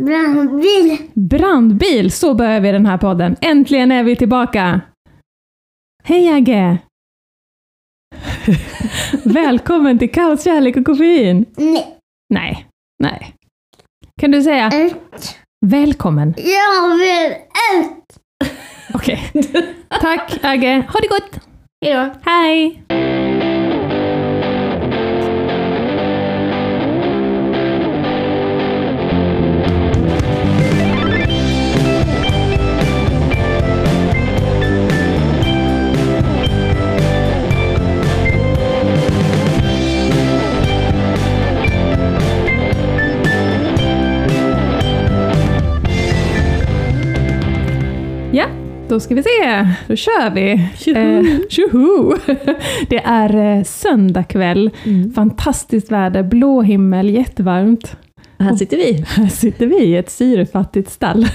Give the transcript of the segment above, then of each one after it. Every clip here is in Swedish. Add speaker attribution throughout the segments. Speaker 1: Brandbil.
Speaker 2: Brandbil, så börjar vi den här podden. Äntligen är vi tillbaka! Hej Agge! Välkommen till Kaos, kärlek och koffein!
Speaker 1: Nej.
Speaker 2: Nej, nej. Kan du säga
Speaker 1: Ett.
Speaker 2: välkommen?
Speaker 1: Jag vill ett.
Speaker 2: Okej. Tack Agge, ha det gott!
Speaker 1: Hejdå.
Speaker 2: Hej! Ja, då ska vi se. Då kör vi. Eh, tjoho! Det är eh, söndag kväll.
Speaker 3: Mm.
Speaker 2: Fantastiskt väder, blå himmel, jättevarmt.
Speaker 3: Och här sitter vi.
Speaker 2: Här sitter vi i ett syrefattigt stall.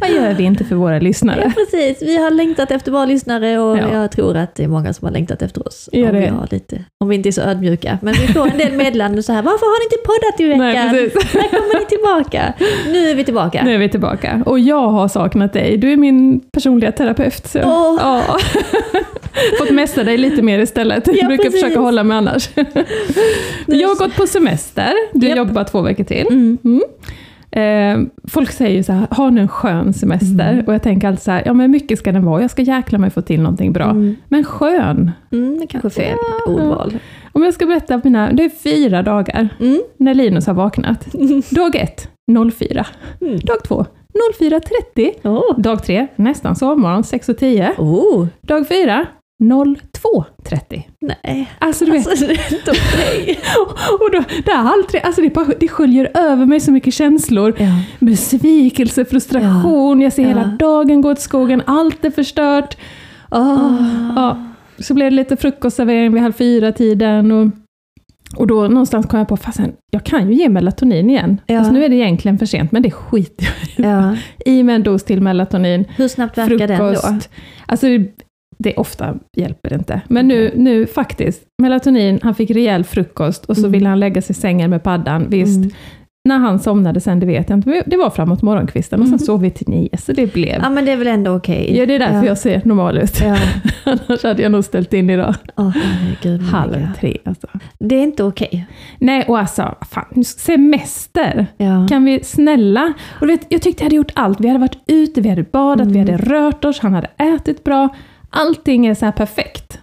Speaker 2: Vad gör vi inte för våra lyssnare?
Speaker 3: Ja, precis. Vi har längtat efter bra lyssnare och
Speaker 2: Ja.
Speaker 3: jag tror att det är många som har längtat efter oss.
Speaker 2: Är
Speaker 3: om,
Speaker 2: det?
Speaker 3: Vi har lite, om vi inte är så ödmjuka. Men vi får en del meddelanden så här, varför har ni inte poddat i veckan?
Speaker 2: Nej, precis.
Speaker 3: När kommer ni tillbaka? Nu är vi tillbaka.
Speaker 2: Nu är vi tillbaka. Och jag har saknat dig. Du är min personliga terapeut. Så.
Speaker 3: Åh.
Speaker 2: Ja. Fått mästra dig lite mer istället. Jag brukar
Speaker 3: precis.
Speaker 2: försöka hålla mig annars. Jag har gått på semester. Du
Speaker 3: Japp.
Speaker 2: jobbar två veckor till.
Speaker 3: Mm.
Speaker 2: Eh, folk säger ju så här, ha nu en skön semester. Och jag tänker alltid så här, ja men mycket ska den vara, jag ska jäkla mig få till någonting bra.
Speaker 3: Mm.
Speaker 2: Men skön.
Speaker 3: Mm, det är kanske är fel ordval.
Speaker 2: Om jag ska berätta mina, det är fyra dagar
Speaker 3: Mm.
Speaker 2: när Linus har vaknat. Dag ett, 04.
Speaker 3: Mm.
Speaker 2: Dag två, 04.30.
Speaker 3: Åh.
Speaker 2: Dag tre, nästan sovmorgon, 6.10.
Speaker 3: Oh.
Speaker 2: Dag fyra, 02.30.
Speaker 3: Nej.
Speaker 2: Alltså du vet,
Speaker 3: Alltså, det är inte okej.
Speaker 2: och då, det, är aldrig, alltså det, bara, det sköljer över mig så mycket känslor.
Speaker 3: Ja.
Speaker 2: Besvikelse, frustration, jag ser
Speaker 3: Ja.
Speaker 2: hela dagen gå åt skogen, allt är förstört. Ah, Ja. Så blev det lite frukostservering vid halv fyra-tiden. Och, och då någonstans kom jag på, fasen, jag kan ju ge melatonin igen.
Speaker 3: Ja.
Speaker 2: Alltså, nu är det egentligen för sent, men det skiter jag i.
Speaker 3: Ja.
Speaker 2: I med en dos till melatonin,
Speaker 3: Hur snabbt verkar den
Speaker 2: frukost.
Speaker 3: då?
Speaker 2: Alltså, det, det ofta hjälper det inte. Men nu, nu faktiskt, melatonin, han fick rejäl frukost och så
Speaker 3: Mm.
Speaker 2: ville han lägga sig i sängen med paddan. Visst,
Speaker 3: Mm.
Speaker 2: när han somnade sen, det vet jag inte. Men det var framåt morgonkvisten och sen
Speaker 3: Mm.
Speaker 2: sov vi till nio, så det blev...
Speaker 3: Ja, men det är väl ändå okej.
Speaker 2: Ja, det är därför jag ser normal ut.
Speaker 3: Ja.
Speaker 2: Annars hade jag nog ställt in idag.
Speaker 3: Åh, herregud, Monica.
Speaker 2: Halv tre alltså.
Speaker 3: Det är inte okej.
Speaker 2: Mm. Nej, och alltså, fan, nu- semester!
Speaker 3: Ja.
Speaker 2: Kan vi snälla? Och du vet, jag tyckte jag hade gjort allt. Vi hade varit ute, vi hade badat,
Speaker 3: Mm.
Speaker 2: vi hade rört oss, han hade ätit bra. Allting är så här perfekt.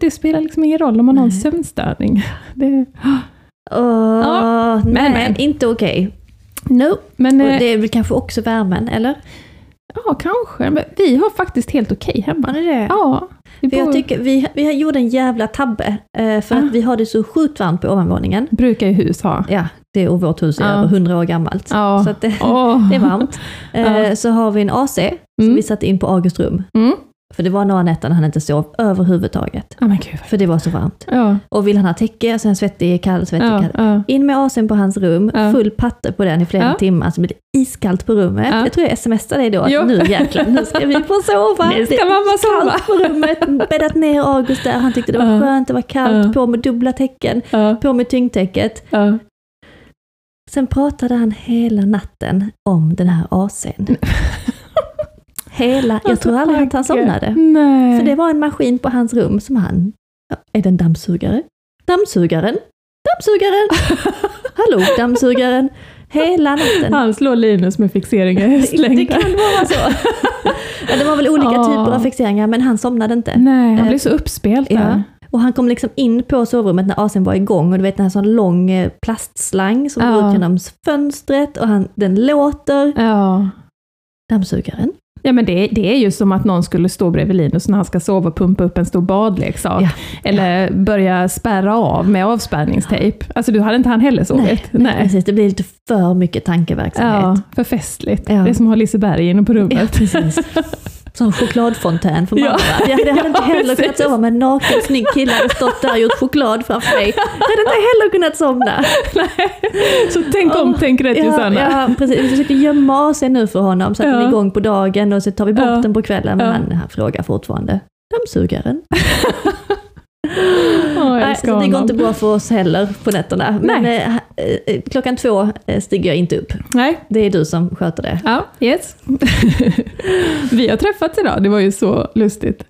Speaker 2: Det spelar liksom ingen roll om man har en
Speaker 3: Nej.
Speaker 2: sömnstörning. Det,
Speaker 3: Åh,
Speaker 2: Ja, men,
Speaker 3: nej,
Speaker 2: men.
Speaker 3: inte okej.
Speaker 2: no. Men
Speaker 3: Och
Speaker 2: eh,
Speaker 3: Det är väl kanske också värmen, eller?
Speaker 2: ja, kanske. Men vi har faktiskt helt okej
Speaker 3: Var
Speaker 2: hemma.
Speaker 3: det det?
Speaker 2: Ja, vi
Speaker 3: För jag
Speaker 2: bor,
Speaker 3: tycker vi, vi gjorde en jävla tabbe, eh, för
Speaker 2: Ah.
Speaker 3: att vi har det så sjukt varmt på ovanvåningen.
Speaker 2: brukar ju hus ha.
Speaker 3: Ja, det och vårt hus är
Speaker 2: Ja.
Speaker 3: över 100 år gammalt.
Speaker 2: Ja.
Speaker 3: Så att det,
Speaker 2: Åh.
Speaker 3: det är varmt. Eh, Så har vi en AC som
Speaker 2: Mm.
Speaker 3: vi satte in på Augusts rum.
Speaker 2: Mm.
Speaker 3: För det var några nätter när han inte sov överhuvudtaget.
Speaker 2: Ja, men gud. vad-
Speaker 3: För det var så varmt.
Speaker 2: Ja,
Speaker 3: Och vill han ha täcke, sen svettig, kall, svettig,
Speaker 2: ja,
Speaker 3: kall.
Speaker 2: ja.
Speaker 3: In med AC'n på hans rum,
Speaker 2: Ja.
Speaker 3: full patte på den i flera
Speaker 2: Ja.
Speaker 3: timmar, så blir det iskallt på rummet.
Speaker 2: Ja.
Speaker 3: Jag tror jag smsade dig då, att
Speaker 2: Jo.
Speaker 3: nu jäklar, nu ska vi få sova.
Speaker 2: Nu
Speaker 3: Det
Speaker 2: ska
Speaker 3: är
Speaker 2: mamma sova.
Speaker 3: kallt på rummet, bäddat ner August där, han tyckte det var
Speaker 2: Ja.
Speaker 3: skönt, det var kallt,
Speaker 2: Ja.
Speaker 3: på med dubbla täcken,
Speaker 2: Ja,
Speaker 3: på med tyngdtäcket.
Speaker 2: ja.
Speaker 3: Sen pratade han hela natten om den här AC'n. Hela, jag
Speaker 2: Alltså,
Speaker 3: tror aldrig att han somnade.
Speaker 2: Nej.
Speaker 3: För det var en maskin på hans rum som han, ja, är det en dammsugare? Dammsugaren? Dammsugaren! Hallå dammsugaren! Hela natten.
Speaker 2: Han slår Linus med fixeringar i
Speaker 3: Det
Speaker 2: hästlängder.
Speaker 3: kan vara så. Ja, det var väl olika
Speaker 2: Ja. Mm.
Speaker 3: typer av fixeringar men han somnade inte.
Speaker 2: Nej, han blir så uppspelt där.
Speaker 3: Eh, Ja. Och han kom liksom in på sovrummet när AC'n var igång och du vet den här sån lång eh, plastslang som
Speaker 2: Ja.
Speaker 3: går ut genom fönstret och han, den låter.
Speaker 2: Ja.
Speaker 3: Dammsugaren.
Speaker 2: Ja men det, det är ju som att någon skulle stå bredvid Linus när han ska sova och pumpa upp en stor badleksak.
Speaker 3: Ja.
Speaker 2: Eller börja spärra av med avspärrningstejp. Alltså du hade inte han heller sovit?
Speaker 3: Precis, det blir lite för mycket tankeverksamhet.
Speaker 2: Ja, för festligt.
Speaker 3: Ja.
Speaker 2: Det är som att ha Liseberg inne på
Speaker 3: Ja,
Speaker 2: rummet.
Speaker 3: precis. Som chokladfontän för mamma.
Speaker 2: Ja.
Speaker 3: va? Jag hade
Speaker 2: Ja,
Speaker 3: inte heller
Speaker 2: precis.
Speaker 3: kunnat sova med en naken snygg kille hade stått där och gjort choklad framför mig. Jag hade inte heller kunnat somna.
Speaker 2: Så tänk om,
Speaker 3: Åh,
Speaker 2: tänk rätt
Speaker 3: Ja,
Speaker 2: Susanna.
Speaker 3: ja, precis. Vi försöker gömma oss nu för honom så att
Speaker 2: Ja.
Speaker 3: han är igång på dagen och så tar vi bort
Speaker 2: Ja.
Speaker 3: den på kvällen. Men
Speaker 2: Ja.
Speaker 3: han, han frågar fortfarande. Dammsugaren.
Speaker 2: Åh, jag
Speaker 3: Nej,
Speaker 2: älskar
Speaker 3: så det går
Speaker 2: honom.
Speaker 3: inte bra för oss heller på nätterna. Men eh, eh, eh, klockan två eh, stiger jag inte upp.
Speaker 2: Nej.
Speaker 3: Det är du som sköter det.
Speaker 2: Ja, yes. Vi har träffats idag, det var ju så lustigt.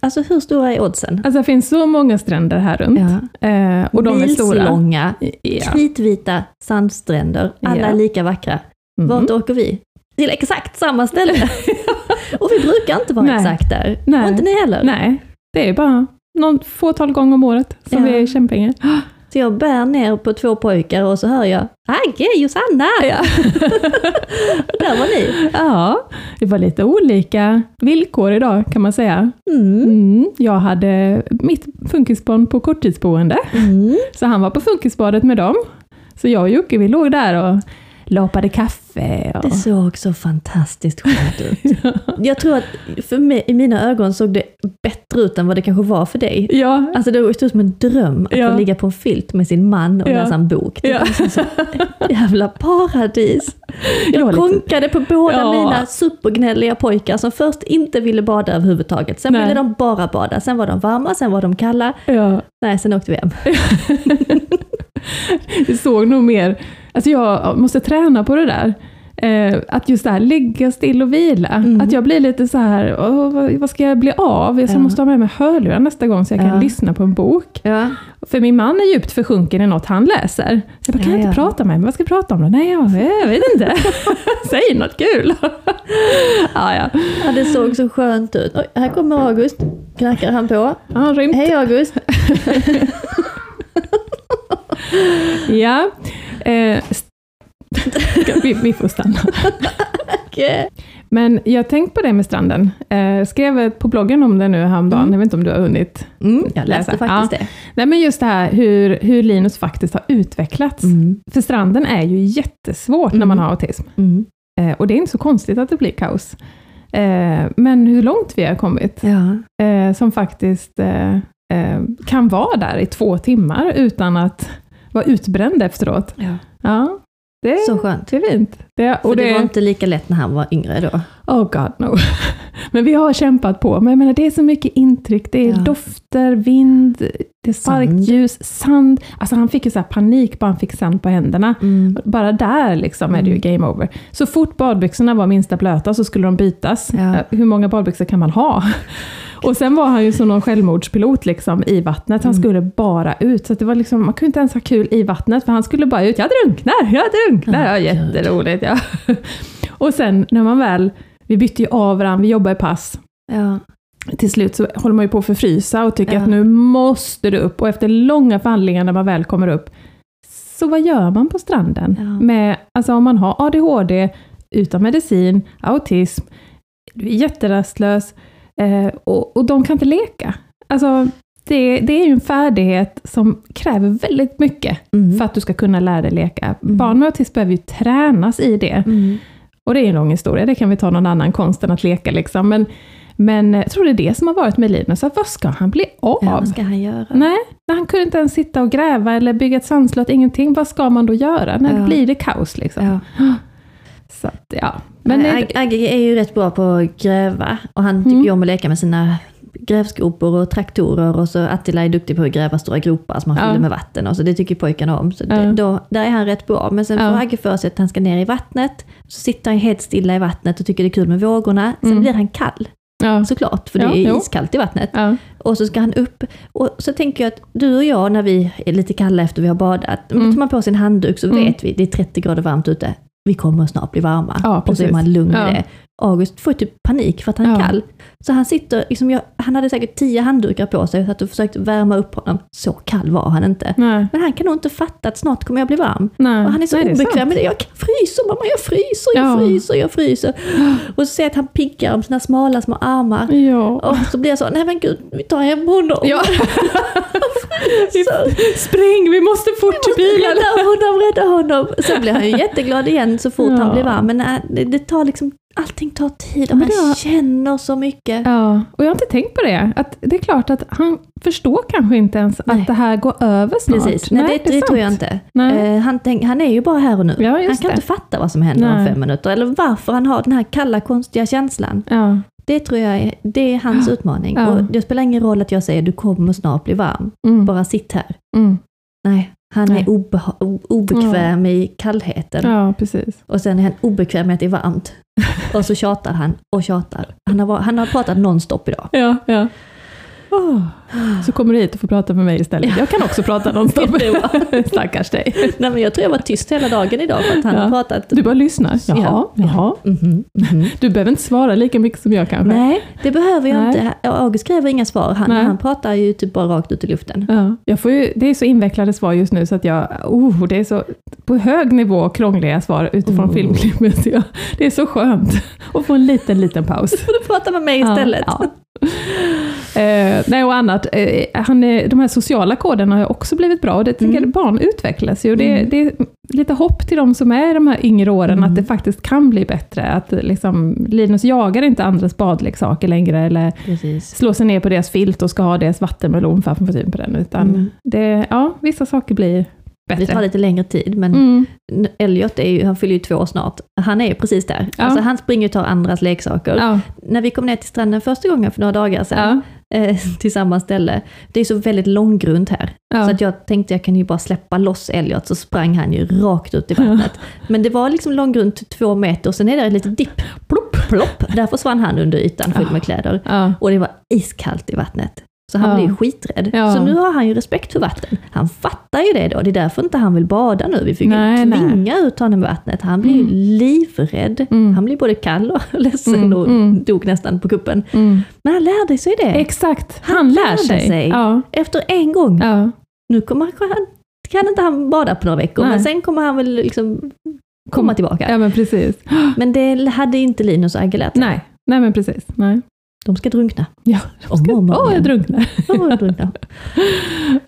Speaker 3: Alltså hur stora är oddsen?
Speaker 2: Alltså det finns så många stränder här runt. Eh, och de är stora.
Speaker 3: Milslånga,
Speaker 2: Ja.
Speaker 3: kritvita sandstränder. Alla
Speaker 2: Ja.
Speaker 3: är lika vackra.
Speaker 2: Mm.
Speaker 3: Vart åker vi? Till exakt samma ställe. och vi brukar inte vara
Speaker 2: Nej.
Speaker 3: exakt där.
Speaker 2: Nej.
Speaker 3: Och inte ni heller.
Speaker 2: Nej, det är bara någon fåtal gånger om året som
Speaker 3: Ja.
Speaker 2: vi är i Kämpinge.
Speaker 3: Så jag bär ner på två pojkar och så hör jag Agge, Josanna!
Speaker 2: Ja.
Speaker 3: Och där var ni.
Speaker 2: ja, det var lite olika villkor idag kan man säga.
Speaker 3: Mm.
Speaker 2: Mm, jag hade mitt funkisbarn på korttidsboende,
Speaker 3: Mm.
Speaker 2: så han var på funkisbadet med dem. Så jag och Jocke, vi låg där och lapade kaffe. Och...
Speaker 3: Det såg så fantastiskt skönt ut. Jag tror att för mig, i mina ögon såg det bättre ut än vad det kanske var för dig.
Speaker 2: Ja,
Speaker 3: Alltså det såg ut som en dröm att
Speaker 2: Ja.
Speaker 3: få ligga på en filt med sin man och
Speaker 2: Ja.
Speaker 3: läsa en bok. Det
Speaker 2: Ja.
Speaker 3: var som så jävla paradis.
Speaker 2: jag var
Speaker 3: Jag
Speaker 2: lite-
Speaker 3: konkade på båda
Speaker 2: Ja.
Speaker 3: mina supergnälliga pojkar som först inte ville bada överhuvudtaget. Sen
Speaker 2: Nej.
Speaker 3: ville de bara bada. Sen var de varma, sen var de kalla.
Speaker 2: ja.
Speaker 3: Nej, sen åkte vi hem.
Speaker 2: Det såg nog mer, alltså jag måste träna på det där. Eh, att just det här ligga still och vila.
Speaker 3: Mm.
Speaker 2: Att jag blir lite så här, åh, vad, vad ska jag bli av? Jag
Speaker 3: Ja.
Speaker 2: måste ha med mig hörlurar nästa gång så jag kan
Speaker 3: Ja.
Speaker 2: lyssna på en bok.
Speaker 3: Ja.
Speaker 2: För min man är djupt försjunken i något han läser. Så jag bara, kan jag
Speaker 3: Ja,
Speaker 2: inte
Speaker 3: ja.
Speaker 2: prata med honom? Vad ska jag prata om då? Nej, jag, jag vet inte. Säg något kul! ja, ja.
Speaker 3: Ja, det såg så skönt ut. Oj, här kommer August. Knackar han på.
Speaker 2: Han rymt.
Speaker 3: Hej August!
Speaker 2: Ja. Eh, st- vi, vi får stanna.
Speaker 3: eh,
Speaker 2: Men jag har tänkt på det med stranden. Eh, skrev på bloggen om det nu häromdagen,
Speaker 3: Mm.
Speaker 2: jag vet inte om du har hunnit.
Speaker 3: Mm, jag läste
Speaker 2: Läsa.
Speaker 3: faktiskt det.
Speaker 2: Nej men just det här hur, hur Linus faktiskt har utvecklats.
Speaker 3: Mm,
Speaker 2: För stranden är ju jättesvårt när
Speaker 3: Mm.
Speaker 2: man har autism.
Speaker 3: mm,
Speaker 2: Eh, och det är inte så konstigt att det blir kaos. Eh, men hur långt vi har kommit,
Speaker 3: ja.
Speaker 2: eh, som faktiskt eh, eh, kan vara där i två timmar utan att vara utbränd efteråt.
Speaker 3: ja.
Speaker 2: Ja, det är,
Speaker 3: Så skönt.
Speaker 2: det är fint. Det,
Speaker 3: För det var inte lika lätt när han var yngre då.
Speaker 2: Oh god no. Men vi har kämpat på. Men jag menar, det är så mycket intryck. Det är
Speaker 3: Ja.
Speaker 2: dofter, vind, det är starkt
Speaker 3: Sand.
Speaker 2: ljus, sand. Alltså han fick ju så här panik bara han fick sand på händerna.
Speaker 3: Mm.
Speaker 2: Bara där liksom är det ju game over. Så fort badbyxorna var minsta blöta så skulle de bytas.
Speaker 3: Ja.
Speaker 2: Eh, Hur många badbyxor kan man ha? Och sen var han ju som någon självmordspilot liksom, i vattnet.
Speaker 3: Mm.
Speaker 2: Han skulle bara ut. Så att det var liksom, man kunde inte ens ha kul i vattnet för han skulle bara ut. Jag drunknar, jag drunknar.
Speaker 3: Ja,
Speaker 2: Ja,
Speaker 3: Ah, gud.
Speaker 2: jätteroligt. Ja. Och sen när man väl, vi bytte ju av varandra, vi jobbar i pass.
Speaker 3: Ja.
Speaker 2: Till slut så håller man ju på att förfrysa och tycker
Speaker 3: Ja.
Speaker 2: att nu måste du upp. Och efter långa förhandlingar när man väl kommer upp, så vad gör man på stranden?
Speaker 3: Ja.
Speaker 2: Med, alltså om man har ADHD, utan medicin, autism, du är jätterastlös eh, och, och de kan inte leka. Alltså, det, det är ju en färdighet som kräver väldigt mycket
Speaker 3: Mm.
Speaker 2: för att du ska kunna lära dig leka.
Speaker 3: Mm.
Speaker 2: Barn med autism behöver ju tränas i det.
Speaker 3: Mm.
Speaker 2: Och det är en lång historia, det kan vi ta någon annan konst än att leka. Liksom. Men, men jag tror det är det som har varit med Linus, att vad ska han bli av?
Speaker 3: Ja, vad ska han göra?
Speaker 2: Nej, han kunde inte ens sitta och gräva eller bygga ett sandslott, ingenting. Vad ska man då göra? När
Speaker 3: Ja.
Speaker 2: blir det kaos? Liksom?
Speaker 3: Ja.
Speaker 2: Så att, ja.
Speaker 3: Men
Speaker 2: Men
Speaker 3: Nej,
Speaker 2: är,
Speaker 3: Eh, Ag- Agge är ju rätt bra på att gräva och han tycker
Speaker 2: Mm.
Speaker 3: ju om att leka med sina grävskopor och traktorer och så Attila är duktig på att gräva stora gropar som han
Speaker 2: Ja.
Speaker 3: fyller med vatten och så det tycker pojkarna om. Så det,
Speaker 2: Ja.
Speaker 3: då, där är han rätt bra. Men sen
Speaker 2: Ja.
Speaker 3: får Agge för sig att han ska ner i vattnet, så sitter han helt stilla i vattnet och tycker det är kul med vågorna. Sen
Speaker 2: Mm.
Speaker 3: blir han kall
Speaker 2: ja.
Speaker 3: såklart, för det
Speaker 2: Ja,
Speaker 3: är
Speaker 2: jo.
Speaker 3: iskallt i vattnet.
Speaker 2: Ja.
Speaker 3: Och så ska han upp. Och så tänker jag att du och jag, när vi är lite kalla efter vi har badat, då
Speaker 2: Mm.
Speaker 3: tar man på sin handduk så
Speaker 2: Mm.
Speaker 3: vet vi, det är 30 grader varmt ute, vi kommer snart bli varma.
Speaker 2: Ja,
Speaker 3: och så är
Speaker 2: precis.
Speaker 3: man lugn i
Speaker 2: Ja.
Speaker 3: det. August får typ panik för att han är
Speaker 2: Ja.
Speaker 3: kall. Så han sitter, liksom jag, han hade säkert 10 handdukar på sig, så att du försökte värma upp honom. Så kall var han inte.
Speaker 2: Nej.
Speaker 3: Men han kan nog inte fatta att snart kommer jag bli varm.
Speaker 2: Nej.
Speaker 3: Och han är så
Speaker 2: Nej, det
Speaker 3: obekväm
Speaker 2: sant.
Speaker 3: med det. Jag fryser mamma, jag fryser, jag
Speaker 2: Ja.
Speaker 3: fryser, jag fryser. Och så ser jag att han piggar om sina smala små armar.
Speaker 2: Ja.
Speaker 3: Och så blir jag så, nej men gud, vi tar hem honom.
Speaker 2: ja.
Speaker 3: Så,
Speaker 2: Spring, vi måste fort till bilen!
Speaker 3: rädda honom, rädda honom. Så blir han ju jätteglad igen så fort
Speaker 2: Ja.
Speaker 3: han blir varm. Men nej, det, det tar liksom, allting tar tid och
Speaker 2: Men
Speaker 3: man
Speaker 2: det har-
Speaker 3: känner så mycket.
Speaker 2: Ja, och jag har inte tänkt på det. Att det är klart att han förstår kanske inte ens
Speaker 3: Nej.
Speaker 2: att det här går över snart.
Speaker 3: Precis, nej, det, det,
Speaker 2: är
Speaker 3: tror jag
Speaker 2: sant.
Speaker 3: inte.
Speaker 2: Nej.
Speaker 3: Eh, han, tänk, han är ju bara här och nu.
Speaker 2: Ja,
Speaker 3: han
Speaker 2: just
Speaker 3: kan
Speaker 2: det.
Speaker 3: inte fatta vad som händer om
Speaker 2: Nej.
Speaker 3: fem minuter eller varför han har den här kalla konstiga känslan.
Speaker 2: Ja.
Speaker 3: Det- Det tror jag är, det är hans utmaning.
Speaker 2: Ja.
Speaker 3: Och det spelar ingen roll att jag säger du kommer snart bli varm,
Speaker 2: Mm.
Speaker 3: bara sitt här.
Speaker 2: Mm.
Speaker 3: Nej, han
Speaker 2: Nej.
Speaker 3: är obeha- o- obekväm i kallheten.
Speaker 2: Ja, precis.
Speaker 3: Och sen är han obekväm med att det är varmt. Och så tjatar han och tjatar. Han har, var- han har pratat nonstop idag.
Speaker 2: Ja, ja. Åh, Ah. Så kommer du hit och får prata med mig istället. Jag kan också prata nonstop. Stackars dig.
Speaker 3: Nej, men jag tror jag var tyst hela dagen idag för att han
Speaker 2: Ja.
Speaker 3: har pratat.
Speaker 2: Du bara lyssnar.
Speaker 3: Ja,
Speaker 2: Jaha,
Speaker 3: ja.
Speaker 2: jaha.
Speaker 3: Mhm, mhm.
Speaker 2: Du behöver inte svara lika mycket som jag kanske.
Speaker 3: Nej, det behöver jag
Speaker 2: Nej.
Speaker 3: inte. August kräver inga svar. Han,
Speaker 2: Nej.
Speaker 3: han pratar ju typ bara rakt ut i luften.
Speaker 2: Ja, jag får ju, det är så invecklade svar just nu så att jag, oh, det är så på hög nivå krångliga svar utifrån
Speaker 3: Mm.
Speaker 2: filmklippet. Så jag- Det är så skönt att få en liten, liten paus.
Speaker 3: Du pratar med mig istället.
Speaker 2: Ja, ja. Eh, nej, och annat. Eh, han är, de här sociala koderna har ju också blivit bra och det tycker
Speaker 3: Mm.
Speaker 2: jag barn utvecklas ju. Och Det,
Speaker 3: Mm.
Speaker 2: det är lite hopp till de som är i de här yngre åren
Speaker 3: Mm.
Speaker 2: att det faktiskt kan bli bättre. Att liksom, Linus jagar inte andras badleksaker längre eller
Speaker 3: Precis.
Speaker 2: slår sig ner på deras filt och ska ha deras vattenmelon framför typ på den. Utan
Speaker 3: Mm.
Speaker 2: det, ja, vissa saker blir
Speaker 3: Det tar
Speaker 2: bättre.
Speaker 3: lite längre tid, men
Speaker 2: Mm.
Speaker 3: Elliot är ju, han fyller ju två år snart. Han är ju precis där.
Speaker 2: Ja.
Speaker 3: Alltså, han springer och tar andras leksaker.
Speaker 2: Ja,
Speaker 3: När vi kom ner till stranden första gången för några dagar sedan,
Speaker 2: ja,
Speaker 3: eh, till samma ställe, det är så väldigt långgrunt här. Så
Speaker 2: ja.
Speaker 3: att jag tänkte jag kan ju bara släppa loss Elliot, så sprang han ju rakt ut i vattnet. Men det var liksom långgrunt två meter, och sen är det ett litet dipp,
Speaker 2: Plopp.
Speaker 3: plopp, där försvann han under ytan full med kläder.
Speaker 2: Ja.
Speaker 3: Och det var iskallt i vattnet. Så han
Speaker 2: Ja.
Speaker 3: blev ju skiträdd.
Speaker 2: Ja.
Speaker 3: Så nu har han ju respekt för vatten. Han fattar ju det då. Det är därför inte han vill bada nu. Vi fick
Speaker 2: Nej,
Speaker 3: ju
Speaker 2: nej.
Speaker 3: tvinga ut honom i vattnet. Han blir ju livrädd.
Speaker 2: Mm.
Speaker 3: Han blir både kall och ledsen
Speaker 2: Mm,
Speaker 3: och
Speaker 2: mm.
Speaker 3: dog nästan på kuppen.
Speaker 2: Mm.
Speaker 3: Men han lärde sig det.
Speaker 2: Exakt,
Speaker 3: Han
Speaker 2: han, lär
Speaker 3: lärde
Speaker 2: sig.
Speaker 3: sig.
Speaker 2: Ja,
Speaker 3: Efter en gång.
Speaker 2: ja.
Speaker 3: Nu kommer han, han- kan inte han bada på några veckor,
Speaker 2: Nej.
Speaker 3: men sen kommer han väl liksom komma
Speaker 2: Kom-
Speaker 3: tillbaka.
Speaker 2: ja, men precis.
Speaker 3: Men det hade inte Linus och Agge lärt sig.
Speaker 2: Nej, nej men precis. Nej.
Speaker 3: De ska drunkna.
Speaker 2: Ja,
Speaker 3: Om och om
Speaker 2: Åh, jag
Speaker 3: igen.
Speaker 2: drunknar.
Speaker 3: De ska drunkna.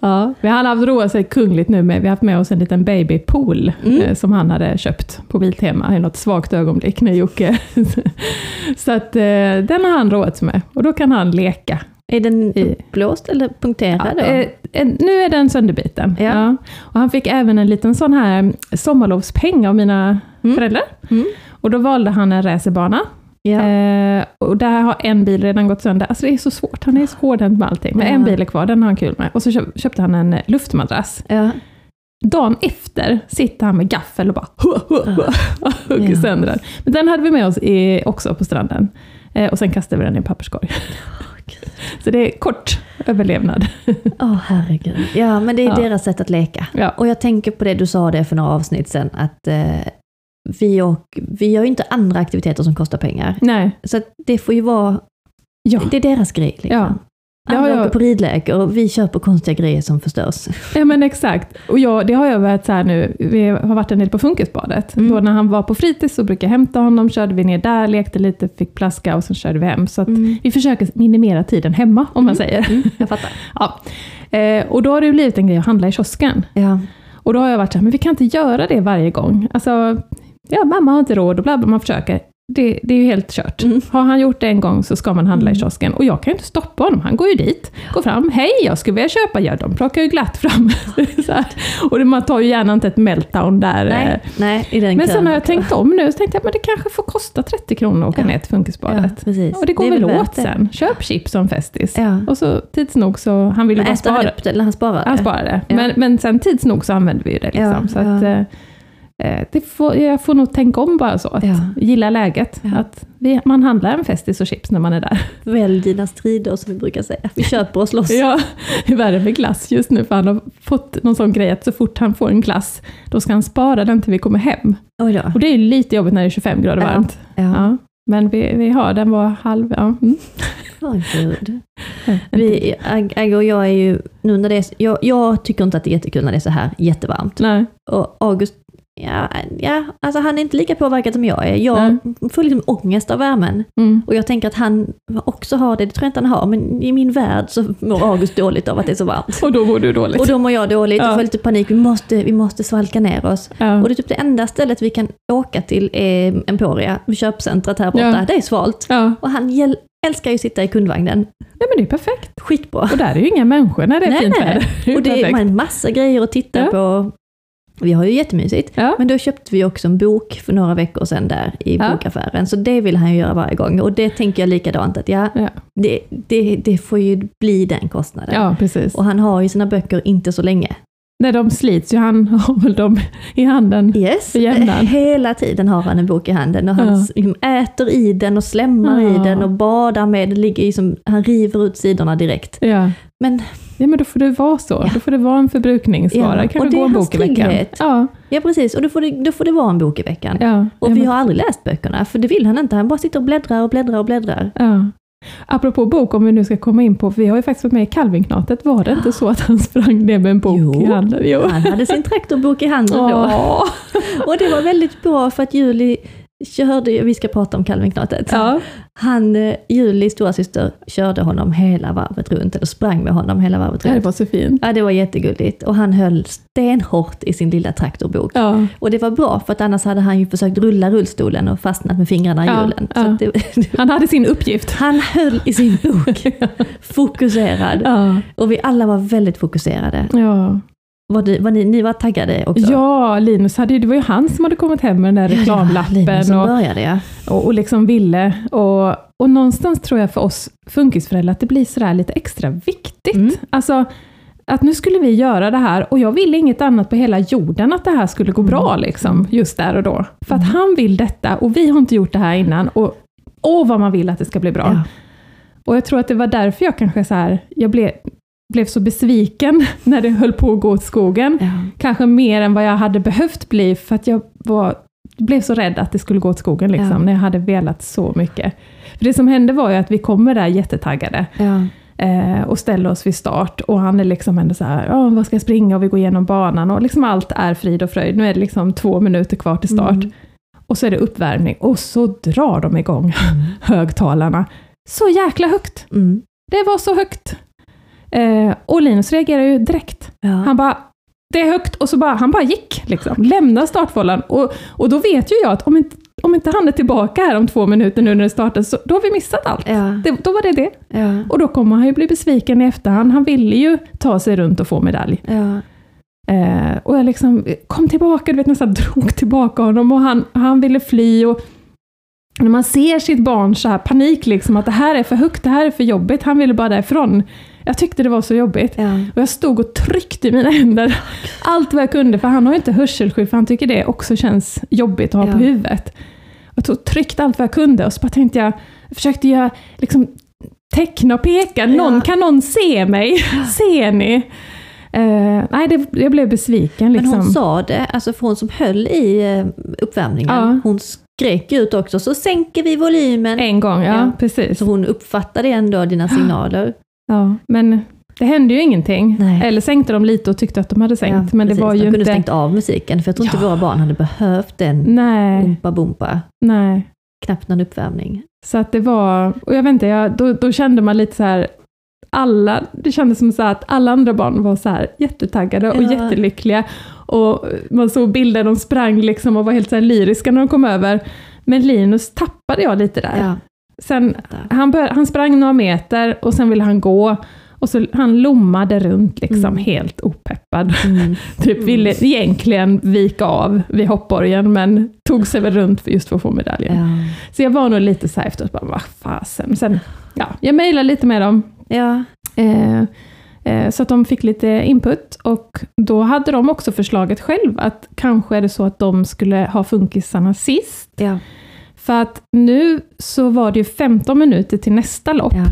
Speaker 2: Ja, vi har haft roat sig kungligt nu med, vi har haft med oss en liten babypool
Speaker 3: Mm.
Speaker 2: eh, som han hade köpt på Biltema i något svagt ögonblick när Jocke... Så att eh, den har han roat sig med och då kan han leka
Speaker 3: Är den
Speaker 2: I-
Speaker 3: uppblåst eller punkterad då?
Speaker 2: Ja, eh, eh, nu är den sönderbiten.
Speaker 3: Ja.
Speaker 2: Och han fick även en liten sån här sommarlovspeng av mina
Speaker 3: Mm.
Speaker 2: föräldrar.
Speaker 3: Mm.
Speaker 2: Och då valde han en racerbana.
Speaker 3: Ja.
Speaker 2: Eh, och där har en bil redan gått sönder. Alltså det är så svårt, han är så hårdhänt med allting. Men
Speaker 3: Ja.
Speaker 2: en bil är kvar, den har han kul med. Och så köp- köpte han en eh, luftmadrass.
Speaker 3: Ja.
Speaker 2: Dagen efter sitter han med gaffel och bara hua, hua, hua, och hugger
Speaker 3: Ja.
Speaker 2: sönder den. Men den hade vi med oss i, också på stranden. Eh, och sen kastade vi den i en papperskorg. så det är kort överlevnad.
Speaker 3: Åh herregud. Ja, men det är
Speaker 2: Ja.
Speaker 3: deras sätt att leka.
Speaker 2: Ja.
Speaker 3: Och jag tänker på det du sa det för några avsnitt sedan, att eh, vi, och, vi gör ju inte andra aktiviteter som kostar pengar.
Speaker 2: Nej.
Speaker 3: Så att det får ju vara,
Speaker 2: Ja.
Speaker 3: det är deras grej. Liksom.
Speaker 2: Ja. Det har
Speaker 3: Andra
Speaker 2: jag-
Speaker 3: åker på ridläger och vi köper konstiga grejer som förstörs.
Speaker 2: Ja men exakt. Och jag, det har jag varit så här nu, vi har varit en del på Funkisbadet.
Speaker 3: Mm.
Speaker 2: Då när han var på fritids så brukade jag hämta honom, körde vi ner där, lekte lite, fick plaska och sen körde vi hem.
Speaker 3: Mm.
Speaker 2: Så att vi försöker minimera tiden hemma, om man säger.
Speaker 3: Jag fattar.
Speaker 2: Ja. Eh, och då har det ju blivit en grej att handla i kiosken.
Speaker 3: Ja.
Speaker 2: Och då har jag varit så här, men vi kan inte göra det varje gång. Alltså, ja mamma har inte råd och bla bla, man försöker. Det, det är ju helt kört.
Speaker 3: Mm.
Speaker 2: Har han gjort det en gång så ska man handla i
Speaker 3: Mm.
Speaker 2: kiosken. Och jag kan ju inte stoppa honom, han går ju dit, går fram, hej jag skulle vilja köpa, ja de plockar ju glatt fram. så här. Och det- man tar ju gärna inte ett meltdown där. eh.
Speaker 3: Nej, nej, i den
Speaker 2: Men sen
Speaker 3: kön
Speaker 2: har jag
Speaker 3: också.
Speaker 2: tänkt om nu, så tänkte jag men det kanske får kosta 30 kronor att åka
Speaker 3: Ja.
Speaker 2: ner till
Speaker 3: ja,
Speaker 2: funkisbadet.
Speaker 3: precis.
Speaker 2: Och det går
Speaker 3: är
Speaker 2: väl
Speaker 3: värt
Speaker 2: åt
Speaker 3: det.
Speaker 2: sen, köp chips som festis.
Speaker 3: Ja.
Speaker 2: Och så tids nog så, han ville
Speaker 3: Men
Speaker 2: bara
Speaker 3: äter han
Speaker 2: spara.
Speaker 3: upp det eller han sparar det?
Speaker 2: Han sparar det.
Speaker 3: Ja.
Speaker 2: Men, men sen tids nog så använder vi ju det. Liksom.
Speaker 3: Ja,
Speaker 2: så att,
Speaker 3: ja.
Speaker 2: eh, eh, det får, jag får nog tänka om bara så. Att
Speaker 3: Ja.
Speaker 2: Gilla läget.
Speaker 3: Ja.
Speaker 2: Att vi, man handlar en festis och chips när man är där.
Speaker 3: Välj dina strider som vi brukar säga. Vi köper oss loss.
Speaker 2: Ja, det är värre med glass just nu för han har fått någon sån grej att så fort han får en glass, då ska han spara den till vi kommer hem.
Speaker 3: Oj då.
Speaker 2: Och det är ju lite jobbigt när det är 25 grader
Speaker 3: Ja.
Speaker 2: varmt.
Speaker 3: Ja.
Speaker 2: Ja. Men vi, vi har, den var halv... Ja. Mm.
Speaker 3: Åh, gud. Vi, Ag- Agge och jag är ju, nu när det är, jag, jag tycker inte att det är jättekul när det är så här jättevarmt.
Speaker 2: Nej.
Speaker 3: Och August, ja, ja alltså han är inte lika påverkad som jag är. Jag får liksom ångest av värmen.
Speaker 2: Mm.
Speaker 3: Och jag tänker att han också har det, det tror jag inte han har, men i min värld så mår August dåligt av att det är så varmt.
Speaker 2: Och då mår du dåligt.
Speaker 3: Och då mår jag dåligt och
Speaker 2: Ja. Mm.
Speaker 3: får lite panik, vi måste, vi måste svalka ner oss.
Speaker 2: ja.
Speaker 3: Och det är typ det enda stället vi kan åka till är Emporia, köpcentret här borta.
Speaker 2: Ja.
Speaker 3: Det är svalt.
Speaker 2: ja.
Speaker 3: Och han gäll- älskar ju att sitta i kundvagnen.
Speaker 2: Nej men det är perfekt.
Speaker 3: Skitbra.
Speaker 2: Och där är ju inga människor när det är
Speaker 3: Nej,
Speaker 2: fint
Speaker 3: nej.
Speaker 2: väder. Det är ju
Speaker 3: Och det är
Speaker 2: Mm, perfekt.
Speaker 3: man har en massa grejer att titta
Speaker 2: Ja.
Speaker 3: på. Vi har ju jättemysigt.
Speaker 2: Ja.
Speaker 3: Men då köpte vi också en bok för några veckor sedan där i
Speaker 2: Ja.
Speaker 3: bokaffären. Så det vill han ju göra varje gång. Och det tänker jag likadant att ja,
Speaker 2: Ja.
Speaker 3: Det, det, det får ju bli den kostnaden.
Speaker 2: Ja, precis.
Speaker 3: Och han har ju sina böcker inte så länge.
Speaker 2: Nej, de slits ju. Han har väl dem i handen.
Speaker 3: Yes.
Speaker 2: För jämnan.
Speaker 3: Hela tiden har han en bok i handen och han
Speaker 2: Ja.
Speaker 3: s- liksom äter i den och slämmar i
Speaker 2: Ja.
Speaker 3: den och badar med den. Ligger i som, han river ut sidorna direkt.
Speaker 2: Ja.
Speaker 3: Men
Speaker 2: ja, men då får det vara så.
Speaker 3: Ja.
Speaker 2: Då får det vara en förbrukningsvara.
Speaker 3: Ja,
Speaker 2: Kanske
Speaker 3: och det
Speaker 2: gå
Speaker 3: är
Speaker 2: en
Speaker 3: hans
Speaker 2: bok i veckan.
Speaker 3: trygghet.
Speaker 2: Ja,
Speaker 3: ja, precis. Och då får det, då får det vara en bok i veckan.
Speaker 2: ja. ja,
Speaker 3: Och vi
Speaker 2: men-
Speaker 3: har aldrig läst böckerna, för det vill han inte. Han bara sitter och bläddrar och bläddrar och bläddrar.
Speaker 2: ja. Apropå bok, om vi nu ska komma in på, vi har ju faktiskt varit med i Kalvinknatet. Var det inte så att han sprang ner med en bok
Speaker 3: Jo.
Speaker 2: i handen? Jo.
Speaker 3: Han hade sin traktorbok i handen då.
Speaker 2: Ja.
Speaker 3: Och det var väldigt bra för att Julie körde, ju- vi ska prata om Kalvinknatet.
Speaker 2: Ja.
Speaker 3: Han, eh, Julis stora syster körde honom hela varvet runt, eller sprang med honom hela varvet
Speaker 2: ja, det
Speaker 3: runt.
Speaker 2: var så fint.
Speaker 3: Ja, det var jättegulligt. Och han höll stenhårt i sin lilla traktorbok.
Speaker 2: Ja.
Speaker 3: Och det var bra, för att annars hade han ju försökt rulla rullstolen och fastnat med fingrarna i
Speaker 2: Ja,
Speaker 3: hjulen.
Speaker 2: ja.
Speaker 3: Så att det,
Speaker 2: Han hade sin uppgift.
Speaker 3: han höll i sin bok, fokuserad.
Speaker 2: Ja,
Speaker 3: Och vi alla var väldigt fokuserade.
Speaker 2: ja.
Speaker 3: Var du, var ni, ni var taggade också?
Speaker 2: ja Linus hade ju, det var ju han som hade kommit hem med den där reklamlappen.
Speaker 3: Linus som
Speaker 2: och,
Speaker 3: började ja.
Speaker 2: och, och liksom ville. Och, och någonstans tror jag för oss funkisföräldrar att det blir sådär lite extra viktigt.
Speaker 3: Mm.
Speaker 2: Alltså, att nu skulle vi göra det här och jag ville inget annat på hela jorden att det här skulle
Speaker 3: Mm.
Speaker 2: gå bra liksom, just där och då. För att han vill detta och vi har inte gjort det här innan. Och åh vad man vill att det ska bli bra.
Speaker 3: Ja.
Speaker 2: Och jag tror att det var därför jag kanske så här, jag blev, blev så besviken när det höll på att gå åt skogen.
Speaker 3: Ja.
Speaker 2: Kanske mer än vad jag hade behövt bli, för att jag var, blev så rädd att det skulle gå åt skogen, liksom,
Speaker 3: Ja.
Speaker 2: när jag hade velat så mycket. För det som hände var ju att vi kommer där jättetaggade
Speaker 3: Ja.
Speaker 2: eh, och ställer oss vid start. Och han är liksom ändå så här, "Ja, vad ska jag springa? Och vi går igenom banan och liksom allt är frid och fröjd. Nu är det liksom två minuter kvar till start.
Speaker 3: Mm.
Speaker 2: Och så är det uppvärmning och så drar de igång högtalarna. Så jäkla högt!
Speaker 3: Mm.
Speaker 2: Det var så högt! Eh, och Linus reagerar ju direkt.
Speaker 3: Ja.
Speaker 2: Han bara, det är högt, och så bara, han bara gick. Liksom. Lämnade startfållan. Och, och då vet ju jag att om inte, om inte han är tillbaka här om två minuter nu när det startar, så då har vi missat allt.
Speaker 3: ja.
Speaker 2: Det, då var det det.
Speaker 3: ja.
Speaker 2: Och då kommer han ju bli besviken i efterhand. Han ville ju ta sig runt och få medalj.
Speaker 3: ja.
Speaker 2: Eh, och jag liksom eh, kom tillbaka, du vet nästan drog tillbaka honom och han, han ville fly. Och när man ser sitt barn så här panik, liksom, att det här är för högt, det här är för jobbigt, han ville bara därifrån. Jag tyckte det var så jobbigt.
Speaker 3: ja.
Speaker 2: Och jag stod och tryckte i mina händer allt vad jag kunde, för han har ju inte hörselskydd, för han tycker det också känns jobbigt att ha
Speaker 3: Ja.
Speaker 2: på huvudet. Jag tog och tryckte allt vad jag kunde och så bara tänkte jag, jag försökte göra liksom, teckna och peka, någon,
Speaker 3: Ja.
Speaker 2: kan någon se mig? Ser ni? Eh, nej, det, jag blev besviken.
Speaker 3: Men
Speaker 2: Liksom.
Speaker 3: hon sa det, alltså för hon som höll i eh, uppvärmningen,
Speaker 2: Ja.
Speaker 3: hon skrek ut också så sänker vi volymen.
Speaker 2: en gång, ja,
Speaker 3: Ja.
Speaker 2: precis.
Speaker 3: Så hon uppfattade ändå dina signaler.
Speaker 2: Ja, men det hände ju ingenting.
Speaker 3: Nej.
Speaker 2: Eller sänkte de lite och tyckte att de hade sänkt,
Speaker 3: Ja,
Speaker 2: men det
Speaker 3: precis.
Speaker 2: var
Speaker 3: de
Speaker 2: ju
Speaker 3: kunde
Speaker 2: inte...
Speaker 3: stängt av musiken, för jag tror inte
Speaker 2: Ja.
Speaker 3: våra barn hade behövt den
Speaker 2: Nej,
Speaker 3: umpa bumpa,
Speaker 2: nej.
Speaker 3: knappt någon uppvärmning.
Speaker 2: Så att det var, och jag vet inte, jag, då, då kände man lite så här, alla, det kändes som så här att alla andra barn var så här jättetaggade och
Speaker 3: Ja.
Speaker 2: jättelyckliga. Och man såg bilder, de sprang liksom och var helt så här lyriska när de kom över. Men Linus tappade jag lite där.
Speaker 3: Ja,
Speaker 2: Sen,
Speaker 3: fattar.
Speaker 2: han, bör, han sprang några meter och sen ville han gå. Och så han lommade runt liksom
Speaker 3: Mm.
Speaker 2: helt opeppad.
Speaker 3: Mm.
Speaker 2: Typ ville egentligen vika av vid hoppborgen, men tog sig väl runt för just för att få medaljen.
Speaker 3: Ja.
Speaker 2: Så jag var nog lite så här efteråt, bara vad fasen. Sen, ja, jag mejlade lite med dem,
Speaker 3: ja.
Speaker 2: eh, eh, så att de fick lite input. Och då hade de också förslaget själv, att kanske är det så att de skulle ha funkisarna sist.
Speaker 3: ja.
Speaker 2: För att nu så var det ju 15 minuter till nästa lopp.
Speaker 3: ja.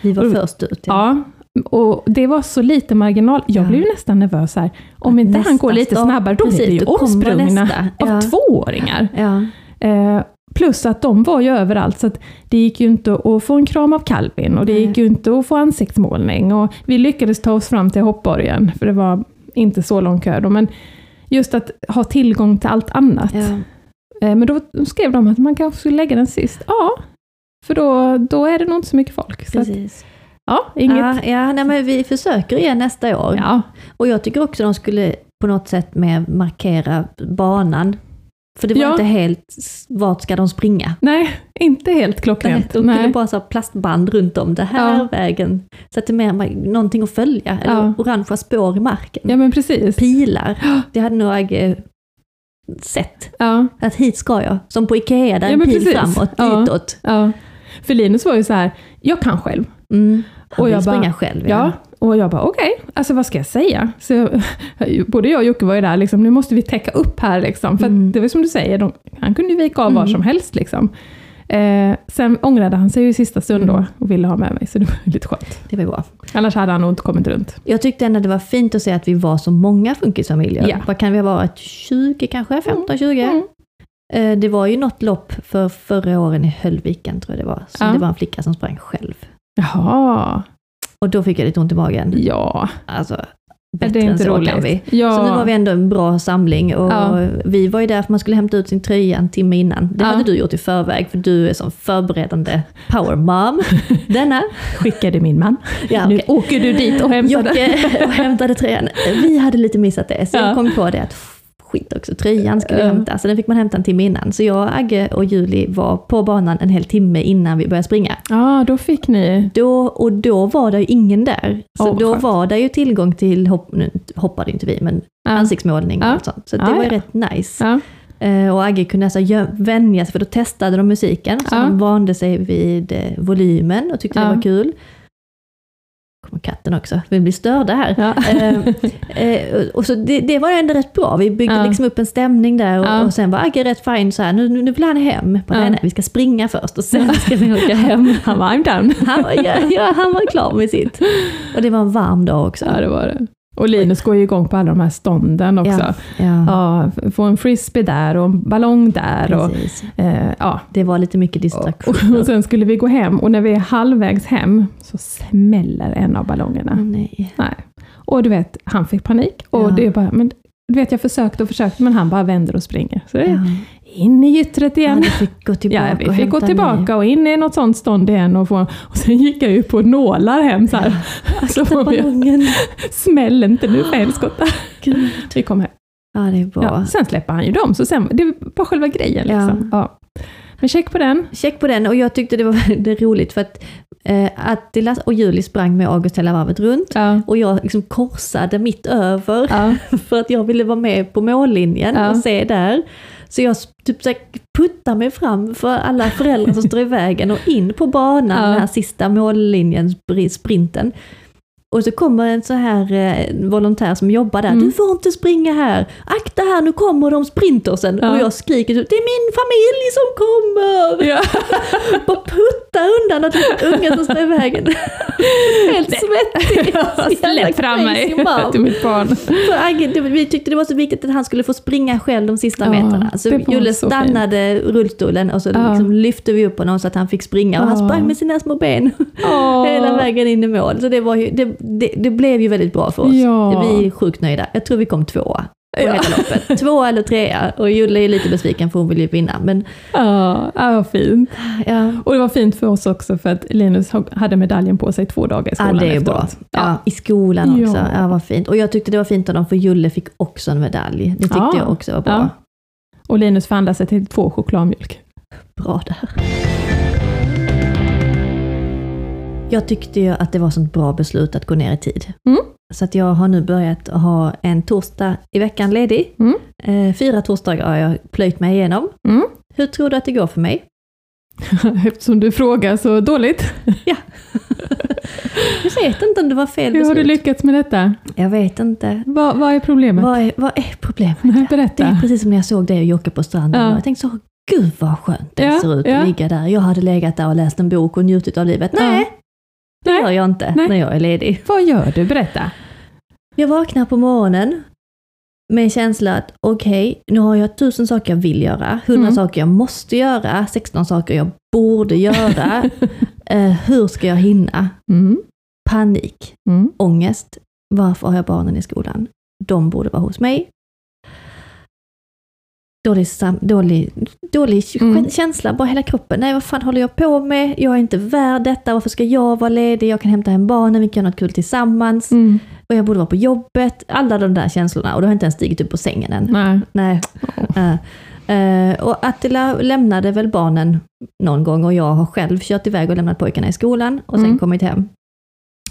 Speaker 3: Vi var
Speaker 2: Och-
Speaker 3: först ut.
Speaker 2: Ja, och det var så lite marginal. Jag
Speaker 3: Ja.
Speaker 2: blev ju nästan nervös här. Om
Speaker 3: Att
Speaker 2: inte han
Speaker 3: nästa
Speaker 2: går lite
Speaker 3: stopp.
Speaker 2: snabbare, då blir
Speaker 3: Precis,
Speaker 2: vi ju
Speaker 3: då kommer
Speaker 2: omsprungna
Speaker 3: nästa.
Speaker 2: av
Speaker 3: Ja.
Speaker 2: tvååringar.
Speaker 3: Ja.
Speaker 2: Eh, plus att de var ju överallt, så att det gick ju inte att få en kram av Calvin och det
Speaker 3: Nej.
Speaker 2: gick ju inte att få ansiktsmålning. Och vi lyckades ta oss fram till hoppborgen, för det var inte så lång kö då. Men just att ha tillgång till allt annat.
Speaker 3: Ja.
Speaker 2: Eh, men då skrev de att man kanske skulle lägga den sist. Ja, för då, då är det nog inte så mycket folk. Så att,
Speaker 3: Precis.
Speaker 2: ja, inget...
Speaker 3: Ja, ja, nej, men vi försöker igen nästa år.
Speaker 2: Ja,
Speaker 3: Och jag tycker också de skulle på något sätt mer markera banan För det var
Speaker 2: Ja.
Speaker 3: inte helt, s- vart ska de springa?
Speaker 2: Nej, inte helt
Speaker 3: Nej,
Speaker 2: klockrent.
Speaker 3: de skulle
Speaker 2: Nej.
Speaker 3: bara ha plastband runt om, det här
Speaker 2: Ja.
Speaker 3: är vägen. Så att det är mer man- någonting att följa, eller
Speaker 2: Ja.
Speaker 3: orangea spår i marken.
Speaker 2: Ja, men precis.
Speaker 3: Pilar, det hade nog eh, sett.
Speaker 2: Ja,
Speaker 3: Att hit ska jag, som på Ikea, där
Speaker 2: Ja,
Speaker 3: en
Speaker 2: men
Speaker 3: pil
Speaker 2: precis.
Speaker 3: framåt,
Speaker 2: Ja.
Speaker 3: ditåt.
Speaker 2: ja. För Linus var ju så här, jag kan själv.
Speaker 3: Mm. Han
Speaker 2: Och
Speaker 3: vill
Speaker 2: jag bara,
Speaker 3: springa själv.
Speaker 2: Ja, och jag bara okej, alltså vad ska jag säga? Så jag, både jag och Jocke var ju där, liksom, nu måste vi täcka upp här. Liksom, för
Speaker 3: Mm.
Speaker 2: att det var som du säger, de, han kunde ju vika av var
Speaker 3: Mm.
Speaker 2: som helst. Liksom. Eh, sen ångrade han sig ju i sista stund då
Speaker 3: Mm.
Speaker 2: och ville ha med mig, så det var ju lite skönt.
Speaker 3: Det var ju bra.
Speaker 2: Annars hade han nog inte kommit runt.
Speaker 3: Jag tyckte ändå det var fint att se att vi var så många funkisfamiljer.
Speaker 2: Ja.
Speaker 3: Vad kan vi ha varit? 20 kanske? 15-20?
Speaker 2: Mm.
Speaker 3: Eh, Det var ju något lopp för förra åren i Höllviken, tror jag det var. Så
Speaker 2: Ja.
Speaker 3: det var en flicka som sprang själv.
Speaker 2: Jaha,
Speaker 3: Och då fick jag lite ont i magen.
Speaker 2: ja.
Speaker 3: Alltså,
Speaker 2: Är
Speaker 3: bättre
Speaker 2: det är
Speaker 3: än
Speaker 2: inte
Speaker 3: så
Speaker 2: roligt.
Speaker 3: kan vi.
Speaker 2: Ja.
Speaker 3: Så nu var vi ändå en bra samling och
Speaker 2: Ja.
Speaker 3: vi var ju där för man skulle hämta ut sin tröja en timme innan. Det
Speaker 2: Ja.
Speaker 3: hade du gjort i förväg för du är som förberedande power mom. Denna.
Speaker 2: Skickade min man.
Speaker 3: Ja,
Speaker 2: nu
Speaker 3: okej.
Speaker 2: åker du dit och hämtar den.
Speaker 3: Jocke och hämtade tröjan. Vi hade lite missat det, så
Speaker 2: Ja.
Speaker 3: jag kom på det att skit också, tröjan skulle jag
Speaker 2: Ja.
Speaker 3: hämta. Så den fick man hämta en timme innan. Så jag, Agge och Julie var på banan en hel timme innan vi började springa.
Speaker 2: Ja, då fick ni.
Speaker 3: Då, och då var det ju ingen där.
Speaker 2: Åh,
Speaker 3: Så
Speaker 2: vad
Speaker 3: då
Speaker 2: skönt.
Speaker 3: var det ju tillgång till, hopp, nu hoppade inte vi, men
Speaker 2: Ja.
Speaker 3: ansiktsmålning och
Speaker 2: Ja.
Speaker 3: allt sånt. Så det
Speaker 2: Ja,
Speaker 3: var
Speaker 2: ja.
Speaker 3: ju rätt nice.
Speaker 2: Ja.
Speaker 3: Eh, Och Agge kunde alltså gö- vänja sig, för då testade de musiken. Så
Speaker 2: Ja.
Speaker 3: han vande sig vid eh, volymen och tyckte
Speaker 2: Ja.
Speaker 3: det var kul. kommer katten också, vi blir störda här.
Speaker 2: Ja.
Speaker 3: Eh, Eh, och- och så det, det var ändå rätt bra, vi byggde
Speaker 2: Ja.
Speaker 3: liksom upp en stämning där och,
Speaker 2: Ja.
Speaker 3: och sen var Agge rätt fin så här, nu, nu nu vill han hem. Bara,
Speaker 2: Ja.
Speaker 3: nej, nej, vi ska springa först och sen ska vi åka hem.
Speaker 2: Han var I'm down.
Speaker 3: Han var, ja, ja, han var klar med sitt. Och det var en varm dag också.
Speaker 2: Ja, det var det. Och Linus går ju igång på alla de här stånden också.
Speaker 3: Ja, ja,
Speaker 2: Ja, få en frisbee där och en ballong där. Och,
Speaker 3: precis.
Speaker 2: eh, ja.
Speaker 3: Det var lite mycket
Speaker 2: och,
Speaker 3: distraktioner.
Speaker 2: och sen skulle vi gå hem och när vi är halvvägs hem så smäller en av ballongerna.
Speaker 3: Åh, nej.
Speaker 2: Nej. Och du vet, han fick panik. Och
Speaker 3: Mm. Ja.
Speaker 2: det är bara, men, du vet, jag försökte och försökte men han bara vänder och springer. Så det är
Speaker 3: Ja.
Speaker 2: in i gyttret
Speaker 3: Ja,
Speaker 2: igen.
Speaker 3: vi fick gå tillbaka
Speaker 2: Ja, vi
Speaker 3: och
Speaker 2: fick gå
Speaker 3: hämta en ny.
Speaker 2: tillbaka och in i något sånt stånd igen. Och, få, och sen gick jag ju på nålar hem så här. Så
Speaker 3: Akta
Speaker 2: får vi,
Speaker 3: ballongen.
Speaker 2: smäll inte nu för helskotta.
Speaker 3: Gud.
Speaker 2: Vi kom hem.
Speaker 3: Ja, det är bra.
Speaker 2: Ja, sen släpper han ju dem, så sen, det var själva grejen. Liksom. Ja. Men check på den.
Speaker 3: Check på den och jag tyckte det var väldigt roligt för att eh, Attilas och Julie sprang med August hela varvet runt
Speaker 2: Ja.
Speaker 3: och jag liksom korsade mitt över
Speaker 2: Ja.
Speaker 3: för att jag ville vara med på mållinjen
Speaker 2: Ja.
Speaker 3: och se där. Så jag s- typ så här puttar mig fram för alla föräldrar som står i vägen och in på banan,
Speaker 2: Ja.
Speaker 3: den här sista mållinjen, spri- sprinten. Och så kommer en så här eh, en volontär som jobbar där,
Speaker 2: Mm.
Speaker 3: du får inte springa här, akta här nu kommer de sprintersen.
Speaker 2: Ja.
Speaker 3: Och jag skriker typ, det är min familj som kommer!
Speaker 2: Ja.
Speaker 3: Bara putta undan att det är unga som står i vägen. Helt svettig.
Speaker 2: Släpp fram mig, till mitt barn.
Speaker 3: Så Agge, det- vi tyckte det var så viktigt att han skulle få springa själv de sista
Speaker 2: Ja,
Speaker 3: metrarna. Så
Speaker 2: det var
Speaker 3: Julle
Speaker 2: så fint.
Speaker 3: stannade rullstolen och så
Speaker 2: Ja.
Speaker 3: liksom lyfte vi upp honom så att han fick springa. Och han
Speaker 2: Ja.
Speaker 3: sprang med sina små ben
Speaker 2: Åh.
Speaker 3: hela vägen in i mål. Så det, var ju, det, det, det blev ju väldigt bra för oss.
Speaker 2: Ja.
Speaker 3: Vi är sjukt nöjda. Jag tror vi kom tvåa. På
Speaker 2: Ja.
Speaker 3: hela loppet. Tvåa eller trea. Och Julle är lite besviken för hon vill ju vinna. Men
Speaker 2: Ja, ja, vad fint.
Speaker 3: ja,
Speaker 2: Och det var fint för oss också för att Linus hade medaljen på sig två dagar i
Speaker 3: Ja,
Speaker 2: skolan
Speaker 3: det är bra.
Speaker 2: efteråt.
Speaker 3: Ja, I skolan
Speaker 2: Ja.
Speaker 3: också. Ja. vad fint. Och jag tyckte det var fint av dem, för Julle fick också en medalj. Det tyckte
Speaker 2: Ja.
Speaker 3: jag också var bra.
Speaker 2: Ja. Och Linus förhandlade sig till två chokladmjölk.
Speaker 3: Bra där. Jag tyckte ju att det var sånt bra beslut att gå ner i tid.
Speaker 2: Mm.
Speaker 3: Så att jag har nu börjat ha en torsdag i veckan ledig.
Speaker 2: Mm.
Speaker 3: Eh, fyra torsdagar har jag plöjt mig igenom.
Speaker 2: Mm.
Speaker 3: Hur tror du att det går för mig?
Speaker 2: Eftersom du frågar så dåligt.
Speaker 3: Jag vet inte om det var fel
Speaker 2: Hur har du
Speaker 3: beslut.
Speaker 2: lyckats med detta?
Speaker 3: jag vet inte.
Speaker 2: Vad, vad är problemet?
Speaker 3: Vad är, vad är problemet?
Speaker 2: Nej,
Speaker 3: Det
Speaker 2: Berätta.
Speaker 3: är precis som när jag såg dig och Jocke på stranden.
Speaker 2: Ja.
Speaker 3: Jag tänkte så, gud vad skönt det
Speaker 2: Ja,
Speaker 3: ser ut
Speaker 2: ja.
Speaker 3: att ligga där. Jag hade legat där och läst en bok och njutit av livet.
Speaker 2: Ja.
Speaker 3: Nej, det
Speaker 2: Nej.
Speaker 3: gör jag inte
Speaker 2: Nej.
Speaker 3: när jag är ledig.
Speaker 2: Vad gör du? Berätta.
Speaker 3: Jag vaknar på morgonen med en känsla att okej, nu har jag tusen saker jag vill göra, hundra
Speaker 2: Mm.
Speaker 3: saker jag måste göra, 16 saker jag borde göra. eh, hur ska jag hinna?
Speaker 2: Mm.
Speaker 3: Panik,
Speaker 2: Mm.
Speaker 3: ångest. Varför har jag barnen i skolan? De borde vara hos mig. Dålig, sam- dålig, dålig k-
Speaker 2: Mm.
Speaker 3: känsla, bara hela kroppen. Nej, vad fan håller jag på med? Jag är inte värd detta. Varför ska jag vara ledig? Jag kan hämta hem barnen, vi kan göra något kul tillsammans.
Speaker 2: Mm.
Speaker 3: Och jag borde vara på
Speaker 2: Mm.
Speaker 3: jobbet. Alla de där känslorna. Och då har jag inte ens stigit upp på sängen än.
Speaker 2: Nej.
Speaker 3: Nej. Eh, Eh, och Attila lämnade väl barnen någon gång och jag har själv kört iväg och lämnat pojkarna i skolan och sen
Speaker 2: Mm.
Speaker 3: kommit hem.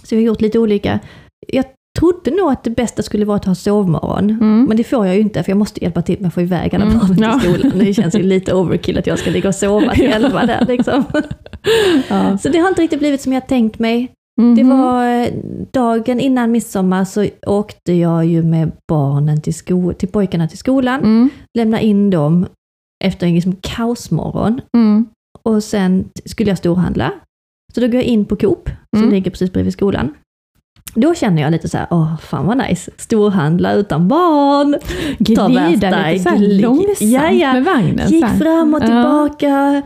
Speaker 3: Så vi har gjort lite olika. Jag trodde nog att det bästa skulle vara att ha sovmorgon,
Speaker 2: Mm.
Speaker 3: men det får jag ju inte för jag måste hjälpa till med att få iväg alla
Speaker 2: Mm.
Speaker 3: barnen
Speaker 2: Ja.
Speaker 3: till skolan. Det känns ju lite overkill att jag ska ligga och sova till
Speaker 2: Ja.
Speaker 3: elva där liksom.
Speaker 2: Ja.
Speaker 3: Så det har inte riktigt blivit som jag tänkt mig. Det
Speaker 2: Mhm.
Speaker 3: var eh, dagen innan midsommar så åkte jag ju med barnen till, sko- till pojkarna till skolan
Speaker 2: Mm.
Speaker 3: lämna in dem efter en liksom kaosmorgon
Speaker 2: Mm.
Speaker 3: och sen skulle jag storhandla. Så då går jag in på Coop som
Speaker 2: Mm.
Speaker 3: ligger precis bredvid skolan. Då känner jag lite så här, åh fan vad nice, storhandla utan barn. Ta
Speaker 2: Glida
Speaker 3: värsta
Speaker 2: lite så här
Speaker 3: glig-
Speaker 2: långsamt
Speaker 3: Ja, ja.
Speaker 2: med vagnen.
Speaker 3: Gick
Speaker 2: så här.
Speaker 3: fram och
Speaker 2: Ja.
Speaker 3: tillbaka,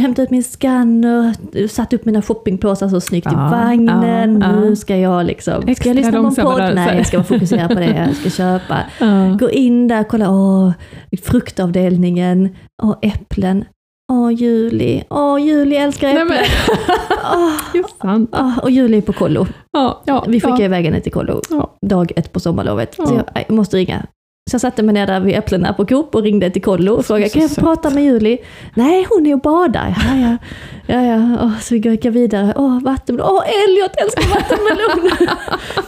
Speaker 3: hämtade ut min scanner, satte upp mina shoppingpåsar så snyggt i
Speaker 2: Ja,
Speaker 3: vagnen.
Speaker 2: ja, ja.
Speaker 3: Nu ska jag liksom, ska
Speaker 2: Extra
Speaker 3: jag lyssna på en
Speaker 2: långsamma
Speaker 3: podd?
Speaker 2: rörelser.
Speaker 3: Nej, jag ska bara fokusera på det jag ska köpa.
Speaker 2: Ja.
Speaker 3: Gå in där, kolla, åh, fruktavdelningen, åh, äpplen, åh, Juli, åh, Juli älskar
Speaker 2: Nej,
Speaker 3: äpplen.
Speaker 2: men, Ah.
Speaker 3: Åh,
Speaker 2: ju fan.
Speaker 3: åh, och Juli är på kollo.
Speaker 2: Ja, ja,
Speaker 3: Vi skickar
Speaker 2: ja.
Speaker 3: iväg henne till kollo
Speaker 2: Ja.
Speaker 3: dag ett på sommarlovet.
Speaker 2: Ja.
Speaker 3: Så jag, nej, jag måste ringa. Så jag satte mig ner där vid äpplena på Coop och ringde till kollo och frågade,
Speaker 2: Så
Speaker 3: kan jag få
Speaker 2: söt.
Speaker 3: prata med Juli? Nej, hon är och badar. Ja, ja, ja, ja. Åh, så vi gick jag vidare. Åh, vattenmelon. Åh, Elliot älskar vattenmelon.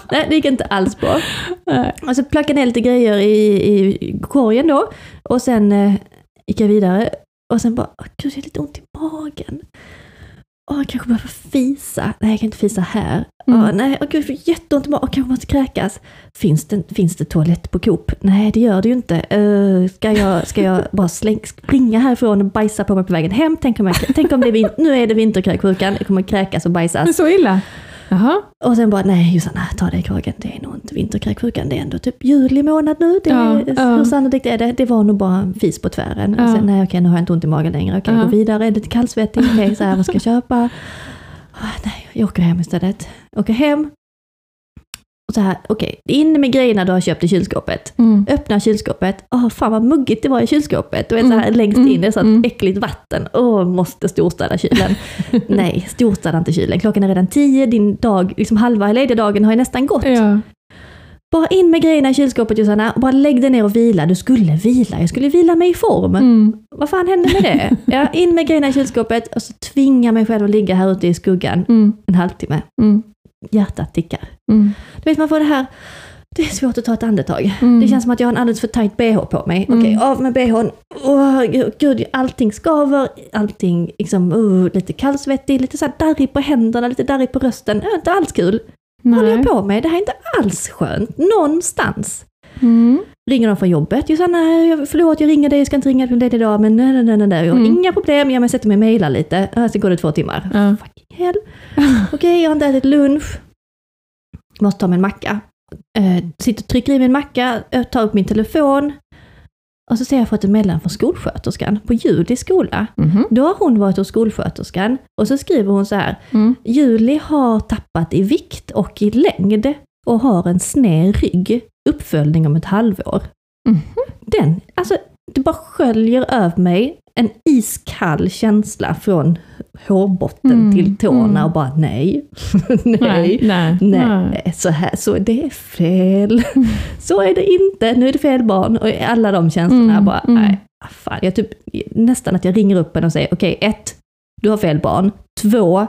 Speaker 3: nej, det gick inte alls bra.
Speaker 2: Nej.
Speaker 3: Och så plockade jag Alltså, ner lite grejer i, i korgen då. Och sen eh, gick jag vidare. Och sen bara, "Åh, gud jag har lite ont i magen. Åh, jag kanske behöver fisa. Nej, jag kan inte fisa här.
Speaker 2: Mm.
Speaker 3: Åh, nej, åh, gud, jag får jätteont i magen. Åh, kanske måste kräkas. Finns det, finns det toalett på Coop? Nej, det gör det ju inte. Uh, ska, jag, ska jag bara släng, springa härifrån och bajsa på mig på vägen hem? Tänk om, jag, tänk om det är vin- nu är det vinterkräksjukan. Jag kommer kräkas och bajsas.
Speaker 2: Men så illa? Jaha.
Speaker 3: Och sen bara, nej Jossanna, ta det i kragen, det är nog inte vinterkräksjukan, det är ändå typ juli månad nu. Det är,
Speaker 2: Ja, ja.
Speaker 3: Hur sannolikt är det? Det var nog bara en fis på tvären.
Speaker 2: Ja.
Speaker 3: Och sen, nej okej, nu har jag inte ont i magen längre, okej,
Speaker 2: Ja.
Speaker 3: gå vidare, är det kallsvettig, okej, så här, vad ska jag köpa? Ah, Nej, jag åker hem istället. Åker hem. Och så här, okej, in med grejerna du har köpt i kylskåpet.
Speaker 2: Mm.
Speaker 3: Öppna kylskåpet, åh fan vad muggigt det var i kylskåpet. Du vet så här
Speaker 2: Mm,
Speaker 3: längst
Speaker 2: mm,
Speaker 3: in, det är sånt
Speaker 2: mm.
Speaker 3: äckligt vatten. Åh, måste storstäda kylen. Nej, storstäda inte kylen. Klockan är redan tio, din dag, liksom halva lediga dagen har ju nästan gått.
Speaker 2: Ja.
Speaker 3: Bara in med grejerna i kylskåpet Jossanna, och bara lägg dig ner och vila. Du skulle vila, jag skulle vila mig i form.
Speaker 2: Mm.
Speaker 3: Vad fan hände med det? Ja, in med grejerna i kylskåpet och så tvinga mig själv att ligga här ute i skuggan
Speaker 2: Mm.
Speaker 3: en halvtimme.
Speaker 2: Mm.
Speaker 3: Hjärtat tickar.
Speaker 2: Mm.
Speaker 3: Du vet, man får det här, det är svårt att ta ett andetag.
Speaker 2: Mm.
Speaker 3: Det känns som att jag har en alldeles för tight bh på mig.
Speaker 2: Mm.
Speaker 3: Okej, av med bhn. Åh, gud, allting skaver, allting liksom, uh, lite kallsvettig, lite så här darrig på händerna, lite darrig på rösten. Det är inte alls kul. Vad håller jag
Speaker 2: Nej.
Speaker 3: på med? Det här är inte alls skönt. Någonstans.
Speaker 2: Mm.
Speaker 3: Ringer de från jobbet. Josanna, jag- förlåt jag ringer dig, jag ska inte ringa från dig idag, men nej, nej, nej, nej, nej. Jag har
Speaker 2: Mm.
Speaker 3: inga problem, jag men sätter mig och mejlar lite. Äh, Sen går det två timmar.
Speaker 2: Ja.
Speaker 3: Fucking hell. Okej, jag har inte ätit lunch. Måste ta mig en macka. Eh, sitter och trycker i mig en macka, eh, tar upp min telefon. Och så ser jag fått ett meddelande från skolsköterskan på judisk skola.
Speaker 2: Mhm.
Speaker 3: Då har hon varit hos skolsköterskan och så skriver hon så här.
Speaker 2: Mm.
Speaker 3: Juli har tappat i vikt och i längd och har en sned rygg. Uppföljning om ett halvår.
Speaker 2: Mhm.
Speaker 3: Den, alltså det bara sköljer över mig en iskall känsla från hårbotten
Speaker 2: Mm,
Speaker 3: till tårna
Speaker 2: mm.
Speaker 3: och bara nej, nej, nej.
Speaker 2: Nej.
Speaker 3: Så här, så det är fel. Så är det inte, nu är det fel barn. Och alla de känslorna
Speaker 2: Mm,
Speaker 3: bara,
Speaker 2: mm.
Speaker 3: nej, ah, fan. Jag typ, nästan att jag ringer upp en och säger, okej, ett, du har fel barn. Två,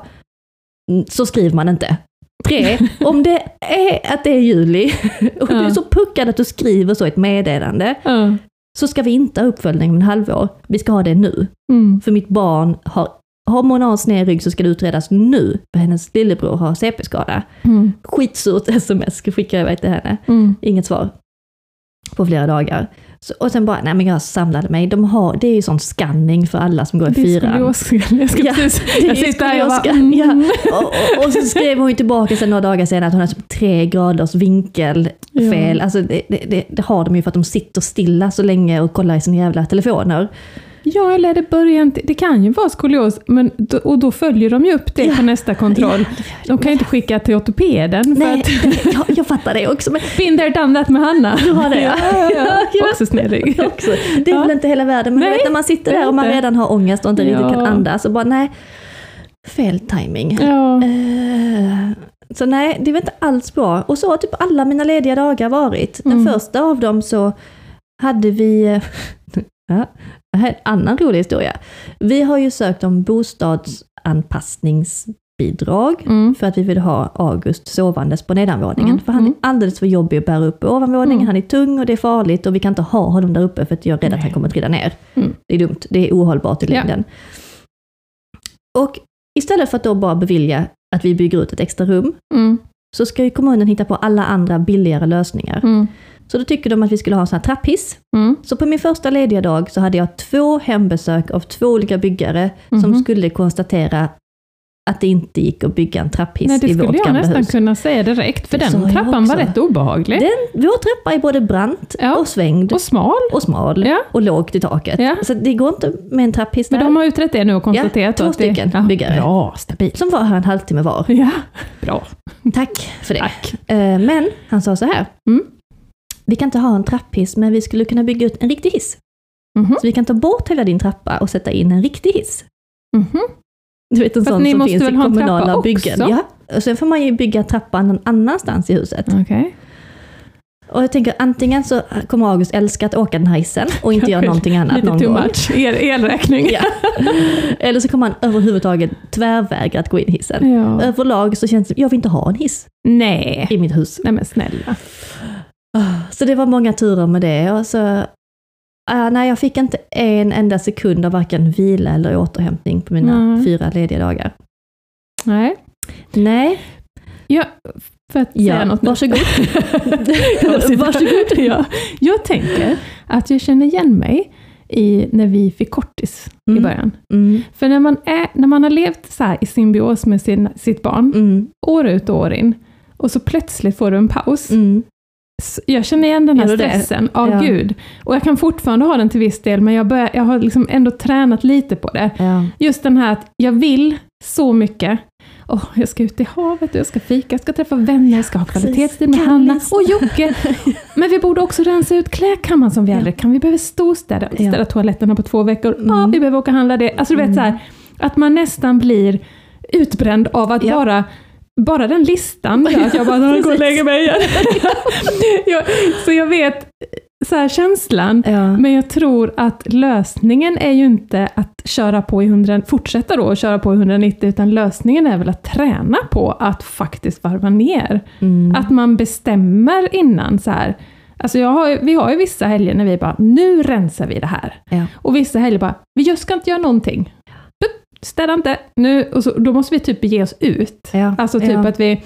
Speaker 3: mm, så skriver man inte. Tre, om det är att det är juli och du är
Speaker 2: Ja.
Speaker 3: så puckad att du skriver så i ett meddelande,
Speaker 2: Ja.
Speaker 3: så ska vi inte ha uppföljning om en halvår. Vi ska ha det nu.
Speaker 2: Mm.
Speaker 3: För mitt barn har, har Mona sned rygg så ska det utredas nu. För hennes lillebror har CP-skada.
Speaker 2: Mm.
Speaker 3: Skitsurt sms skickar jag iväg till henne.
Speaker 2: Mm.
Speaker 3: Inget svar. På flera dagar. Så, och sen bara, nej men jag samlade mig. De har, det är ju sån scanning för alla som går i
Speaker 2: Det är
Speaker 3: fyran.
Speaker 2: skolioskan. Jag ska
Speaker 3: Ja, det
Speaker 2: precis...
Speaker 3: är
Speaker 2: Jag sitter här och bara...
Speaker 3: skolioskan, ja.
Speaker 2: mm.
Speaker 3: Och, och, och så skrev hon ju tillbaka sen några dagar senare att hon har typ tre graders vinkelfel. Alltså det, det, det, det har de ju för att de sitter stilla så länge och kollar i sina jävla telefoner.
Speaker 2: Ja, eller det börjar inte... Det kan ju vara skolios, men då, och då följer de ju upp det
Speaker 3: Ja.
Speaker 2: på nästa kontroll. De kan ju inte skicka till ortopeden för
Speaker 3: Nej,
Speaker 2: att...
Speaker 3: det, jag, jag fattar det också. Men
Speaker 2: Been there, done that med Hanna.
Speaker 3: du har det ja.
Speaker 2: Ja, ja, ja. Också snedig.
Speaker 3: också. Det är
Speaker 2: Ja.
Speaker 3: väl inte hela världen, men du
Speaker 2: Nej,
Speaker 3: vet när man sitter
Speaker 2: det är
Speaker 3: där och man
Speaker 2: inte.
Speaker 3: redan har ångest och inte riktigt kan
Speaker 2: Ja.
Speaker 3: andas och bara nej, fel timing.
Speaker 2: Ja.
Speaker 3: Eh, Så nej, det var inte alls bra. Och så har typ alla mina lediga dagar varit. Den
Speaker 2: Mm.
Speaker 3: första av dem så hade vi... Ja, Det här är en annan rolig historia. Vi har ju sökt om bostadsanpassningsbidrag
Speaker 2: Mm.
Speaker 3: för att vi vill ha August sovandes på nedanvåningen.
Speaker 2: Mm,
Speaker 3: För han
Speaker 2: mm.
Speaker 3: är alldeles för jobbig att bära upp på ovanvåningen,
Speaker 2: Mm.
Speaker 3: han är tung och det är farligt och vi kan inte ha honom där uppe för att jag är rädd att
Speaker 2: Nej.
Speaker 3: han kommer att trilla ner.
Speaker 2: Mm.
Speaker 3: Det är dumt, det är ohållbart i
Speaker 2: Ja.
Speaker 3: längden. Och istället för att då bara bevilja att vi bygger ut ett extra rum,
Speaker 2: Mm.
Speaker 3: så ska ju kommunen hitta på alla andra billigare lösningar.
Speaker 2: Mm.
Speaker 3: Så då tycker de att vi skulle ha en sån här trapphiss.
Speaker 2: Mm.
Speaker 3: Så på min första lediga dag så hade jag två hembesök av två olika byggare
Speaker 2: Mhm.
Speaker 3: som skulle konstatera att det inte gick att bygga en trapphiss
Speaker 2: Nej, det
Speaker 3: i
Speaker 2: skulle
Speaker 3: vårt
Speaker 2: jag
Speaker 3: gamla
Speaker 2: nästan
Speaker 3: hus.
Speaker 2: kunna säga direkt, för
Speaker 3: Det sa
Speaker 2: den
Speaker 3: jag
Speaker 2: trappan var
Speaker 3: också.
Speaker 2: rätt obehaglig.
Speaker 3: Den, vår trappa är både brant
Speaker 2: Ja.
Speaker 3: och svängd
Speaker 2: Och smal.
Speaker 3: och smal
Speaker 2: Ja.
Speaker 3: och lågt i taket.
Speaker 2: Ja.
Speaker 3: Så det går inte med en trapphiss
Speaker 2: Men
Speaker 3: där.
Speaker 2: de har utrett det nu och konstaterat
Speaker 3: två
Speaker 2: att det-
Speaker 3: stycken byggare.
Speaker 2: Bra, stabilt.
Speaker 3: Som var här en halvtimme var.
Speaker 2: Ja, bra.
Speaker 3: Tack för det.
Speaker 2: Tack.
Speaker 3: Eh, Men han sa så här.
Speaker 2: Mm.
Speaker 3: Vi kan inte ha en trapphiss, men vi skulle kunna bygga ut en riktig hiss.
Speaker 2: Mhm.
Speaker 3: Så vi kan ta bort hela din trappa och sätta in en riktig hiss.
Speaker 2: Mhm.
Speaker 3: Du vet en
Speaker 2: För att
Speaker 3: sån
Speaker 2: ni
Speaker 3: som
Speaker 2: måste
Speaker 3: finns i
Speaker 2: väl ha en trappa
Speaker 3: kommunala byggen.
Speaker 2: också?
Speaker 3: Ja. Och sen får man ju bygga trappan någon annanstans i huset.
Speaker 2: Okej.
Speaker 3: Och jag tänker antingen så kommer August älska att åka den här hissen och inte göra
Speaker 2: Kanske
Speaker 3: någonting annat
Speaker 2: Lite
Speaker 3: någon
Speaker 2: too
Speaker 3: gång.
Speaker 2: much. El, elräkning.
Speaker 3: Ja. Eller så kommer han överhuvudtaget tvärvägra att gå in i hissen.
Speaker 2: Ja.
Speaker 3: Överlag så känns det, jag vill inte ha en hiss
Speaker 2: Nej.
Speaker 3: i mitt hus.
Speaker 2: Nej men snälla.
Speaker 3: Så det var många turer med det. Och så, ah, nej, jag fick inte en enda sekund av varken vila eller återhämtning på mina
Speaker 2: Nej.
Speaker 3: fyra lediga dagar.
Speaker 2: Nej.
Speaker 3: Nej,
Speaker 2: Ja, för att säga
Speaker 3: ja,
Speaker 2: något nu.
Speaker 3: varsågod.
Speaker 2: Varsågod. ja. Jag tänker att jag känner igen mig i när vi fick kortis i
Speaker 3: Mm.
Speaker 2: början.
Speaker 3: Mm,
Speaker 2: För när man, är, när man har levt så här i symbios med sin, sitt barn,
Speaker 3: mm,
Speaker 2: år ut och år in, och så plötsligt får du en paus.
Speaker 3: mm.
Speaker 2: S- Jag känner igen den här
Speaker 3: Gör du det?
Speaker 2: stressen, av
Speaker 3: Ja.
Speaker 2: gud. Och jag kan fortfarande ha den till viss del, men jag, börjar, jag har liksom ändå tränat lite på det.
Speaker 3: Ja.
Speaker 2: Just den här att jag vill så mycket. Åh, jag ska ut i havet, och jag ska fika, jag ska träffa vänner, jag ska ha
Speaker 3: precis.
Speaker 2: kvalitetstid med
Speaker 3: Kan
Speaker 2: Hanna
Speaker 3: vi så-
Speaker 2: och Jocke. Men vi borde också rensa ut klädkammaren som vi
Speaker 3: Ja.
Speaker 2: aldrig kan. Vi behöver storstäda,
Speaker 3: Ja.
Speaker 2: städa toaletterna på två veckor.
Speaker 3: Mm.
Speaker 2: Ja, vi behöver åka och handla det. Alltså du vet
Speaker 3: Mm.
Speaker 2: så här, att man nästan blir utbränd av att
Speaker 3: Ja.
Speaker 2: bara bara den listan gör att jag bara, "Åh, gå och
Speaker 3: Precis.
Speaker 2: lägger mig igen. jag, så jag vet, så här känslan,
Speaker 3: Ja.
Speaker 2: men jag tror att lösningen är ju inte att köra på i 100, fortsätta då och köra på i 190, utan lösningen är väl att träna på att faktiskt varva ner.
Speaker 3: Mm.
Speaker 2: Att man bestämmer innan så här. Alltså jag har, ju- vi har ju vissa helger när vi bara, nu rensar vi det här.
Speaker 3: Ja.
Speaker 2: Och vissa helger bara, vi just ska inte göra någonting. Pup, Städa inte, nu, och så, då måste vi typ bege oss ut.
Speaker 3: Ja.
Speaker 2: Alltså typ
Speaker 3: ja.
Speaker 2: att vi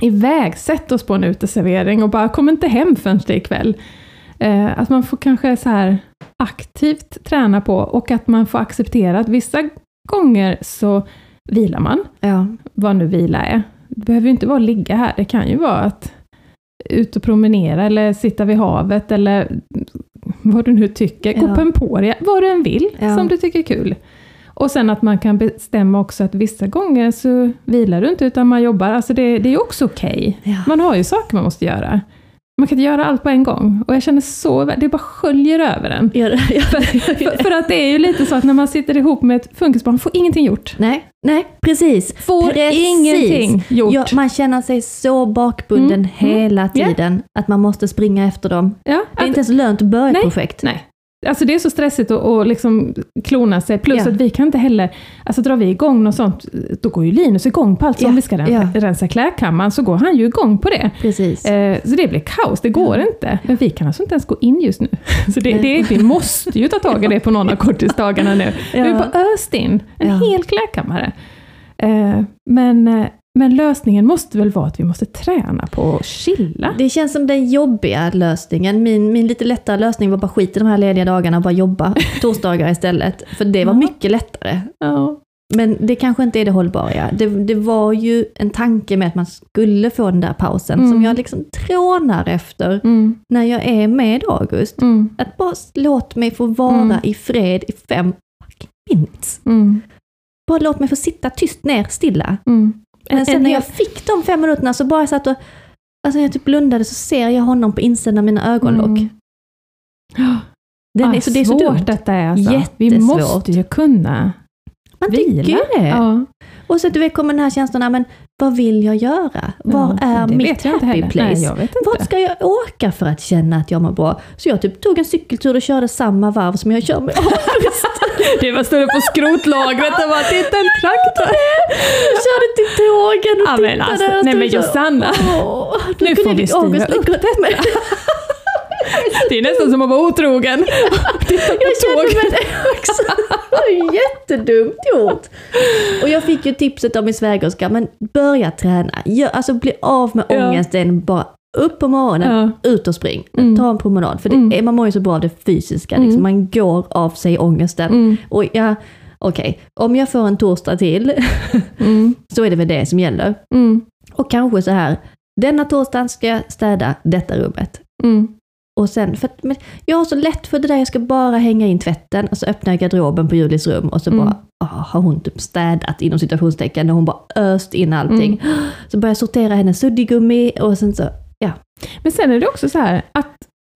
Speaker 2: iväg sätter oss på en uteservering och bara kom inte hem förrän det är kväll. Eh, att man får kanske så här aktivt träna på och att man får acceptera att vissa gånger så vilar man,
Speaker 3: Ja.
Speaker 2: vad nu vila är. Det behöver ju inte vara att ligga här, det kan ju vara att ut och promenera eller sitta vid havet eller vad du nu tycker, gå
Speaker 3: Ja.
Speaker 2: på Emporia, vad du än vill
Speaker 3: Ja.
Speaker 2: som du tycker är kul. Och sen att man kan bestämma också att vissa gånger så vilar du inte utan man jobbar, alltså det, det är ju också okej.
Speaker 3: Ja.
Speaker 2: Man har ju saker man måste göra. Man kan inte göra allt på en gång. Och jag känner så, det bara sköljer över en.
Speaker 3: Gör det. Ja.
Speaker 2: För, för att det är ju lite så att när man sitter ihop med ett funkisbarn, får ingenting gjort.
Speaker 3: Nej, nej, precis.
Speaker 2: Får
Speaker 3: Precis.
Speaker 2: ingenting gjort.
Speaker 3: Ja, man känner sig så bakbunden
Speaker 2: Mm,
Speaker 3: hela
Speaker 2: ja.
Speaker 3: tiden att man måste springa efter dem.
Speaker 2: Ja,
Speaker 3: Det är
Speaker 2: att-
Speaker 3: inte ens lönt att börja ett projekt.
Speaker 2: Nej. Alltså det är så stressigt att, att liksom klona sig, plus
Speaker 3: Ja.
Speaker 2: att vi kan inte heller, alltså drar vi igång något sånt, då går ju Linus igång på allt. Så
Speaker 3: Ja,
Speaker 2: Om vi ska rensa, rensa klädkammaren så går han ju igång på det.
Speaker 3: Precis.
Speaker 2: Eh, så det blir kaos, det går inte. Men vi kan alltså inte ens gå in just nu. Så det, det, vi måste ju ta tag i det på någon av korttidsdagarna nu. Vi har
Speaker 3: Ja.
Speaker 2: bara öst in en
Speaker 3: Ja.
Speaker 2: hel klädkammare. Eh, men, eh, men lösningen måste väl vara att vi måste träna på att chilla.
Speaker 3: Det känns som den jobbiga lösningen. Min, min lite lättare lösning var bara skit i de här lediga dagarna och bara jobba torsdagar istället. För det var
Speaker 2: Ja.
Speaker 3: mycket lättare.
Speaker 2: Ja.
Speaker 3: Men det kanske inte är det hållbara. Det, det var ju en tanke med att man skulle få den där pausen
Speaker 2: Mm.
Speaker 3: som jag liksom trånar efter
Speaker 2: Mm,
Speaker 3: när jag är med August.
Speaker 2: mm,
Speaker 3: Att bara s- låt mig få vara
Speaker 2: Mm.
Speaker 3: i fred i fem fucking minutes.
Speaker 2: mm,
Speaker 3: Bara låt mig få sitta tyst ner, stilla.
Speaker 2: mm.
Speaker 3: Men sen
Speaker 2: en
Speaker 3: när
Speaker 2: hel-
Speaker 3: jag fick de fem minuterna så bara jag satt och... Alltså när jag typ blundade så ser jag honom på insidan av mina ögonlock.
Speaker 2: Mm.
Speaker 3: Den
Speaker 2: Ah,
Speaker 3: är, så det är så
Speaker 2: svårt
Speaker 3: dumt.
Speaker 2: detta är alltså. Vi
Speaker 3: Jättesvårt.
Speaker 2: måste ju kunna. Eh,
Speaker 3: Man
Speaker 2: vila.
Speaker 3: tycker ju det.
Speaker 2: Ja.
Speaker 3: Och så du vet, kommer den här känslan, "Ah, men Vad vill jag göra? Var är
Speaker 2: det
Speaker 3: mitt
Speaker 2: vet jag inte
Speaker 3: happy
Speaker 2: heller.
Speaker 3: place?
Speaker 2: Nej, jag vet
Speaker 3: Vart
Speaker 2: inte.
Speaker 3: ska jag åka för att känna att jag mår bra? Så jag typ tog en cykeltur och körde samma varv som jag kör med
Speaker 2: Det var större på skrotlagret och bara “titta en traktor”.
Speaker 3: Jag körde till tågen och
Speaker 2: Ja, men
Speaker 3: tittade.
Speaker 2: alltså,
Speaker 3: och
Speaker 2: nej,
Speaker 3: stod
Speaker 2: men
Speaker 3: så-
Speaker 2: Josanna.
Speaker 3: Åh, då
Speaker 2: Nu
Speaker 3: kunde
Speaker 2: får vi styra
Speaker 3: August
Speaker 2: upp
Speaker 3: gå till mig.
Speaker 2: Det är nästan som att vara otrogen. Titta på
Speaker 3: Jag kände
Speaker 2: tåget.
Speaker 3: mig det också. Det var ju jättedumt gjort. Och jag fick ju tipset av min svägerska, men börja träna. Gör, alltså bli av med
Speaker 2: Ja.
Speaker 3: ångesten, bara upp på morgonen,
Speaker 2: Ja.
Speaker 3: ut och spring.
Speaker 2: Mm.
Speaker 3: Ta en promenad, för det,
Speaker 2: Mm.
Speaker 3: man mår ju så bra av det fysiska. Liksom.
Speaker 2: Mm.
Speaker 3: Man går av sig ångesten.
Speaker 2: Mm,
Speaker 3: Och jag, okej, om jag får en torsdag till
Speaker 2: mm,
Speaker 3: så är det väl det som gäller.
Speaker 2: mm,
Speaker 3: Och kanske så här, denna torsdagen ska jag städa detta rummet.
Speaker 2: mm.
Speaker 3: Och sen, för att, men jag har så lätt för det där, jag ska bara hänga in tvätten och så öppnar jag garderoben på Julis rum och så
Speaker 2: Mm.
Speaker 3: bara ah, har hon typ städat inom citationstecken när hon bara öst in allting.
Speaker 2: Mm.
Speaker 3: Så börjar jag sortera hennes suddigummi och sen så,
Speaker 2: Men sen är det också så här att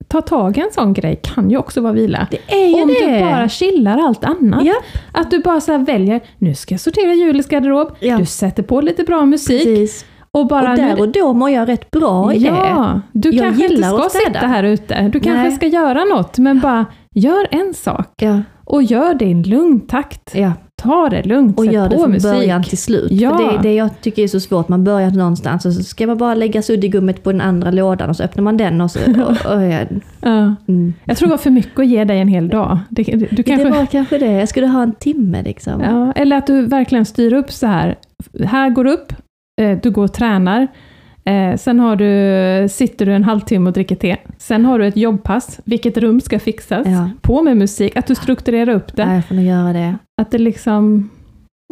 Speaker 2: ta tag i en sån grej kan ju också vara vila.
Speaker 3: det är ju
Speaker 2: Om
Speaker 3: det!
Speaker 2: du bara chillar allt annat.
Speaker 3: Ja.
Speaker 2: Att du bara så här väljer, nu ska jag sortera Julis garderob,
Speaker 3: Ja.
Speaker 2: du sätter på lite bra musik
Speaker 3: Precis.
Speaker 2: och bara...
Speaker 3: och där
Speaker 2: nu,
Speaker 3: och då mår jag rätt bra i det.
Speaker 2: ja, du
Speaker 3: Jag
Speaker 2: kanske inte
Speaker 3: gillar
Speaker 2: ska
Speaker 3: att städa.
Speaker 2: sitta här ute, du kanske
Speaker 3: Nej.
Speaker 2: ska göra något, men bara gör en sak.
Speaker 3: Ja,
Speaker 2: Och gör det i en lugn takt.
Speaker 3: ja.
Speaker 2: Ta det lugnt,
Speaker 3: Och
Speaker 2: sätt
Speaker 3: gör det
Speaker 2: på
Speaker 3: från
Speaker 2: musik.
Speaker 3: början till slut.
Speaker 2: Ja.
Speaker 3: För det är det jag tycker är så svårt, man börjar någonstans och så ska man bara lägga suddigummet på den andra lådan och så öppnar man den och så... Och, och, ja.
Speaker 2: Ja.
Speaker 3: mm.
Speaker 2: Jag tror det var för mycket att ge dig en hel dag. Det, det- du kanske,
Speaker 3: Det var kanske det, jag skulle ha en timme liksom.
Speaker 2: ja, eller att du verkligen styr upp så här. Här går du upp, eh, du går och tränar. Eh, sen har du, sitter du en halvtimme och dricker te. Sen har du ett jobbpass, vilket rum ska fixas.
Speaker 3: Ja.
Speaker 2: På med musik, att du strukturerar upp det.
Speaker 3: Ja, jag får nog göra det.
Speaker 2: Att det liksom...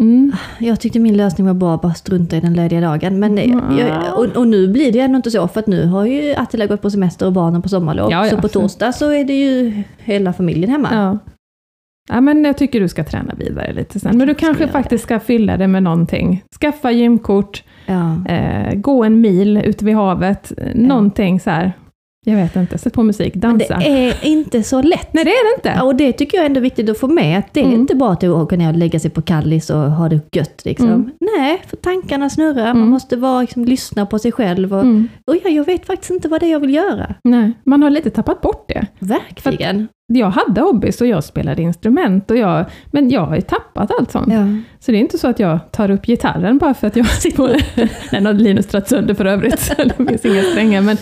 Speaker 2: Mm.
Speaker 3: Jag tyckte min lösning var bra, bara strunta i den lödiga dagen. Men det,
Speaker 2: Ja.
Speaker 3: jag, och, och nu blir det ju ändå inte så, för att nu har ju Attila gått på semester och barnen på sommarlov.
Speaker 2: Ja, ja.
Speaker 3: Så på torsdag så är det ju hela familjen hemma.
Speaker 2: Ja. Ja, men jag tycker du ska träna vidare lite sen. Men du
Speaker 3: kanske
Speaker 2: kanske
Speaker 3: ska göra
Speaker 2: faktiskt ska fylla det med någonting. Skaffa gymkort,
Speaker 3: Ja.
Speaker 2: eh, gå en mil ute vid havet, eh, någonting så här. Jag vet inte, sätt på musik,
Speaker 3: Men det
Speaker 2: dansa.
Speaker 3: är inte så lätt.
Speaker 2: Nej, det är det inte.
Speaker 3: Ja, och det tycker jag ändå är viktigt att få med, att det är
Speaker 2: Mm.
Speaker 3: inte bara att åka ner och lägga sig på Kallis och ha det gött. Liksom.
Speaker 2: Mm.
Speaker 3: Nej, för tankarna snurrar, man
Speaker 2: Mm.
Speaker 3: måste vara, liksom, lyssna på sig själv. Och,
Speaker 2: Mm.
Speaker 3: och ja, jag vet faktiskt inte vad det är jag vill göra.
Speaker 2: Nej, man har lite tappat bort det.
Speaker 3: Verkligen.
Speaker 2: Jag hade hobbies och jag spelade instrument, och jag, men jag har ju tappat allt sånt.
Speaker 3: Ja.
Speaker 2: Så det är inte så att jag tar upp gitarren bara för att jag sitter på Den har Linus dragit sönder för övrigt, så det finns inga strängar. Men,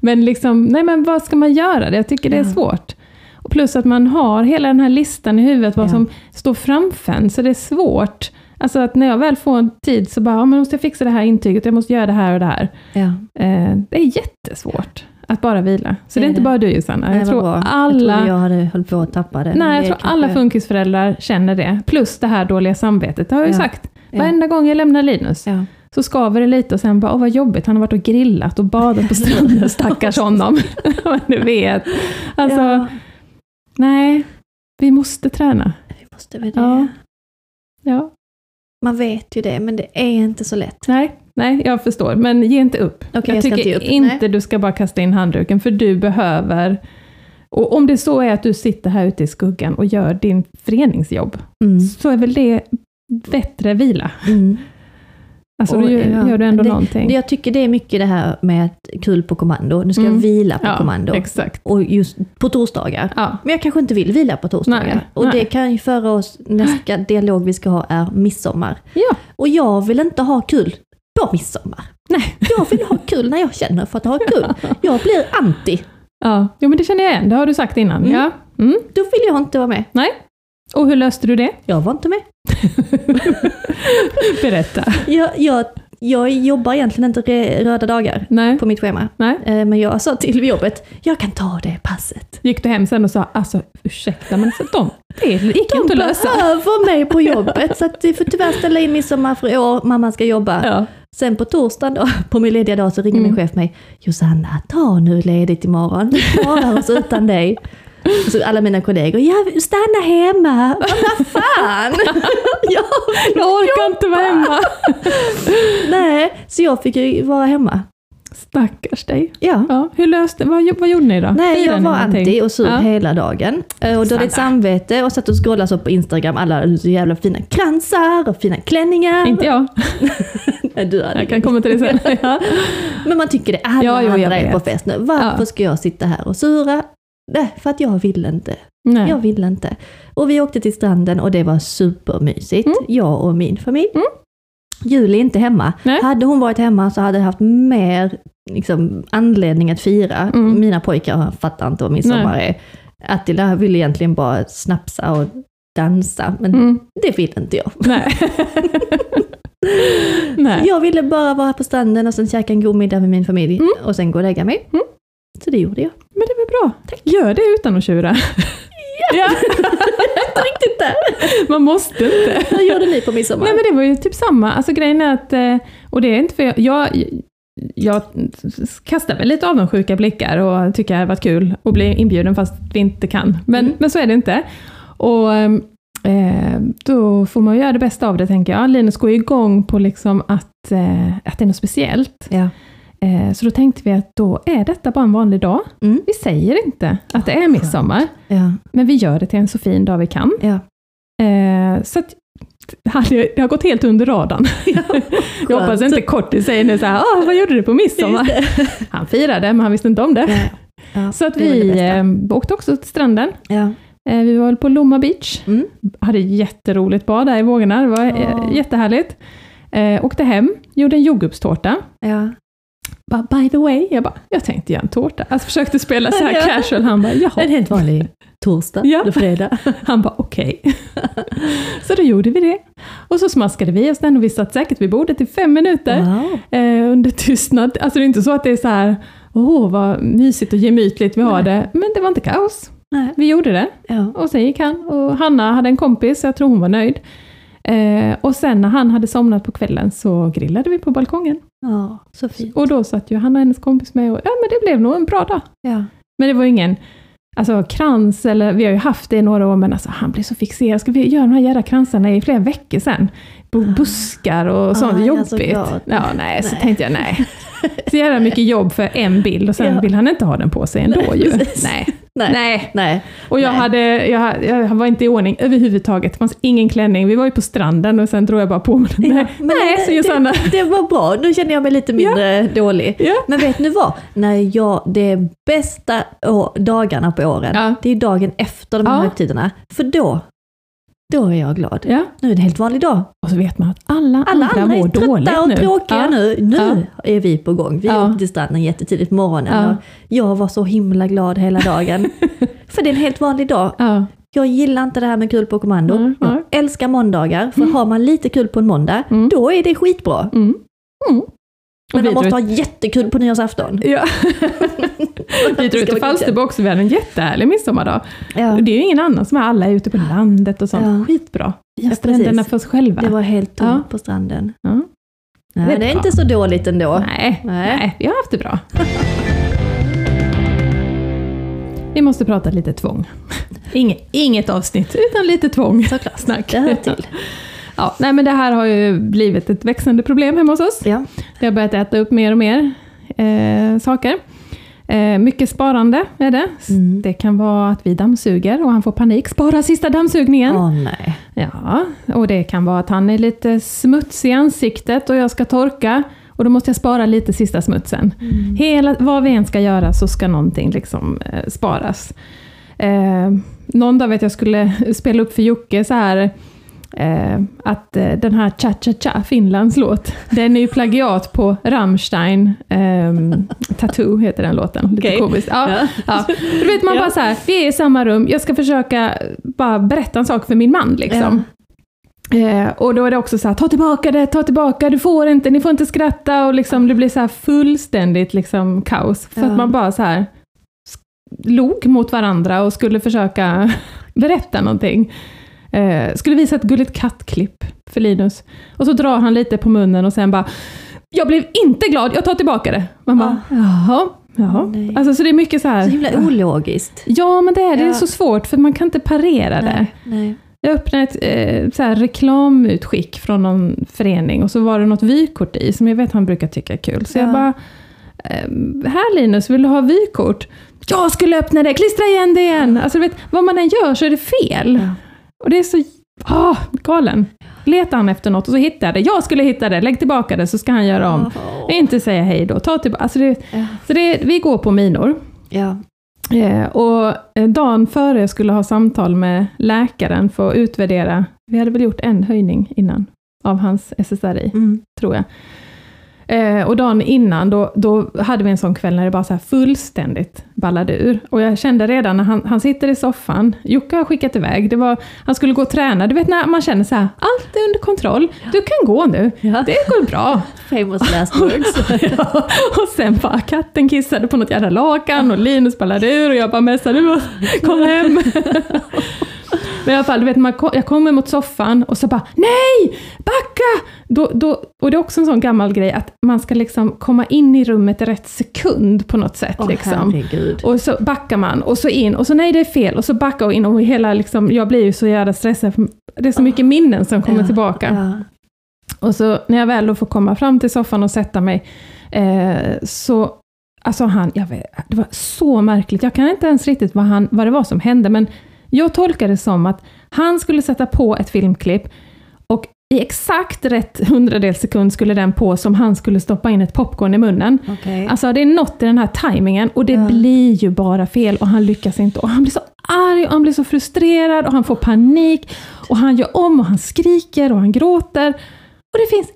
Speaker 2: men, liksom, nej, men vad ska man göra? Jag tycker det är
Speaker 3: Ja.
Speaker 2: svårt. Och plus att man har hela den här listan i huvudet, vad
Speaker 3: Ja.
Speaker 2: som står framför en, så det är svårt. Alltså att när jag väl får en tid så bara, ja, men måste jag fixa det här intyget, jag måste göra det här och det här.
Speaker 3: Ja.
Speaker 2: Eh, det är jättesvårt att bara vila. Så
Speaker 3: Det
Speaker 2: det är
Speaker 3: är
Speaker 2: inte
Speaker 3: det.
Speaker 2: bara du Sanna,
Speaker 3: Nej,
Speaker 2: jag
Speaker 3: vad
Speaker 2: tror
Speaker 3: bra. Jag
Speaker 2: alla
Speaker 3: trodde jag hade höll på att tappa det. men
Speaker 2: Nej, jag
Speaker 3: det
Speaker 2: tror
Speaker 3: kanske-
Speaker 2: alla funkisföräldrar känner det. Plus det här dåliga samvetet, det har jag ju
Speaker 3: Ja.
Speaker 2: sagt.
Speaker 3: Ja.
Speaker 2: Varenda gång jag lämnar Linus
Speaker 3: Ja.
Speaker 2: så skaver det lite och sen bara, åh vad jobbigt, han har varit och grillat och badat på stranden, stackars honom. Men du vet. Alltså,
Speaker 3: ja,
Speaker 2: nej, vi måste träna.
Speaker 3: vi måste väl det.
Speaker 2: Ja. Ja,
Speaker 3: Man vet ju det, men det är inte så lätt.
Speaker 2: nej, nej, jag förstår, men ge inte upp.
Speaker 3: Okej, jag ska
Speaker 2: tycker
Speaker 3: inte ge upp.
Speaker 2: du ska bara kasta in handduken, för du behöver och om det så är att du sitter här ute i skuggan och gör din föreningsjobb,
Speaker 3: Mm.
Speaker 2: så är väl det bättre vila?
Speaker 3: Mm.
Speaker 2: Alltså
Speaker 3: Och,
Speaker 2: då gör,
Speaker 3: ja,
Speaker 2: gör du ändå
Speaker 3: det-
Speaker 2: någonting.
Speaker 3: Det- Jag tycker det är mycket det här med att kul på kommando. Nu ska jag
Speaker 2: Mm.
Speaker 3: vila på
Speaker 2: ja,
Speaker 3: kommando.
Speaker 2: Exakt.
Speaker 3: Och just på torsdagar.
Speaker 2: Ja.
Speaker 3: Men jag kanske inte vill vila på torsdagar.
Speaker 2: Nej,
Speaker 3: och det
Speaker 2: nej.
Speaker 3: kan ju föra oss, nästa dialog vi ska ha är midsommar.
Speaker 2: ja.
Speaker 3: Och jag vill inte ha kul på midsommar.
Speaker 2: Nej.
Speaker 3: Jag vill ha kul när jag känner för att ha kul. Jag blir anti.
Speaker 2: ja. Jo men det känner jag igen, det har du sagt innan.
Speaker 3: Mm.
Speaker 2: Ja. Mm.
Speaker 3: Då vill jag inte vara med.
Speaker 2: Nej. Och hur löste du det?
Speaker 3: Jag var inte med.
Speaker 2: Berätta.
Speaker 3: Jag, jag, jag jobbar egentligen inte re- röda dagar
Speaker 2: Nej.
Speaker 3: på mitt schema.
Speaker 2: Nej.
Speaker 3: Eh, Men jag sa till vid jobbet, jag kan ta det passet.
Speaker 2: Gick du hem sen och sa, alltså ursäkta men alltså, de, det gick
Speaker 3: De
Speaker 2: inte att lösa.
Speaker 3: behöver mig på jobbet så att vi får tyvärr ställa in midsommar för i år, mamma ska jobba.
Speaker 2: Ja.
Speaker 3: Sen på torsdagen då, på min lediga dag, så ringer
Speaker 2: Mm.
Speaker 3: min chef mig. Josanna, ta nu ledigt imorgon. Vi klarar oss utan dig. Och så alla mina kollegor, ja, stanna hemma. Vad fan! ja,
Speaker 2: Jag orkar inte vara hemma.
Speaker 3: nej, så jag fick ju vara hemma.
Speaker 2: Stackars dig.
Speaker 3: Ja.
Speaker 2: Ja, hur löste, vad, vad gjorde ni då?
Speaker 3: Nej,
Speaker 2: Firade
Speaker 3: jag
Speaker 2: ni
Speaker 3: var
Speaker 2: någonting?
Speaker 3: anti och sur
Speaker 2: Ja.
Speaker 3: hela dagen. Eh, Och dåligt
Speaker 2: Sanna.
Speaker 3: samvete och satt och scrollade så på Instagram. Alla hade så jävla fina kransar och fina klänningar.
Speaker 2: Inte jag.
Speaker 3: Nej, du hade
Speaker 2: Jag
Speaker 3: inget.
Speaker 2: kan komma till det sen. Ja.
Speaker 3: Men man tycker det, alla
Speaker 2: Ja, jo, jag
Speaker 3: andra är
Speaker 2: vet.
Speaker 3: på fest nu. Varför
Speaker 2: Ja.
Speaker 3: ska jag sitta här och sura? Nej, för att jag vill inte.
Speaker 2: Nej.
Speaker 3: Jag vill inte. Och vi åkte till stranden och det var supermysigt.
Speaker 2: Mm.
Speaker 3: Jag och min familj.
Speaker 2: Mm.
Speaker 3: Julie är inte hemma.
Speaker 2: Nej.
Speaker 3: Hade hon varit hemma så hade jag haft mer liksom, anledning att fira.
Speaker 2: Mm.
Speaker 3: Mina pojkar fattar inte vad midsommar är. Attila ville egentligen bara snapsa och dansa, men
Speaker 2: Mm.
Speaker 3: det ville inte jag.
Speaker 2: Nej. Nej.
Speaker 3: Jag ville bara vara på stranden och sen käka en god middag med min familj och sen gå och lägga mig.
Speaker 2: Mm.
Speaker 3: Så det gjorde jag.
Speaker 2: Men det var bra. Gör det utan att tjura. Ja.
Speaker 3: Riktigt där!
Speaker 2: Man måste inte.
Speaker 3: Hur gjorde ni på midsommar?
Speaker 2: Nej men det var ju typ samma. Alltså grejen är att, eh, och det är inte för jag, jag, jag kastar väl lite avundsjuka blickar och tycker det har varit kul att bli inbjuden fast vi inte kan. Men,
Speaker 3: Mm.
Speaker 2: men så är det inte. Och eh, då får man ju göra det bästa av det tänker jag. Linus går ju igång på liksom att, eh, att det är något speciellt.
Speaker 3: Ja.
Speaker 2: Eh, så då tänkte vi att då är detta bara en vanlig dag.
Speaker 3: Mm. Ah,
Speaker 2: Vi säger inte att det är midsommar,
Speaker 3: Ja.
Speaker 2: men vi gör det till en så fin dag vi kan.
Speaker 3: Ja.
Speaker 2: Eh, så att, det hade- det har gått helt under radarn. Jag hoppas inte Korti säger nu så här, "Ah, vad gjorde du på midsommar? Han firade, men han visste inte om det.
Speaker 3: Nej. Ja,
Speaker 2: Så att
Speaker 3: det är väl det
Speaker 2: vi
Speaker 3: bästa.
Speaker 2: eh, åkte också till stranden.
Speaker 3: Ja.
Speaker 2: Eh, vi var väl på Lomma Beach.
Speaker 3: Mm.
Speaker 2: Hade jätteroligt bad där i vågorna, det var
Speaker 3: Ja.
Speaker 2: eh, jättehärligt. Eh, åkte hem, gjorde en jordgubbstårta.
Speaker 3: Ja.
Speaker 2: Bara, by the way, jag bara, jag tänkte göra en tårta. Alltså försökte spela så här
Speaker 3: Ja.
Speaker 2: casual, han bara,
Speaker 3: En
Speaker 2: jaha.
Speaker 3: helt vanlig torsdag
Speaker 2: Ja.
Speaker 3: eller fredag.
Speaker 2: Han bara, okej. så då gjorde vi det. Och så smaskade vi oss den och vi satt säkert vid bordet i fem minuter.
Speaker 3: Wow.
Speaker 2: eh, under tystnad. Alltså det är inte så att det är så här, åh vad mysigt och gemytligt vi har
Speaker 3: Nej.
Speaker 2: det. Men det var inte kaos.
Speaker 3: Nej.
Speaker 2: Vi gjorde det.
Speaker 3: Ja.
Speaker 2: Och sen gick han. Och Hanna hade en kompis, jag tror hon var nöjd. Eh, och sen när han hade somnat på kvällen så grillade vi på balkongen.
Speaker 3: ja, så fint.
Speaker 2: Och då satt ju Hanna och hennes kompis med och ja men det blev nog en bra dag.
Speaker 3: Ja.
Speaker 2: Men det var ingen alltså, krans, eller vi har ju haft det i några år, men alltså, han blev så fixerad. Ska vi göra de här jävla kransarna i flera veckor sen? Bu- Buskar och sånt,
Speaker 3: Ah, jag är så
Speaker 2: jobbigt.
Speaker 3: glad.
Speaker 2: ja, nej, så
Speaker 3: Nej.
Speaker 2: tänkte jag nej. Så jävla mycket jobb för en bild och sen
Speaker 3: Ja.
Speaker 2: vill han inte ha den på sig ändå
Speaker 3: Nej,
Speaker 2: ju.
Speaker 3: precis.
Speaker 2: Nej.
Speaker 3: Nej.
Speaker 2: nej.
Speaker 3: Nej.
Speaker 2: Och jag,
Speaker 3: Nej.
Speaker 2: hade, jag, jag var inte i ordning överhuvudtaget, det fanns ingen klänning. Vi var ju på stranden och sen drog jag bara på mig den. Nej,
Speaker 3: men
Speaker 2: nej,
Speaker 3: det-
Speaker 2: så Josanna.
Speaker 3: Det, det var bra, nu känner jag mig lite mindre dålig.
Speaker 2: Ja.
Speaker 3: Men vet ni vad? När jag, det är bästa å- dagarna på åren,
Speaker 2: Ja.
Speaker 3: det är dagen efter de här
Speaker 2: Ja.
Speaker 3: högtiderna. För då, då är jag glad.
Speaker 2: Ja.
Speaker 3: Nu är det en helt vanlig dag.
Speaker 2: Och så vet man att alla,
Speaker 3: Alla andra
Speaker 2: mår
Speaker 3: är
Speaker 2: dåligt
Speaker 3: trötta och
Speaker 2: nu.
Speaker 3: tråkiga
Speaker 2: Ja.
Speaker 3: nu. Nu är vi på gång. Vi
Speaker 2: Ja.
Speaker 3: åkte till stranden jättetidigt på morgonen
Speaker 2: Ja.
Speaker 3: och jag var så himla glad hela dagen. För det är en helt vanlig dag.
Speaker 2: Ja.
Speaker 3: Jag gillar inte det här med kul på kommando.
Speaker 2: Nej,
Speaker 3: jag
Speaker 2: Mm, nej.
Speaker 3: älskar måndagar, för har man lite kul på en måndag,
Speaker 2: Mm.
Speaker 3: då är det skitbra.
Speaker 2: Mm. Mm.
Speaker 3: Men
Speaker 2: vi
Speaker 3: man måste
Speaker 2: drog-
Speaker 3: ha jättekul på nyårsafton.
Speaker 2: Ja. Vi
Speaker 3: Ska
Speaker 2: drog till
Speaker 3: vara
Speaker 2: Falsterbo också, vi hade en jättehärlig midsommardag.
Speaker 3: Ja.
Speaker 2: Och det är ju ingen annan som är, alla är ute på landet och sånt.
Speaker 3: Ja.
Speaker 2: Skitbra. Vi har
Speaker 3: Ja,
Speaker 2: stränderna
Speaker 3: precis.
Speaker 2: för oss själva.
Speaker 3: Det var helt tomt
Speaker 2: Ja.
Speaker 3: på stranden.
Speaker 2: Ja.
Speaker 3: Nej,
Speaker 2: Det
Speaker 3: det
Speaker 2: är
Speaker 3: är,
Speaker 2: bra.
Speaker 3: inte så dåligt ändå.
Speaker 2: Nej,
Speaker 3: Nej.
Speaker 2: nej, vi har haft det bra. Vi måste prata lite tvång. Inget, inget avsnitt, utan lite tvång. Såklart. Snack.
Speaker 3: Det hör till.
Speaker 2: Ja, nej, men det här har ju blivit ett växande problem hemma hos oss.
Speaker 3: Ja.
Speaker 2: Jag har börjat äta upp mer och mer eh, saker. Eh, mycket sparande är det.
Speaker 3: Mm.
Speaker 2: Det kan vara att vi dammsuger och han får panik. Spara sista dammsugningen!
Speaker 3: Åh nej.
Speaker 2: Ja, och det kan vara att han är lite smutsig i ansiktet och jag ska torka. Och då måste jag spara lite sista smutsen. Hela, vad vi än ska göra så ska någonting liksom eh, sparas. Eh, någon dag vet jag skulle spela upp för Jocke så här eh, att eh, den här Cha Cha Cha, Finlands låt, den är ju plagiat på Rammstein ehm, Tattoo heter den låten. Lite
Speaker 3: Okej.
Speaker 2: komiskt. Ja,
Speaker 3: Ja.
Speaker 2: Ja. Du vet man
Speaker 3: Ja.
Speaker 2: bara så här, vi är i samma rum, jag ska försöka bara berätta en sak för min man liksom. Eh, och då är det också så här, ta tillbaka det, ta tillbaka, du får inte, ni får inte skratta och liksom det blir så här fullständigt liksom kaos. För
Speaker 3: Ja.
Speaker 2: att man bara så här s- log mot varandra och skulle försöka berätta någonting. Eh, skulle visa ett gulligt kattklipp för Linus. Och så drar han lite på munnen och sen bara, jag blev inte glad, jag tar tillbaka det. Man bara, jaha, jaha.
Speaker 3: Nej.
Speaker 2: Alltså så det är mycket så här.
Speaker 3: Så himla ologiskt.
Speaker 2: Ja, men det är, det är
Speaker 3: Ja.
Speaker 2: så svårt för man kan inte parera det.
Speaker 3: Nej. nej.
Speaker 2: Jag öppnade ett eh, så här reklamutskick från någon förening och så var det något vykort i som jag vet han brukar tycka är kul. Så
Speaker 3: Ja.
Speaker 2: jag bara, eh, här Linus, vill du ha vykort? Jag skulle öppna det, klistra igen det igen! Alltså, du vet, vad man än gör så är det fel.
Speaker 3: Ja.
Speaker 2: Och det är så... Ah, galen. Letar han efter något och så hittar jag det. Jag skulle hitta det, lägg tillbaka det så ska han göra om. Inte säga hej då, ta tillbaka. Alltså det,
Speaker 3: Ja.
Speaker 2: så det, vi går på minor.
Speaker 3: Ja.
Speaker 2: Eh, och eh, dagen före jag skulle ha samtal med läkaren för att utvärdera, vi hade väl gjort en höjning innan av hans SSRI,
Speaker 3: Mm.
Speaker 2: tror jag. Eh, och dagen innan, då, då hade vi en sån kväll när det bara så här fullständigt ballade ur. Och jag kände redan när han, han sitter i soffan, Jocke har skickat iväg, det var, han skulle gå och träna, du vet när man känner så här, allt är under kontroll, du kan gå nu,
Speaker 3: Ja.
Speaker 2: det går bra.
Speaker 3: Famous last words.
Speaker 2: Ja, och sen bara katten kissade på något jävla lakan och Linus ballade ur och jag bara messade du måste- kom hem. Men i alla fall, du vet, man kom, jag kommer mot soffan och så bara nej, backa! Då, då, och det är också en sån gammal grej att man ska liksom komma in i rummet i rätt sekund på något sätt.
Speaker 3: Åh,
Speaker 2: liksom.
Speaker 3: herregud.
Speaker 2: Och så backar man och så in och så nej det är fel och så backar och in och hela liksom, jag blir ju så jävla stressad för det är så mycket minnen som kommer
Speaker 3: Ah. Ja,
Speaker 2: tillbaka.
Speaker 3: Ja.
Speaker 2: Och så när jag väl då får komma fram till soffan och sätta mig, eh, så Alltså han, jag vet, det var så märkligt. Jag kan inte ens riktigt vad, han, vad det var som hände, men jag tolkar det som att han skulle sätta på ett filmklipp och i exakt rätt hundradels sekund skulle den på som han skulle stoppa in ett popcorn i munnen.
Speaker 3: Okej.
Speaker 2: Alltså det är något i den här tajmingen och det
Speaker 3: Mm. Ja.
Speaker 2: blir ju bara fel och han lyckas inte. Och han blir så arg och han blir så frustrerad och han får panik. Och han gör om och han skriker och han gråter. Och det finns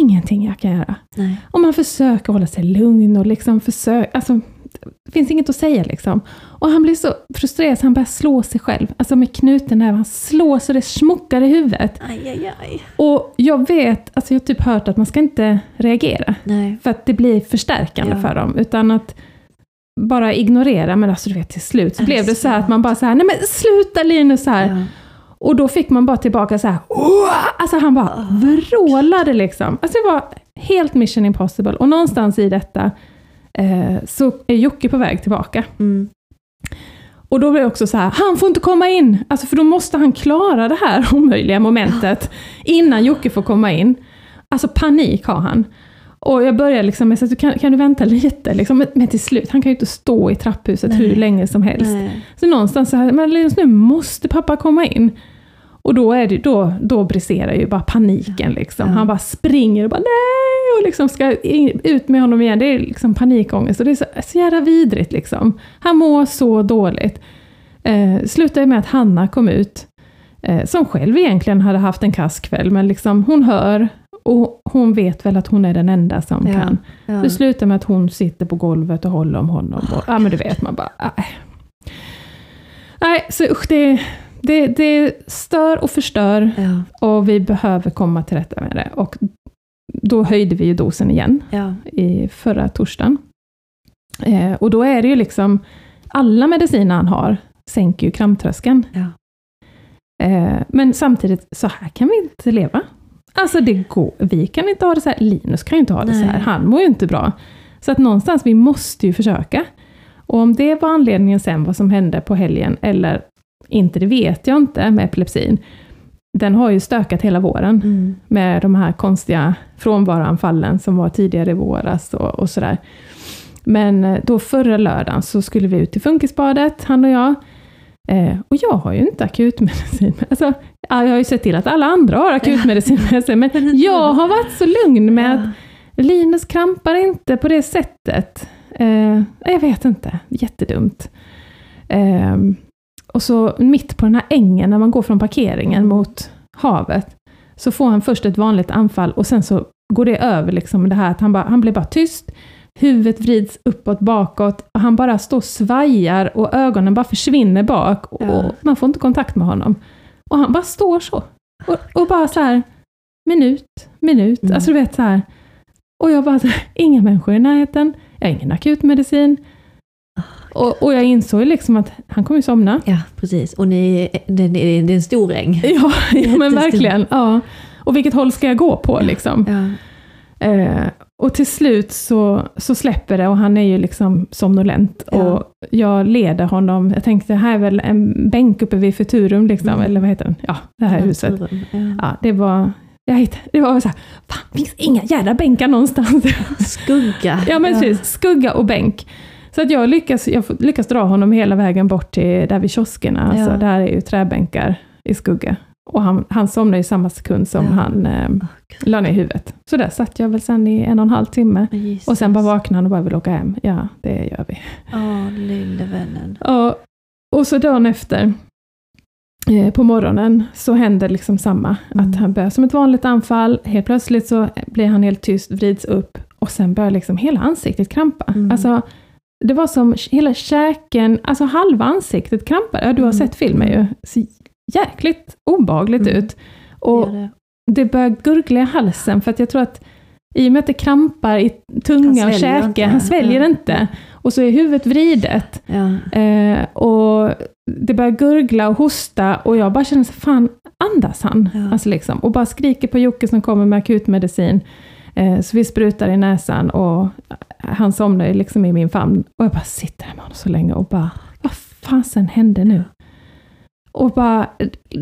Speaker 2: ingenting jag kan göra.
Speaker 3: Nej.
Speaker 2: Om man försöker hålla sig lugn och liksom försöker, alltså det finns inget att säga liksom. Och han blir så frustrerad så han börjar slå sig själv. Alltså med knuten näve, han slår så det smockar i huvudet.
Speaker 3: Aj, aj, aj.
Speaker 2: Och jag vet, alltså jag har typ hört att man ska inte reagera.
Speaker 3: Nej.
Speaker 2: För att det blir förstärkande
Speaker 3: Ja.
Speaker 2: för dem. Utan att bara ignorera, men alltså du vet till slut så
Speaker 3: Är det
Speaker 2: blev det så här att
Speaker 3: sant?
Speaker 2: man bara så här, nej men sluta Linus så här.
Speaker 3: Ja.
Speaker 2: Och då fick man bara tillbaka så här, "Åh!" alltså han
Speaker 3: Ah.
Speaker 2: bara vrålade liksom. Alltså det var helt mission impossible. Och någonstans i detta eh, så är Jocke på väg tillbaka.
Speaker 3: Mm.
Speaker 2: Och då blir det också så här, han får inte komma in! Alltså för då måste han klara det här omöjliga momentet innan Jocke får komma in. Alltså panik har han. Och jag börjar liksom med att kan, kan du vänta lite? Liksom, men, men till slut, han kan ju inte stå i trapphuset
Speaker 3: Nej.
Speaker 2: hur länge som helst.
Speaker 3: Nej.
Speaker 2: Så någonstans så här, men Linus nu måste pappa komma in. Och då, är det, då, då briserar ju bara paniken. Liksom.
Speaker 3: Ja.
Speaker 2: Han bara springer och bara nej! Och liksom ska in, ut med honom igen. Det är liksom panikångest och det är så, så jävla vidrigt. Liksom. Han mår så dåligt. Eh, slutar ju med att Hanna kom ut, eh, som själv egentligen hade haft en kass kväll, men liksom, hon hör och hon vet väl att hon är den enda som
Speaker 3: Ja.
Speaker 2: kan.
Speaker 3: Ja.
Speaker 2: Det slutar med att hon sitter på golvet och håller om honom. Och, ja, men du vet, man bara... Nej, nej så usch, det, det, det stör och förstör
Speaker 3: Ja.
Speaker 2: och vi behöver komma till rätta med det. Och då höjde vi ju dosen igen
Speaker 3: Ja.
Speaker 2: i förra torsdagen. Eh, och då är det ju liksom, alla mediciner han har sänker ju kramptröskeln.
Speaker 3: Ja.
Speaker 2: Eh, men samtidigt, så här kan vi inte leva. Alltså det går, vi kan inte ha det så här, Linus kan ju inte ha det så
Speaker 3: Nej.
Speaker 2: här, han mår ju inte bra. Så att någonstans, vi måste ju försöka. Och om det var anledningen sen, vad som hände på helgen, eller inte, det vet jag inte med epilepsin. Den har ju stökat hela våren
Speaker 3: Mm.
Speaker 2: med de här konstiga frånvaroanfallen som var tidigare i våras och, och sådär. Men eh, då förra lördagen så skulle vi ut till funkisbadet, han och jag. Eh, och jag har ju inte akutmedicin. med- Alltså, ja, jag har ju sett till att alla andra har akutmedicin med sig, men jag har varit så lugn med att
Speaker 3: Ja.
Speaker 2: Linus krampar inte på det sättet. Eh, jag vet inte, jättedumt. Eh, och så mitt på den här ängen, när man går från parkeringen mot havet, så får han först ett vanligt anfall och sen så går det över liksom det här att han, bara, han blir bara tyst, huvudet vrids uppåt, bakåt, och han bara står och svajar och ögonen bara försvinner bak och
Speaker 3: Ja.
Speaker 2: man får inte kontakt med honom. Och han bara står så. Och, och bara så här, minut, minut,
Speaker 3: Mm.
Speaker 2: alltså du vet så här. Och jag bara, så här, inga människor i närheten, jag har ingen akutmedicin. Och, och jag insåg ju liksom att han kommer ju somna.
Speaker 3: Ja, precis. Och ni, det, det, det är en stor äng.
Speaker 2: Ja, ja men
Speaker 3: Jättestor.
Speaker 2: verkligen. Ja. Och vilket håll ska jag gå på liksom?
Speaker 3: Ja.
Speaker 2: Eh, och till slut så, så släpper det och han är ju liksom somnolent.
Speaker 3: Ja.
Speaker 2: Och jag leder honom, jag tänkte här är väl en bänk uppe vid Futurum, liksom,
Speaker 3: Mm.
Speaker 2: eller vad heter den? Ja, det här huset.
Speaker 3: Ja.
Speaker 2: Ja, det var Jag hittade, det var så här, fan, finns inga jävla bänkar någonstans.
Speaker 3: Skugga.
Speaker 2: ja men precis, skugga och bänk. Så att jag lyckas, jag får- lyckas dra honom hela vägen bort till där vid kioskerna, alltså,
Speaker 3: Ja.
Speaker 2: där är ju träbänkar i skugga. Och han, han somnade i samma sekund som
Speaker 3: Ja.
Speaker 2: han eh, la ner huvudet. Så där satt jag väl sen i en och en halv timme.
Speaker 3: Jesus.
Speaker 2: Och sen bara vaknade han och bara vill åka hem. Ja, det gör vi.
Speaker 3: Åh, lille vännen.
Speaker 2: Ja, och så dagen efter, eh, på morgonen, så händer liksom samma.
Speaker 3: Mm.
Speaker 2: Att han börjar som ett vanligt anfall, helt plötsligt så blir han helt tyst, vrids upp och sen börjar liksom hela ansiktet krampa.
Speaker 3: Mm.
Speaker 2: Alltså, det var som hela käken, alltså halva ansiktet krampade. Ja, du har
Speaker 3: Mm.
Speaker 2: sett filmen ju. Ser jäkligt obehagligt
Speaker 3: Mm.
Speaker 2: ut. Och
Speaker 3: Gör det.
Speaker 2: det börjar gurgla i halsen, för att jag tror att i och med att det krampar i tunga
Speaker 3: Han
Speaker 2: och
Speaker 3: sväljer
Speaker 2: käke,
Speaker 3: inte.
Speaker 2: han sväljer
Speaker 3: Mm.
Speaker 2: inte. Och så är huvudet vridet.
Speaker 3: Ja.
Speaker 2: Eh, och det börjar gurgla och hosta och jag bara känner så fan andas han?
Speaker 3: Ja.
Speaker 2: Alltså liksom, och bara skriker på Jocke som kommer med akutmedicin. Eh, så vi sprutar i näsan och han somnar ju liksom i min famn. Och jag bara sitter här med honom så länge och bara, vad fasen hände nu? Och bara,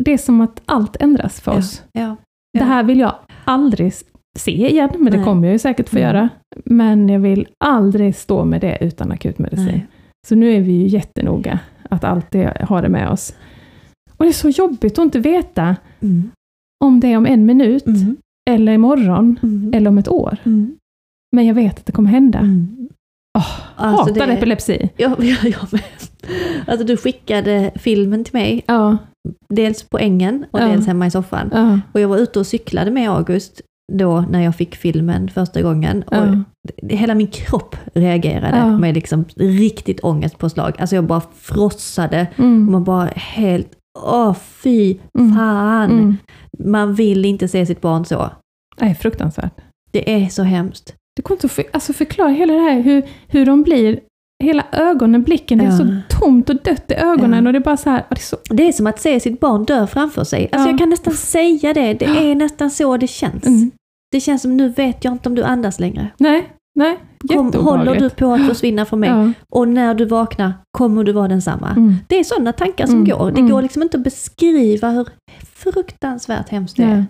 Speaker 2: det är som att allt ändras för oss.
Speaker 3: Ja.
Speaker 2: Det här vill jag aldrig s- se igen, men det
Speaker 3: Nej.
Speaker 2: kommer jag ju säkert få
Speaker 3: Mm.
Speaker 2: göra. Men jag vill aldrig stå med det utan akutmedicin.
Speaker 3: Nej.
Speaker 2: Så nu är vi ju jättenoga att alltid ha det med oss. Och det är så jobbigt att inte veta
Speaker 3: Mm.
Speaker 2: om det är om en minut,
Speaker 3: Mm.
Speaker 2: eller imorgon,
Speaker 3: Mm.
Speaker 2: eller om ett år.
Speaker 3: Mm.
Speaker 2: Men jag vet att det kommer hända.
Speaker 3: Mm. Alltså,
Speaker 2: Hatar
Speaker 3: det-
Speaker 2: epilepsi.
Speaker 3: Ja, jag, jag med. Alltså du skickade filmen till mig,
Speaker 2: Ja,
Speaker 3: dels på ängen och
Speaker 2: Ja.
Speaker 3: dels hemma i soffan.
Speaker 2: ja,
Speaker 3: Och jag var ute och cyklade med August då när jag fick filmen första gången. Och
Speaker 2: ja.
Speaker 3: det- Hela min kropp reagerade
Speaker 2: Ja.
Speaker 3: med liksom riktigt ångestpåslag. Alltså jag bara frossade och
Speaker 2: Mm,
Speaker 3: man bara helt, åh fy
Speaker 2: Mm.
Speaker 3: fan.
Speaker 2: mm.
Speaker 3: Man vill inte se sitt barn så.
Speaker 2: Nej, fruktansvärt.
Speaker 3: Det är så hemskt.
Speaker 2: Det går inte att för, alltså förklara hela det här, hur, hur de blir, hela ögonen, blicken, det är
Speaker 3: Ja.
Speaker 2: så tomt och dött i ögonen
Speaker 3: Ja.
Speaker 2: och det är bara så här, ja, det är så,
Speaker 3: Det är som att se sitt barn dö framför sig. Alltså
Speaker 2: Ja.
Speaker 3: jag kan nästan säga det, det är nästan så det känns.
Speaker 2: mm.
Speaker 3: Det känns som nu vet jag inte om du andas längre.
Speaker 2: nej, nej,
Speaker 3: Kom, håller du
Speaker 2: jätteobehagligt.
Speaker 3: på att försvinna från mig?
Speaker 2: Ja.
Speaker 3: Och när du vaknar kommer du vara densamma?
Speaker 2: Mm.
Speaker 3: Det är sådana tankar som
Speaker 2: Mm,
Speaker 3: går. Det
Speaker 2: mm.
Speaker 3: går liksom inte att beskriva hur fruktansvärt hemskt det är.
Speaker 2: Ja.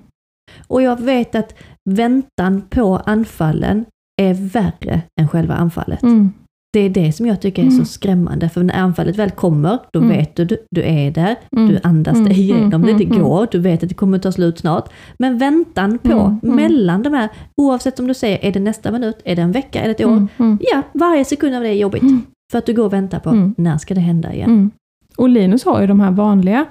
Speaker 3: Och jag vet att väntan på anfallen är värre än själva anfallet.
Speaker 2: Mm.
Speaker 3: Det är det som jag tycker är
Speaker 2: Mm.
Speaker 3: så skrämmande. För när anfallet väl kommer, då
Speaker 2: Mm.
Speaker 3: vet du, du, du är där,
Speaker 2: Mm.
Speaker 3: du andas
Speaker 2: Mm,
Speaker 3: dig igenom
Speaker 2: mm,
Speaker 3: det, det
Speaker 2: mm,
Speaker 3: går, du vet att det kommer ta slut snart. Men väntan på,
Speaker 2: Mm, mm.
Speaker 3: mellan de här, oavsett om du säger är det nästa minut, är det en vecka, är det ett år?
Speaker 2: Mm, mm.
Speaker 3: Ja, varje sekund av det är jobbigt.
Speaker 2: Mm.
Speaker 3: För att du går och väntar på,
Speaker 2: Mm.
Speaker 3: när ska det hända igen?
Speaker 2: Mm. Och Linus har ju de här vanliga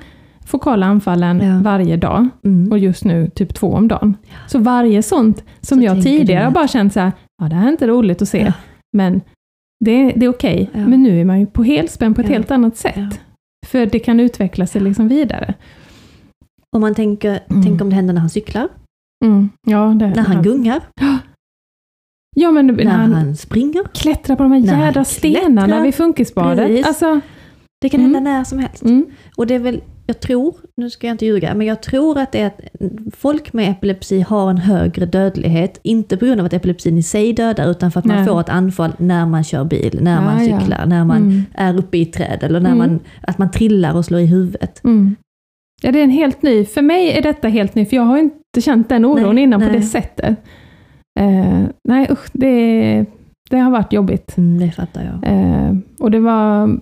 Speaker 2: fokala anfallen
Speaker 3: Ja.
Speaker 2: varje dag
Speaker 3: Mm.
Speaker 2: och just nu typ två om dagen. Så varje sånt som
Speaker 3: Så
Speaker 2: jag
Speaker 3: tänker
Speaker 2: tidigare
Speaker 3: du
Speaker 2: har
Speaker 3: att-
Speaker 2: bara känt så här, ja det här är inte roligt att se,
Speaker 3: Ja.
Speaker 2: men det, det är okej.
Speaker 3: Ja.
Speaker 2: Men nu är man ju på helspänn på ett
Speaker 3: Ja.
Speaker 2: helt annat sätt.
Speaker 3: Ja.
Speaker 2: För det kan utveckla sig liksom vidare.
Speaker 3: Om man tänker,
Speaker 2: Mm.
Speaker 3: tänk om det händer när han cyklar,
Speaker 2: Mm. Ja, det,
Speaker 3: när han gungar,
Speaker 2: Ja, men när,
Speaker 3: när han,
Speaker 2: han
Speaker 3: springer.
Speaker 2: klättrar på de här
Speaker 3: När han
Speaker 2: jädra stenarna
Speaker 3: klättrar.
Speaker 2: vid funkisbadet.
Speaker 3: Precis.
Speaker 2: Alltså,
Speaker 3: Det kan
Speaker 2: Mm.
Speaker 3: hända när som helst.
Speaker 2: mm,
Speaker 3: Och det är väl, jag tror, nu ska jag inte ljuga, men jag tror att det är att folk med epilepsi har en högre dödlighet, inte på grund av att epilepsin i sig dödar, utan för att man
Speaker 2: Nej.
Speaker 3: får ett anfall när man kör bil, när man
Speaker 2: Ah, ja.
Speaker 3: cyklar, när man
Speaker 2: mm,
Speaker 3: är uppe i ett träd eller när
Speaker 2: Mm.
Speaker 3: man, att man trillar och slår i huvudet.
Speaker 2: mm. Ja, det är en helt ny, för mig är detta helt ny, för jag har inte känt den oron
Speaker 3: Nej,
Speaker 2: innan på
Speaker 3: nej.
Speaker 2: det sättet. Eh, nej usch, det, det har varit jobbigt.
Speaker 3: Mm, det fattar jag.
Speaker 2: Eh, och det var mm,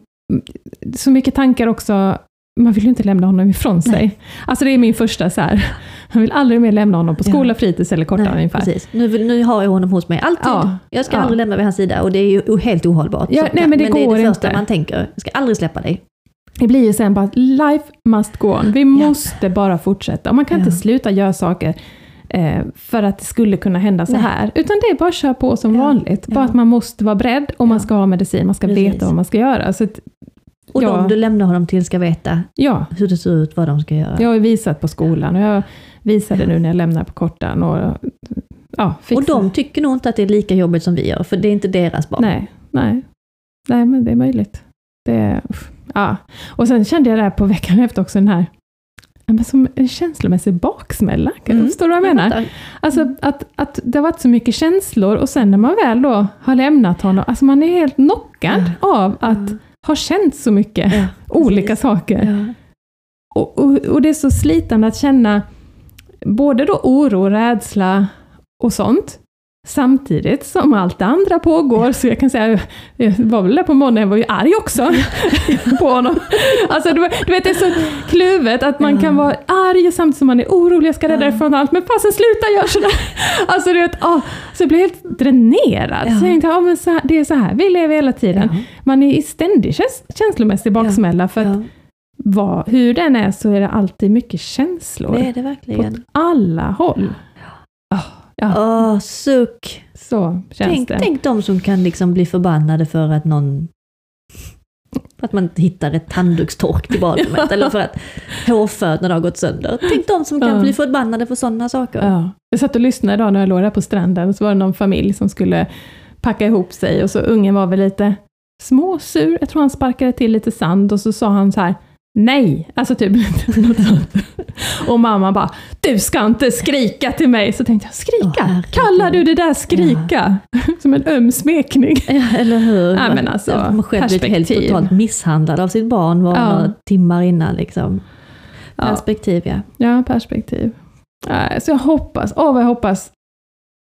Speaker 2: så mycket tankar också, man vill ju inte lämna honom ifrån sig. Alltså det är min första så här. man vill aldrig mer lämna honom på skola, fritids eller korta ungefär.
Speaker 3: precis. Nu, vill- nu har jag honom hos mig alltid.
Speaker 2: Ja.
Speaker 3: Jag ska
Speaker 2: Ja.
Speaker 3: aldrig lämna vid hans sida och det är ju o- helt ohållbart.
Speaker 2: Ja,
Speaker 3: Så-
Speaker 2: nej, men det går
Speaker 3: är det första
Speaker 2: inte.
Speaker 3: man tänker. Jag ska aldrig släppa dig.
Speaker 2: Det blir ju sen bara att life must go on, vi måste bara fortsätta. Och man kan inte
Speaker 3: Ja.
Speaker 2: sluta göra saker eh, för att det skulle kunna hända så
Speaker 3: Nej.
Speaker 2: här, utan det är bara att köra på som
Speaker 3: Ja.
Speaker 2: vanligt. Bara
Speaker 3: Ja.
Speaker 2: att man måste vara beredd och man
Speaker 3: Ja.
Speaker 2: ska ha medicin, man ska
Speaker 3: Precis.
Speaker 2: veta vad man ska göra. Så att,
Speaker 3: Och
Speaker 2: Ja.
Speaker 3: de du lämnar honom till ska veta
Speaker 2: ja,
Speaker 3: hur det ser ut, vad de ska göra.
Speaker 2: jag har ju visat på skolan och jag visade nu när jag lämnar på kortan. Och, ja,
Speaker 3: och
Speaker 2: fixa.
Speaker 3: de tycker nog inte att det är lika jobbigt som vi gör, för det är inte deras barn.
Speaker 2: Nej, nej. Nej, men det är möjligt. Det, uff, ja. Och sen kände jag det här på veckan efter också, den här ja, men som en känslomässig baksmälla.
Speaker 3: Mm.
Speaker 2: Förstår du vad jag menar?
Speaker 3: fattar. Mm.
Speaker 2: Alltså att, att det har varit så mycket känslor och sen när man väl då har lämnat honom, alltså man är helt knockad av att ha känt så mycket
Speaker 3: Ja,
Speaker 2: olika
Speaker 3: Mm. precis.
Speaker 2: saker.
Speaker 3: Ja.
Speaker 2: Och, och, och det är så slitande att känna både då oro, rädsla och sånt, samtidigt som allt det andra pågår, så jag kan säga, jag var väl där på morgonen, jag var ju arg också på honom. Alltså, du, du vet, det är så kluvet att man kan vara arg samtidigt som man är orolig, jag ska rädda dig från allt, men fasen sluta göra sådär! Alltså, du vet, ah, så jag blev helt dränerad.
Speaker 3: Ja.
Speaker 2: Så jag tänkte, ah, men så här, det är så här vi lever hela tiden.
Speaker 3: Ja.
Speaker 2: Man är i ständig käns- känslomässig baksmälla, för att
Speaker 3: Ja.
Speaker 2: vad, hur den är så är det alltid mycket känslor.
Speaker 3: Det är det
Speaker 2: Åt
Speaker 3: verkligen.
Speaker 2: alla håll. Ah, ja,
Speaker 3: Åh, suck.
Speaker 2: så känns
Speaker 3: Tänk,
Speaker 2: det.
Speaker 3: tänk de som kan liksom bli förbannade för att någon för att man inte hittar ett handdukstork till badrummet eller för att hårfötterna har gått sönder. Tänk de som kan
Speaker 2: Ja.
Speaker 3: bli förbannade för sådana saker.
Speaker 2: Ja. Jag satt och lyssnade idag när jag låg där på stranden, så var det någon familj som skulle packa ihop sig och så ungen var väl lite småsur, jag tror han sparkade till lite sand och så sa han så här Nej! Alltså typ något sånt. Och mamma bara, du ska inte skrika till mig! Så tänkte jag,
Speaker 3: Åh,
Speaker 2: skrika?
Speaker 3: herregud.
Speaker 2: Kallar du det där skrika? Som en öm smekning.
Speaker 3: Ja, eller hur?
Speaker 2: Nej, men alltså,
Speaker 3: man själv blivit helt
Speaker 2: perspektiv.
Speaker 3: totalt misshandlad av sitt barn var
Speaker 2: Ja.
Speaker 3: några timmar innan. Liksom.
Speaker 2: Ja.
Speaker 3: Perspektiv ja.
Speaker 2: Ja, perspektiv. Nej, Så jag hoppas, åh vad jag hoppas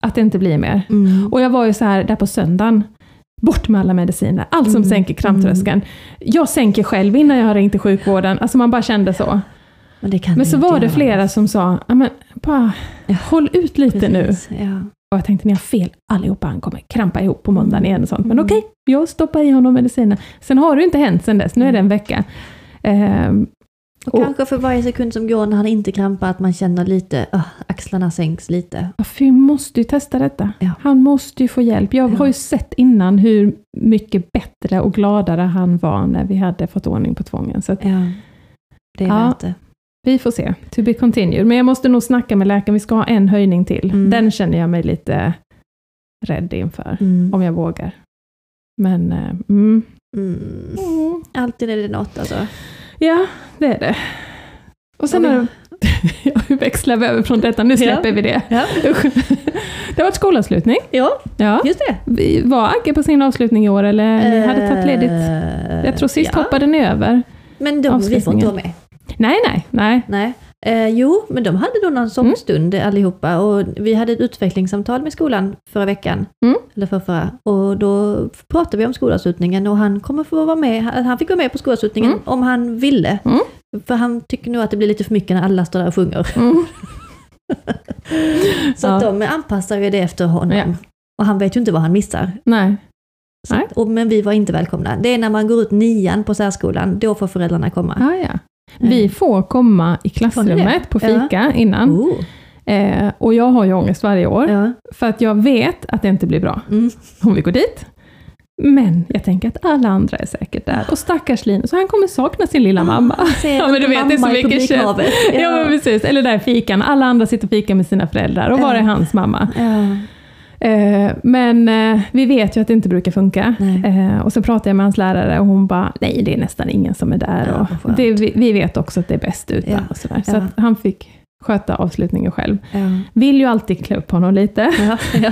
Speaker 2: att det inte blir mer.
Speaker 3: Mm.
Speaker 2: Och jag var ju så här där på söndagen, bort med alla mediciner, allt som
Speaker 3: Mm.
Speaker 2: sänker kramptröskeln. Jag sänker själv innan jag har ringt till sjukvården, alltså man bara kände så.
Speaker 3: Men, det kan
Speaker 2: Men
Speaker 3: man
Speaker 2: så
Speaker 3: inte
Speaker 2: var det
Speaker 3: göra.
Speaker 2: flera som sa, "Ja, men bara
Speaker 3: Ja.
Speaker 2: håll ut lite nu.
Speaker 3: Precis, Ja.
Speaker 2: Och jag tänkte, ni har fel allihopa, han kommer krampa ihop på måndagen igen och sånt. Men
Speaker 3: Mm.
Speaker 2: okej, jag stoppar i honom mediciner. Sen har det ju inte hänt sen dess, nu är det en vecka. Ehm,
Speaker 3: Och,
Speaker 2: Och-
Speaker 3: kanske för varje sekund som går när han inte krampar att man känner lite, ah, axlarna sänks lite.
Speaker 2: Ja, för vi måste ju testa detta.
Speaker 3: Ja.
Speaker 2: Han måste ju få hjälp. Jag
Speaker 3: Ja.
Speaker 2: har ju sett innan hur mycket bättre och gladare han var när vi hade fått ordning på tvången. Så att
Speaker 3: Ja. Det är
Speaker 2: Ja.
Speaker 3: värt det.
Speaker 2: vi får se. To be continued. Men jag måste nog snacka med läkaren. Vi ska ha en höjning till.
Speaker 3: Mm.
Speaker 2: Den känner jag mig lite rädd inför.
Speaker 3: Mm.
Speaker 2: Om jag vågar. Men, eh, mm.
Speaker 3: Mm. Alltid är det något alltså.
Speaker 2: Ja, det är det. Och sen
Speaker 3: Ja,
Speaker 2: har jag växlar vi över från detta. Nu släpper vi det.
Speaker 3: Ja.
Speaker 2: Usch. Det har varit skolavslutning.
Speaker 3: ja,
Speaker 2: Ja.
Speaker 3: just det.
Speaker 2: Vi- Var Agge på sin avslutning i år eller ni hade tagit ledigt?
Speaker 3: Eh,
Speaker 2: Jag tror sist
Speaker 3: ja.
Speaker 2: hoppade ni över.
Speaker 3: Men de, vi får inte
Speaker 2: avslutningen.
Speaker 3: vara med.
Speaker 2: Nej, nej, nej.
Speaker 3: Nej. Eh, jo, men de hade då någon sommarstund
Speaker 2: Mm.
Speaker 3: allihopa och vi hade ett utvecklingssamtal med skolan förra veckan.
Speaker 2: Mm.
Speaker 3: Eller för förra. Och då pratade vi om skolavslutningen och han kommer få vara med. Han han fick vara med på skolavslutningen
Speaker 2: Mm.
Speaker 3: om han ville.
Speaker 2: Mm.
Speaker 3: För han tycker nog att det blir lite för mycket när alla står där och sjunger.
Speaker 2: Mm.
Speaker 3: Så
Speaker 2: Ja.
Speaker 3: att de anpassar ju det efter honom.
Speaker 2: Ja.
Speaker 3: Och han vet ju inte vad han missar.
Speaker 2: nej.
Speaker 3: Så
Speaker 2: Nej.
Speaker 3: att, och, men vi var inte välkomna. Det är när man går ut nian på särskolan, då får föräldrarna komma. Eh.
Speaker 2: Ah, ja. Vi får komma i
Speaker 3: Får ni
Speaker 2: klassrummet på fika innan.
Speaker 3: Oh.
Speaker 2: Eh, och jag har ju ångest varje år,
Speaker 3: Ja.
Speaker 2: för att jag vet att det inte blir bra
Speaker 3: Mm.
Speaker 2: om vi går dit. Men jag tänker att alla andra är säkert där. Och stackars Linus, han kommer sakna sin
Speaker 3: Ah.
Speaker 2: lilla mamma.
Speaker 3: Säger
Speaker 2: Ja, men du vet, det är så
Speaker 3: mamma i
Speaker 2: mycket kött.
Speaker 3: publikhavet.
Speaker 2: Ja. men precis. Eller där i fikan, alla andra sitter och fikar med sina föräldrar. Och var
Speaker 3: Ja.
Speaker 2: är hans mamma?
Speaker 3: Ja.
Speaker 2: Eh, men eh, vi vet ju att det inte brukar funka.
Speaker 3: Nej.
Speaker 2: Eh, och så pratade jag med hans lärare och hon bara, nej det är nästan ingen som är
Speaker 3: Ja,
Speaker 2: där.
Speaker 3: vad
Speaker 2: och
Speaker 3: skönt.
Speaker 2: det, vi, vi vet också att det är bäst utan.
Speaker 3: Ja,
Speaker 2: Och sådär. Så
Speaker 3: ja.
Speaker 2: att han fick sköta avslutningen själv.
Speaker 3: Ja.
Speaker 2: Vill ju alltid klä upp honom lite.
Speaker 3: Ja, ja.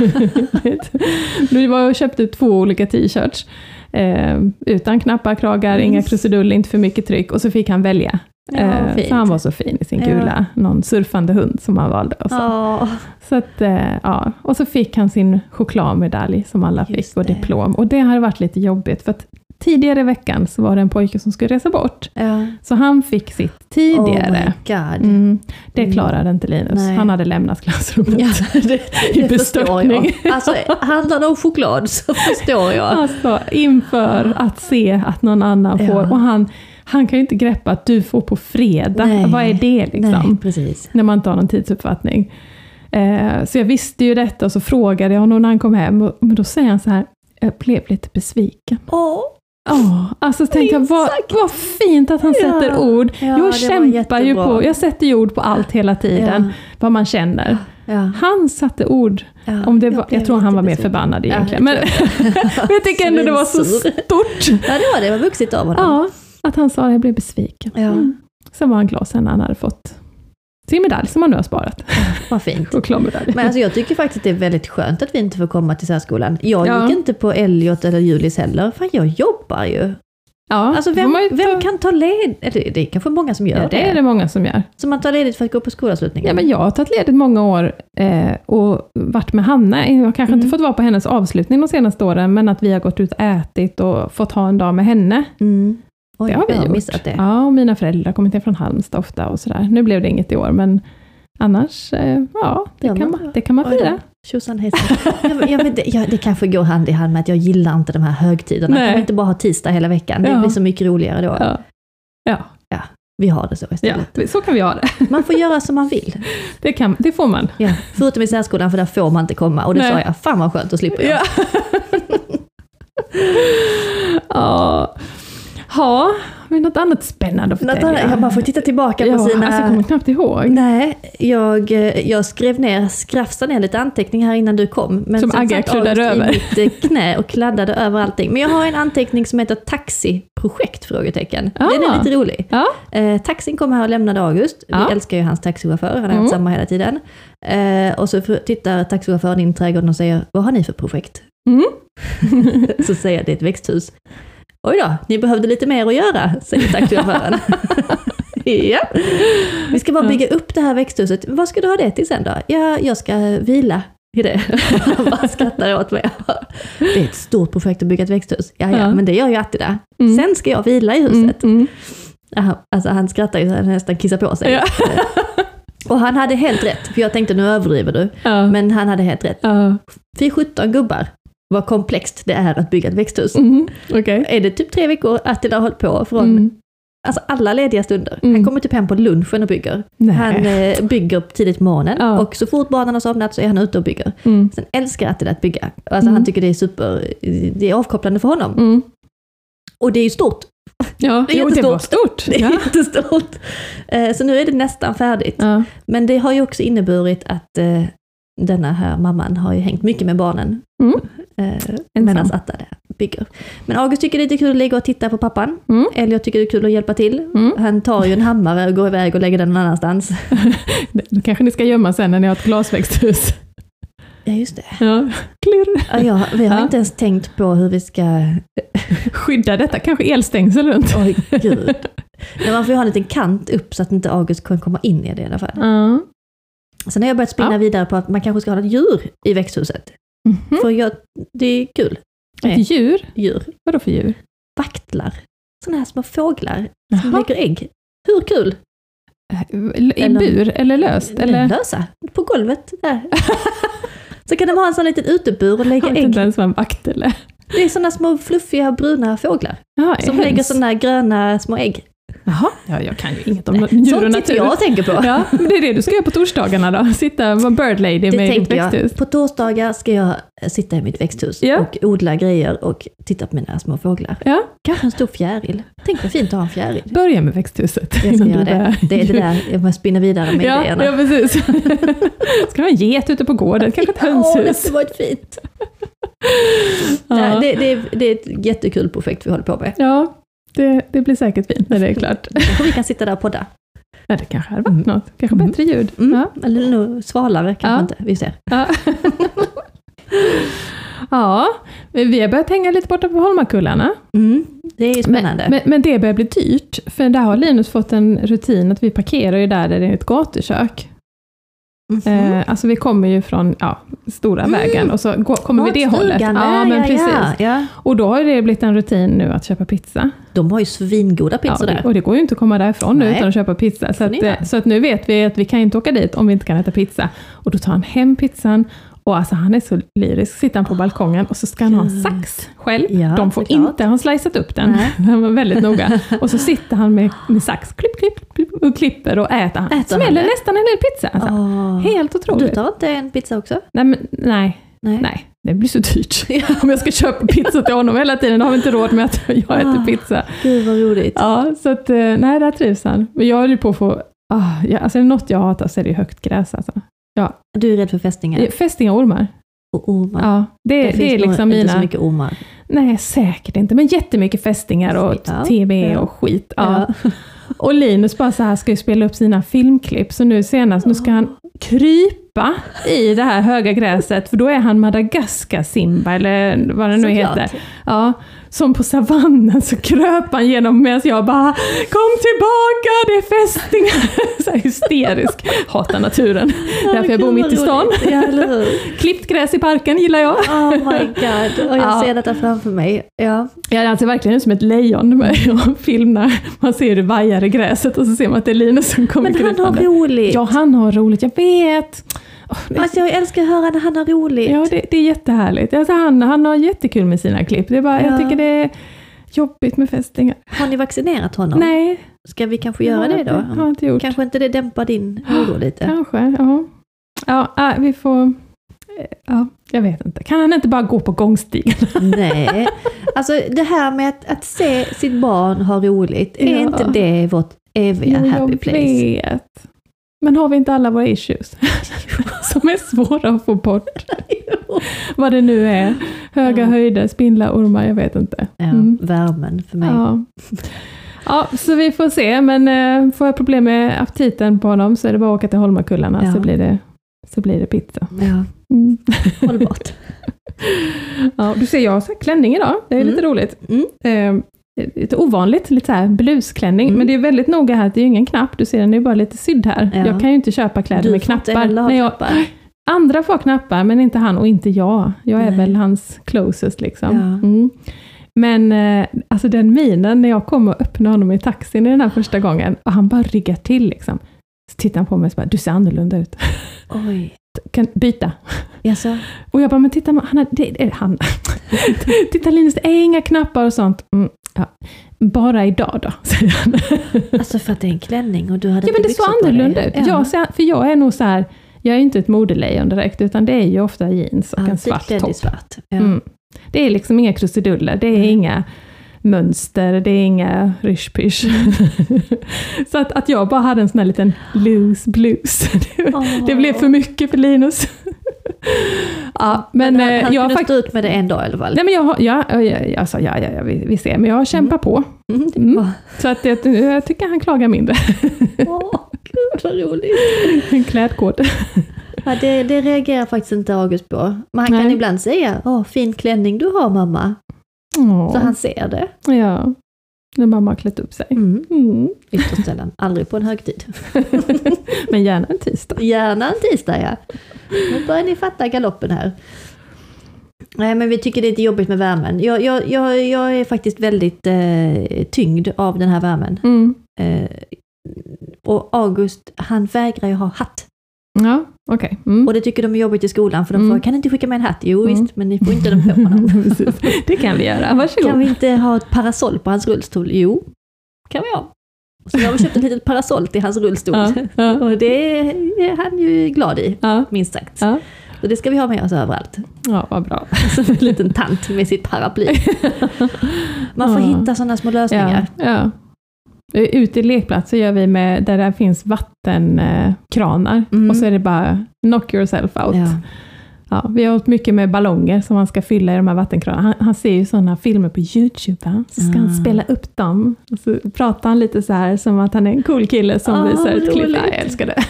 Speaker 2: nu var jag och köpte två olika t-shirts. Eh, utan knappar, kragar, inga krusiduller, inte för mycket tryck. Och så fick han välja. Eh,
Speaker 3: fint.
Speaker 2: så han var så fin i sin
Speaker 3: Ja.
Speaker 2: gula, någon surfande hund som han valde. Och så.
Speaker 3: Ja,
Speaker 2: Så att, eh, ja. Och så fick han sin chokladmedalj som alla
Speaker 3: Just
Speaker 2: fick och
Speaker 3: det.
Speaker 2: diplom. Och det hade varit lite jobbigt för att tidigare i veckan så var det en pojke som skulle resa bort.
Speaker 3: ja.
Speaker 2: Så han fick sitt
Speaker 3: Oh my
Speaker 2: tidigare.
Speaker 3: god.
Speaker 2: Mm, det
Speaker 3: Mm.
Speaker 2: klarade inte Linus.
Speaker 3: Nej.
Speaker 2: Han hade lämnat klassrummet
Speaker 3: Ja, det,
Speaker 2: i
Speaker 3: det förstår
Speaker 2: bestörtning.
Speaker 3: jag. Alltså, handlar det om choklad så förstår jag.
Speaker 2: Alltså, inför att se att någon annan
Speaker 3: Ah. Ja.
Speaker 2: får. Och han, han kan ju inte greppa att du får på fredag.
Speaker 3: Nej.
Speaker 2: Vad är det liksom?
Speaker 3: Nej, precis.
Speaker 2: när man inte har någon tidsuppfattning. Eh, så jag visste ju detta och så frågade jag honom när han kom hem, och, men då säger han så här, jag blev lite besviken.
Speaker 3: Åh,
Speaker 2: Oh, alltså så tänkte jag,
Speaker 3: Minst
Speaker 2: vad,
Speaker 3: sagt.
Speaker 2: vad fint att han
Speaker 3: Ja.
Speaker 2: sätter ord.
Speaker 3: Ja, det var
Speaker 2: jag kämpar ju
Speaker 3: jättebra.
Speaker 2: på, jag sätter ju ord på allt hela tiden, vad man känner.
Speaker 3: ja,
Speaker 2: Han satte ord,
Speaker 3: ja.
Speaker 2: om det var, jag
Speaker 3: blev
Speaker 2: tror han var mer
Speaker 3: jättebesviken.
Speaker 2: förbannad
Speaker 3: Ja,
Speaker 2: egentligen.
Speaker 3: jag
Speaker 2: men, men jag tycker ändå det var så
Speaker 3: Svinsur.
Speaker 2: stort.
Speaker 3: Ja, det var det. Det var vuxit av honom.
Speaker 2: Ja, att han sa, jag blev besviken.
Speaker 3: Ja.
Speaker 2: Mm. Sen var han glad sen när han hade fått sin medalj som han nu har sparat.
Speaker 3: Vad fint.
Speaker 2: Chokladmedalj.
Speaker 3: Men alltså jag tycker faktiskt att det är väldigt skönt att vi inte får komma till särskolan. Jag
Speaker 2: Ja.
Speaker 3: gick inte på Elliot eller Julis heller, för jag jobbar ju.
Speaker 2: Ja,
Speaker 3: Alltså
Speaker 2: då får
Speaker 3: vem,
Speaker 2: man ju ta-
Speaker 3: vem kan ta ledigt? Eller det är kanske många som gör
Speaker 2: Ja, det
Speaker 3: det.
Speaker 2: är det många som gör.
Speaker 3: Så man tar ledigt för att gå på skolavslutningen?
Speaker 2: Ja, men jag har tagit ledigt många år eh, och varit med Hanna. Jag har kanske inte fått vara på hennes avslutning de senaste åren, men att vi har gått ut och ätit och fått ha en dag med henne.
Speaker 3: mm. Oj,
Speaker 2: det har vi
Speaker 3: jag har
Speaker 2: gjort.
Speaker 3: missat det.
Speaker 2: Ja, och mina föräldrar kommer till från Halmstad ofta och sådär. Nu blev det inget i år, men annars, eh, ja, det,
Speaker 3: Ja,
Speaker 2: kan,
Speaker 3: men-
Speaker 2: man, det kan man
Speaker 3: Oj då.
Speaker 2: fira.
Speaker 3: Tjosan hejsan. jag, jag vet, jag, det kanske går hand i hand med att jag gillar inte de här högtiderna.
Speaker 2: Nej.
Speaker 3: Kan vi inte bara ha tisdag hela veckan? Det
Speaker 2: Ja.
Speaker 3: blir så mycket roligare då.
Speaker 2: Ja. Ja,
Speaker 3: Vi har det så
Speaker 2: ja,
Speaker 3: istället.
Speaker 2: så kan vi ha det.
Speaker 3: Man får göra som man vill.
Speaker 2: Det, kan, det får man.
Speaker 3: Ja. Förutom i särskolan, för där får man inte komma. Och det
Speaker 2: Nej.
Speaker 3: sa jag, fan vad skönt att slippa jag.
Speaker 2: Ja. ja. Ha, har vi något annat spännande att
Speaker 3: Nathan,
Speaker 2: förtälja?
Speaker 3: jag bara får titta tillbaka
Speaker 2: ja,
Speaker 3: på sina...
Speaker 2: alltså, jag kommer knappt ihåg.
Speaker 3: Nej, jag, eh, jag skrev ner, skrafsade ner lite anteckningar här innan du kom. Men
Speaker 2: Som
Speaker 3: sen
Speaker 2: Agge
Speaker 3: satt
Speaker 2: kluddade
Speaker 3: August
Speaker 2: över.
Speaker 3: i mitt eh, knä och kladdade över allting. Men jag har en anteckning som heter taxiprojekt? Frågetecken. Den är
Speaker 2: Ah.
Speaker 3: lite rolig.
Speaker 2: Ja.
Speaker 3: Eh, taxin kom här och lämnade August. Vi
Speaker 2: Ja.
Speaker 3: älskar ju hans taxichaufför, han har
Speaker 2: Mm.
Speaker 3: haft samma hela tiden. Eh, och så fr- tittar taxichauffören in i trädgården och säger, vad har ni för projekt?
Speaker 2: Mm.
Speaker 3: så säger jag, det är ett växthus. Oj då, ni behövde lite mer att göra, säger taxichauffören. ja. Vi ska bara bygga upp det här växthuset. Vad ska du ha det till sen då? Ja, jag ska vila i det. Han bara skrattar åt mig. Det är ett stort projekt att bygga ett växthus. Ja, ja,
Speaker 2: Ja.
Speaker 3: men det gör ju Attila.
Speaker 2: Mm.
Speaker 3: Sen ska jag vila i huset.
Speaker 2: Mm, mm.
Speaker 3: Aha, Alltså han skrattar ju så han nästan kissar på sig.
Speaker 2: Ja.
Speaker 3: Och han hade helt rätt, för jag tänkte nu överdriver du.
Speaker 2: Ja.
Speaker 3: Men han hade helt rätt.
Speaker 2: ja.
Speaker 3: Fy 17 gubbar, vad komplext det är att bygga ett växthus.
Speaker 2: Mm. Okej.
Speaker 3: Är det typ tre veckor Attila har hållit på från
Speaker 2: Mm.
Speaker 3: alltså alla lediga stunder.
Speaker 2: Mm.
Speaker 3: Han kommer typ hem på lunchen och bygger.
Speaker 2: Nej.
Speaker 3: Han eh, bygger tidigt på morgonen
Speaker 2: Ja.
Speaker 3: och så fort barnen har somnat så är han ute och bygger.
Speaker 2: Mm.
Speaker 3: Sen älskar Attila att bygga. Alltså
Speaker 2: Mm.
Speaker 3: han tycker det är super, det är avkopplande för honom.
Speaker 2: Mm.
Speaker 3: Och det är ju stort,
Speaker 2: Ja,
Speaker 3: Det är
Speaker 2: jo, det var
Speaker 3: jättestort.
Speaker 2: stort.
Speaker 3: det är
Speaker 2: Ja.
Speaker 3: jättestort. Eh, Så nu är det nästan färdigt.
Speaker 2: Ja.
Speaker 3: Men det har ju också inneburit att eh, denna här mamman har ju hängt mycket med barnen.
Speaker 2: Mm.
Speaker 3: Eh,
Speaker 2: Ensam.
Speaker 3: Medan Atta där bygger. Men August tycker det är lite kul att ligga och titta på pappan.
Speaker 2: Mm.
Speaker 3: Eller jag tycker det är kul att hjälpa till.
Speaker 2: Mm.
Speaker 3: Han tar ju en hammare och går iväg och lägger den någon annanstans.
Speaker 2: Då kanske ni ska gömma sen när ni har ett glasväxthus.
Speaker 3: Ja, just det.
Speaker 2: Ja. Klirr.
Speaker 3: Ja, ja, vi har
Speaker 2: Ja.
Speaker 3: inte ens tänkt på hur vi ska...
Speaker 2: Skydda detta, kanske elstängsel runt.
Speaker 3: Oj, gud. Nej, man får ju ha en liten kant upp så att inte August kan komma in i det i alla fall.
Speaker 2: Ja.
Speaker 3: Sen har jag börjat spinna
Speaker 2: Ja.
Speaker 3: vidare på att man kanske ska ha ett djur i växthuset.
Speaker 2: Mhm.
Speaker 3: För jag, det är kul, Nej.
Speaker 2: Ett djur?
Speaker 3: djur.
Speaker 2: Vadå för djur?
Speaker 3: vaktlar. Sådana här små fåglar som
Speaker 2: Jaha.
Speaker 3: lägger ägg. Hur kul?
Speaker 2: I
Speaker 3: Eller-
Speaker 2: bur eller löst? Eller?
Speaker 3: Lösa, på golvet där. Så kan de ha en sån liten utebur och
Speaker 2: Jag
Speaker 3: lägga
Speaker 2: vet inte
Speaker 3: ägg.
Speaker 2: ens vad en vakt eller...
Speaker 3: Det är såna små fluffiga bruna fåglar
Speaker 2: Ja,
Speaker 3: som
Speaker 2: höns.
Speaker 3: lägger såna här gröna små ägg.
Speaker 2: Jaha, ja, jag kan ju inget om djur och
Speaker 3: Sånt sitter
Speaker 2: natur.
Speaker 3: jag och tänker på.
Speaker 2: Ja, men det är det du ska göra på torsdagarna då? Sitta och vara bird lady
Speaker 3: Det
Speaker 2: med ditt
Speaker 3: tänkte
Speaker 2: växthus?
Speaker 3: jag. På torsdagar ska jag eh, sitta i mitt växthus
Speaker 2: Ja.
Speaker 3: och odla grejer och titta på mina små fåglar.
Speaker 2: Ja,
Speaker 3: Kanske en stor fjäril. Tänk vad fint att ha en fjäril.
Speaker 2: börja med växthuset.
Speaker 3: Jag ska
Speaker 2: innan
Speaker 3: göra
Speaker 2: du börjar-
Speaker 3: det. Det är det där jag måste spinna vidare med
Speaker 2: Ja,
Speaker 3: idéerna.
Speaker 2: ja, precis. Ska du ha en get ute på gården? Kanske ett
Speaker 3: Åh, det skulle
Speaker 2: hönshus?
Speaker 3: varit fint. Nej,
Speaker 2: Ja,
Speaker 3: det, det, är- det är ett jättekul projekt vi håller på med.
Speaker 2: ja det, det blir säkert fint när det är klart.
Speaker 3: Och vi kan sitta där och podda.
Speaker 2: Ja, det kanske hade varit något. Kanske
Speaker 3: Mm.
Speaker 2: bättre ljud.
Speaker 3: Mm.
Speaker 2: Ja.
Speaker 3: Eller nog svalare kanske
Speaker 2: Ja.
Speaker 3: inte, vi ser.
Speaker 2: Ja. ja, men vi har börjat hänga lite borta på Holmakullarna.
Speaker 3: Mm. Det är ju spännande.
Speaker 2: Men, men det börjar bli dyrt, för där har Linus fått en rutin att vi parkerar ju där, där det är ett gatukök.
Speaker 3: Mhm. Mm.
Speaker 2: Eh, alltså vi kommer ju från ja, stora vägen och så går, kommer vi det
Speaker 3: Matstugan
Speaker 2: hållet.
Speaker 3: där,
Speaker 2: Ja, men
Speaker 3: ja,
Speaker 2: precis.
Speaker 3: Ja, ja.
Speaker 2: Och då har ju det blivit en rutin nu att köpa pizza.
Speaker 3: De har ju svingoda
Speaker 2: Ja,
Speaker 3: pizzor där.
Speaker 2: och det går ju inte att komma därifrån nu
Speaker 3: Nej.
Speaker 2: utan att köpa pizza. Så
Speaker 3: Får ni
Speaker 2: att, eh,
Speaker 3: göra.
Speaker 2: så att nu vet vi att vi kan ju inte åka dit om vi inte kan äta pizza. Och då tar han hem pizzan och alltså han är så lyrisk. Sitter
Speaker 3: Ah,
Speaker 2: han på balkongen och så ska han ha en sax själv.
Speaker 3: Ja,
Speaker 2: De får
Speaker 3: såklart.
Speaker 2: inte ha slicat upp den.
Speaker 3: Nej.
Speaker 2: Han var väldigt noga. Och så sitter han med, med sax, klipp, klipp, klipp, och klipper och äter. Han
Speaker 3: Äter han
Speaker 2: smäller
Speaker 3: det?
Speaker 2: nästan en hel pizza. Alltså.
Speaker 3: Åh.
Speaker 2: Helt otroligt.
Speaker 3: Du tar inte en pizza också?
Speaker 2: Nej, men, nej, nej, det blir så dyrt. Om jag ska köpa pizza till honom hela tiden, då har vi inte råd med att jag äter
Speaker 3: Ah.
Speaker 2: pizza.
Speaker 3: Gud vad roligt.
Speaker 2: Ja, så att, eh, nej, där trivs han. Men jag höll ju på att få, ah, jag, alltså är det något jag hatar så är det ju högt gräs alltså.
Speaker 3: Du är rädd för fästingar
Speaker 2: Eh, Fästingar och ormar.
Speaker 3: och ormar.
Speaker 2: Ja, det, det,
Speaker 3: finns
Speaker 2: är
Speaker 3: nog
Speaker 2: liksom
Speaker 3: inte så
Speaker 2: mina,
Speaker 3: mycket ormar.
Speaker 2: nej säkert inte, men jättemycket fästingar och
Speaker 3: Ja,
Speaker 2: TB
Speaker 3: ja.
Speaker 2: och skit. Ja. Och Linus bara så här ska ju spela upp sina filmklipp, så nu senast, nu ska han krypa i det här höga gräset, för då är han Madagaskar-Simba, eller vad det nu
Speaker 3: Såklart.
Speaker 2: heter. Ja, Som på savannen så kröp han genom medan jag bara Kom tillbaka, det är fästingar! Så här hysterisk. Hatar naturen. Därför jag bor mitt i stan.
Speaker 3: Ja, eller hur?
Speaker 2: Klippt gräs i parken gillar jag.
Speaker 3: Oh my god, och jag
Speaker 2: Ja.
Speaker 3: ser detta framför mig. Ja.
Speaker 2: Ja, han ser alltså verkligen ut som ett lejon med och film när man ser hur det vajar i gräset och så ser man att det är Linus som kommer
Speaker 3: Men han har
Speaker 2: krypande.
Speaker 3: roligt!
Speaker 2: Ja, han har roligt, jag vet! Åh, det,
Speaker 3: Alltså jag älskar att höra när han har roligt.
Speaker 2: ja, det, det är jättehärligt. Alltså, han, han har jättekul med sina klipp. Det är bara,
Speaker 3: Ja.
Speaker 2: Jag tycker det är jobbigt med fästingar.
Speaker 3: Har ni vaccinerat honom?
Speaker 2: Nej.
Speaker 3: Ska vi kanske göra
Speaker 2: jag
Speaker 3: det då?
Speaker 2: har inte- Har inte gjort.
Speaker 3: Kanske inte det dämpar din oro lite?
Speaker 2: Kanske, ja. Ja, äh, vi får... eh, Ja, jag vet inte. Kan han inte bara gå på gångstigen?
Speaker 3: Nej. Alltså det här med att, att se sitt barn ha roligt, är
Speaker 2: Ja.
Speaker 3: inte det vårt eviga
Speaker 2: Jo,
Speaker 3: happy
Speaker 2: jag
Speaker 3: place?
Speaker 2: vet. Men har vi inte alla våra issues? Som är svåra att få bort. Vad det nu är. Höga
Speaker 3: Ja.
Speaker 2: höjder, spindlar, ormar, jag vet inte.
Speaker 3: Ja,
Speaker 2: Mm.
Speaker 3: Värmen för mig.
Speaker 2: Ja. ja, så vi får se. Men eh, får jag problem med aptiten på honom så är det bara att åka till Holmakullarna
Speaker 3: Ja.
Speaker 2: så, blir det, så blir det pizza.
Speaker 3: Ja,
Speaker 2: Mm.
Speaker 3: hållbart.
Speaker 2: Ja, du ser, jag har så här klänning idag. Det är
Speaker 3: Mm.
Speaker 2: lite roligt.
Speaker 3: Mm.
Speaker 2: Eh, lite ovanligt, lite så här blusklänning.
Speaker 3: Mm.
Speaker 2: Men det är väldigt noga här att det är ju ingen knapp. Du ser, den är ju bara lite sydd här.
Speaker 3: Ja.
Speaker 2: Jag kan ju inte köpa kläder med
Speaker 3: får inte
Speaker 2: knappar.
Speaker 3: heller ha
Speaker 2: Nej, jag,
Speaker 3: knappar.
Speaker 2: andra får knappar, men inte han och inte jag. Jag är
Speaker 3: Nej.
Speaker 2: väl hans closest liksom.
Speaker 3: Ja.
Speaker 2: Mm. Men eh, alltså den minen när jag kom och öppnade honom i taxin i den här första gången och han bara ryggar till liksom. Så tittar han på mig och så bara, du ser annorlunda ut.
Speaker 3: Oj.
Speaker 2: Kan byta.
Speaker 3: Jaså?
Speaker 2: Och jag bara, men titta, man, han har, det, det, han. titta Linus, det är inga knappar och sånt. Mm, ja. Bara idag då, säger han.
Speaker 3: Alltså för att det är en klänning och du hade
Speaker 2: Ja men
Speaker 3: inte
Speaker 2: det såg
Speaker 3: byxor på dig.
Speaker 2: annorlunda ut.
Speaker 3: Ja.
Speaker 2: Jag, ser- för jag är nog så här, jag är ju inte ett modelejon direkt, utan det är ju ofta jeans och en
Speaker 3: Alltid
Speaker 2: svart
Speaker 3: klädd i
Speaker 2: topp.
Speaker 3: svart. Ja.
Speaker 2: Mm. Det är liksom inga krusiduller, det är
Speaker 3: Nej.
Speaker 2: inga mönster, det är inga rysch Så att, att jag bara hade en sån här liten loose blues. Det,
Speaker 3: Åh.
Speaker 2: det blev för mycket för Linus. ja, men,
Speaker 3: han,
Speaker 2: eh,
Speaker 3: han
Speaker 2: jag har
Speaker 3: kunde
Speaker 2: faktiskt...
Speaker 3: stå ut med det en dag i alla fall.
Speaker 2: Nej men jag har, ja, ja, ja, alltså, ja, ja, ja, vi, vi ser, men jag kämpar på.
Speaker 3: Mm, det
Speaker 2: Mm.
Speaker 3: var-
Speaker 2: Så att jag, jag tycker han klagar mindre.
Speaker 3: Åh, gud vad roligt.
Speaker 2: Klädkod.
Speaker 3: Ja, det, det reagerar faktiskt inte August på. Men han kan
Speaker 2: Nej.
Speaker 3: ibland säga, åh fin klänning du har mamma. Så
Speaker 2: Åh,
Speaker 3: han ser det.
Speaker 2: ja. När mamma har klätt upp sig.
Speaker 3: Mm.
Speaker 2: Mm.
Speaker 3: Ytterst sällan, aldrig på en högtid.
Speaker 2: Men gärna en tisdag.
Speaker 3: Gärna en tisdag ja. Nu börjar ni fatta galoppen här. Nej men vi tycker det är lite jobbigt med värmen. Jag, jag, jag, jag är faktiskt väldigt eh, tyngd av den här värmen.
Speaker 2: Mm.
Speaker 3: Eh, och August, han vägrar ju ha hatt.
Speaker 2: Ja, okej. Mm.
Speaker 3: Och det tycker de är jobbigt i skolan för de
Speaker 2: Mm.
Speaker 3: frågar, kan ni inte skicka med en hatt? Jo
Speaker 2: Mm.
Speaker 3: visst, men ni får inte den på honom.
Speaker 2: Precis. det kan vi göra, varsågod.
Speaker 3: Kan vi inte ha ett parasoll på hans rullstol? Jo, kan vi ha. Så jag har köpt ett litet parasoll till hans rullstol.
Speaker 2: Ja, ja,
Speaker 3: Och det är han ju glad i,
Speaker 2: ja,
Speaker 3: minst sagt.
Speaker 2: ja.
Speaker 3: Så det ska vi ha med oss överallt.
Speaker 2: ja, vad bra.
Speaker 3: Som en liten tant med sitt paraply. Man får
Speaker 2: Ja.
Speaker 3: hitta sådana små
Speaker 2: Ja,
Speaker 3: lösningar.
Speaker 2: ja. Ute i lekplatser gör vi med, där det finns vattenkranar,
Speaker 3: Mm.
Speaker 2: och så är det bara knock yourself out.
Speaker 3: Ja.
Speaker 2: Ja, vi har hållit mycket med ballonger som man ska fylla i de här vattenkranarna. Han, han ser ju sådana filmer på YouTube, va? så ska han
Speaker 3: Ah.
Speaker 2: spela upp dem. Och så pratar han lite så här som att han är en cool kille som
Speaker 3: Ah,
Speaker 2: visar
Speaker 3: vad
Speaker 2: ett klipp.
Speaker 3: roligt.
Speaker 2: Ja, jag älskar det.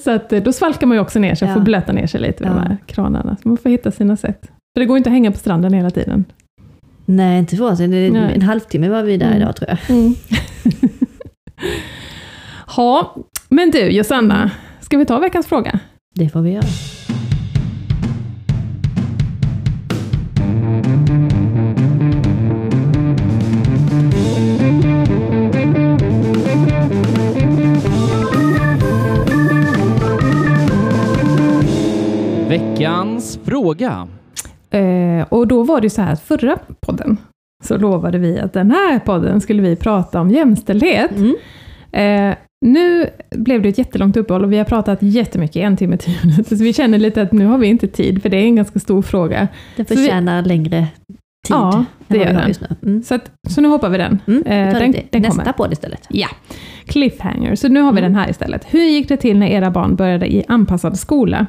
Speaker 2: så att, eh, då svalkar man ju också ner sig,
Speaker 3: Ja.
Speaker 2: får blöta ner sig lite vid
Speaker 3: Ja.
Speaker 2: de här kranarna. Så man får hitta sina sätt. För det går inte att hänga på stranden hela tiden.
Speaker 3: Nej, inte för oss. Det är
Speaker 2: Nej.
Speaker 3: En halvtimme var vi där
Speaker 2: Mm.
Speaker 3: idag tror jag.
Speaker 2: Ja, men du Josanna, ska vi ta veckans fråga?
Speaker 3: Det får vi göra.
Speaker 4: Veckans fråga.
Speaker 2: Eh, och då var det ju så här att förra podden så lovade vi att den här podden skulle vi prata om jämställdhet.
Speaker 3: Mm.
Speaker 2: Eh, nu blev det ett jättelångt uppehåll och vi har pratat jättemycket, en timme, tio minuter, så vi känner lite att nu har vi inte tid, för det är en ganska stor fråga.
Speaker 3: Den
Speaker 2: Så vi-
Speaker 3: förtjänar längre tid
Speaker 2: Ja, det
Speaker 3: än vad
Speaker 2: gör
Speaker 3: vi har
Speaker 2: den.
Speaker 3: just nu. Mm.
Speaker 2: Så, att, så nu hoppar vi den.
Speaker 3: Mm. Vi
Speaker 2: Eh,
Speaker 3: tar
Speaker 2: den-
Speaker 3: det
Speaker 2: den
Speaker 3: nästa
Speaker 2: kommer.
Speaker 3: podd istället.
Speaker 2: Ja, cliffhanger. Så nu har vi
Speaker 3: Mm.
Speaker 2: den här istället. Hur gick det till när era barn började i anpassad skola?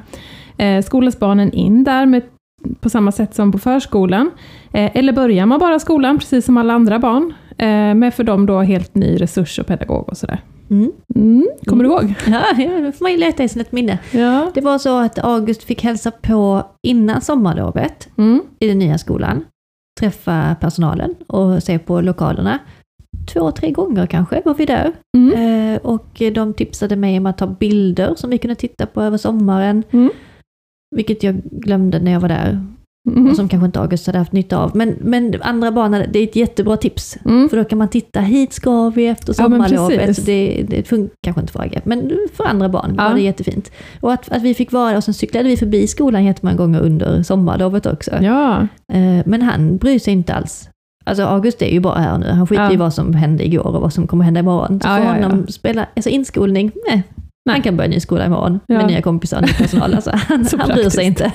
Speaker 2: Eh, skolas barnen in där med, på samma sätt som på förskolan? Eh, eller börjar man bara skolan, precis som alla andra barn? Eh, med för dem då helt ny resurs och pedagog och sådär.
Speaker 3: Mm.
Speaker 2: Mm. Kommer du ihåg?
Speaker 3: Ja, ja, då får man ju leta i sitt minne.
Speaker 2: Ja.
Speaker 3: Det var så att August fick hälsa på innan sommarlovet
Speaker 2: Mm.
Speaker 3: i den nya skolan. träffa personalen och se på lokalerna. Två, tre gånger kanske var vi där.
Speaker 2: Mm.
Speaker 3: Eh, och de tipsade mig om att ta bilder som vi kunde titta på över sommaren.
Speaker 2: Mm.
Speaker 3: Vilket jag glömde när jag var där.
Speaker 2: Mhm.
Speaker 3: Och som kanske inte August hade haft nytta av. Men, men andra banan, det är ett jättebra tips.
Speaker 2: Mm.
Speaker 3: För då kan man titta, hit ska vi efter
Speaker 2: Ja, men
Speaker 3: sommarlovet.
Speaker 2: precis.
Speaker 3: det, det funkar kanske inte för AG, men för andra barn
Speaker 2: Ja.
Speaker 3: var det jättefint. Och att, att vi fick vara där och sen cyklade vi förbi skolan jättemånga gånger under sommarlovet också.
Speaker 2: Ja,
Speaker 3: Eh, Men han bryr sig inte alls. Alltså August är ju bara här nu, han skiter
Speaker 2: Ja.
Speaker 3: i vad som hände igår och vad som kommer hända imorgon. Så
Speaker 2: Ja,
Speaker 3: för
Speaker 2: ja, ja.
Speaker 3: honom spelar, alltså inskolning, nej. Han kan börja ny skola imorgon
Speaker 2: Ja.
Speaker 3: med nya kompisar och ny personal. Alltså, han,
Speaker 2: Så
Speaker 3: han bryr sig inte.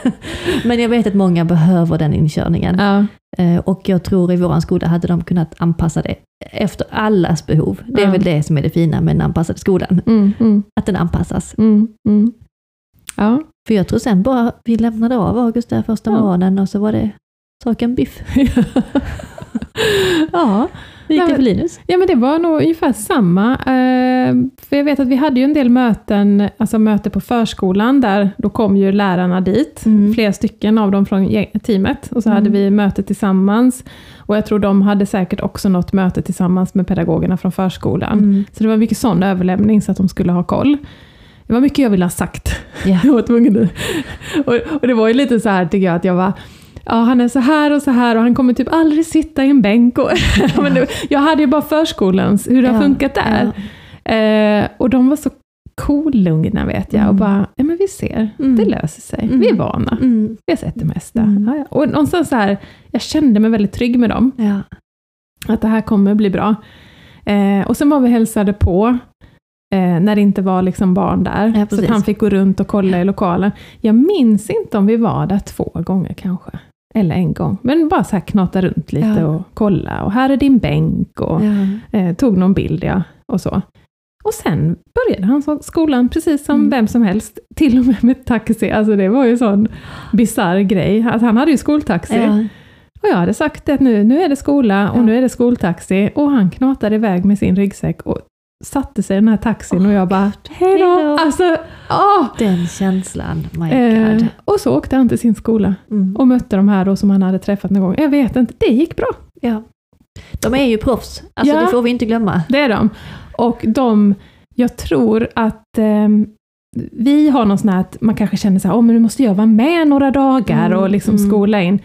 Speaker 3: Men jag vet att många behöver den inkörningen.
Speaker 2: ja.
Speaker 3: Eh, Och jag tror i våran skola hade de kunnat anpassa det efter allas behov. Det är
Speaker 2: Ja.
Speaker 3: väl det som är det fina med den anpassade skolan,
Speaker 2: Mm, mm,
Speaker 3: att den anpassas.
Speaker 2: mm, mm. ja.
Speaker 3: För jag tror sen bara vi lämnade av August där första
Speaker 2: Ja.
Speaker 3: morgonen och så var det saken biff.
Speaker 2: ja.
Speaker 3: Hur gick
Speaker 2: Nej,
Speaker 3: det för
Speaker 2: men-
Speaker 3: Linus?
Speaker 2: Ja, men det var nog ungefär samma. Eh, för jag vet att vi hade ju en del möten, alltså möte på förskolan, där då kom ju lärarna dit,
Speaker 3: Mm.
Speaker 2: flera stycken av dem från gäng- teamet, och så
Speaker 3: Mm.
Speaker 2: hade vi möte tillsammans. Och jag tror de hade säkert också något möte tillsammans med pedagogerna från förskolan.
Speaker 3: Mm.
Speaker 2: Så det var mycket sån överlämning, så att de skulle ha koll. Det var mycket jag ville ha sagt.
Speaker 3: Ja.
Speaker 2: Jag var tvungen nu. Och, och det var ju lite så här tycker jag att jag var Ja, han är så här och så här och han kommer typ aldrig sitta i en bänk. Och, men det, jag hade ju bara förskolans, hur det
Speaker 3: Ja,
Speaker 2: har funkat där.
Speaker 3: Ja.
Speaker 2: Eh, och de var så kolugna vet jag och
Speaker 3: Mm.
Speaker 2: bara, ja men vi ser,
Speaker 3: Mm.
Speaker 2: det löser sig.
Speaker 3: Mm.
Speaker 2: Vi är vana,
Speaker 3: Mm.
Speaker 2: vi har sett det mesta.
Speaker 3: Mm.
Speaker 2: Ja, ja. Och någonstans så här, jag kände mig väldigt trygg med dem
Speaker 3: Ja.
Speaker 2: att det här kommer bli bra. Eh, och sen var vi och hälsade på, eh, när det inte var liksom barn där.
Speaker 3: Ja,
Speaker 2: så
Speaker 3: precis.
Speaker 2: att han fick gå runt och kolla i lokalen. Jag minns inte om vi var där två gånger kanske. Eller en gång. Men bara så här knata runt lite
Speaker 3: Ja.
Speaker 2: och kolla. Och här är din bänk. Och
Speaker 3: Ja.
Speaker 2: eh, tog någon bild, ja. Och så. Och sen började han så- skolan precis som
Speaker 3: Mm.
Speaker 2: vem som helst. Till och med med taxi. Alltså det var ju en sån bisarr grej. Alltså han hade ju skoltaxi.
Speaker 3: Ja.
Speaker 2: Och jag hade sagt att nu, nu är det skola och
Speaker 3: Ja.
Speaker 2: nu är det skoltaxi. Och han knatade iväg med sin ryggsäck och satte sig i den här taxin och jag bara Hej då!
Speaker 3: Hej då.
Speaker 2: Alltså, åh!
Speaker 3: Den känslan, my
Speaker 2: Eh,
Speaker 3: god.
Speaker 2: och så åkte han till sin skola
Speaker 3: Mm.
Speaker 2: och mötte de här då som han hade träffat någon gång. Jag vet inte, det gick bra.
Speaker 3: Ja. De är ju proffs, alltså
Speaker 2: Ja.
Speaker 3: det får vi inte glömma.
Speaker 2: Det är de. Och de, jag tror att ehm, vi har någon sån här att man kanske känner så här, åh men nu måste jag vara med några dagar
Speaker 3: Mm,
Speaker 2: och liksom
Speaker 3: mm.
Speaker 2: skola in.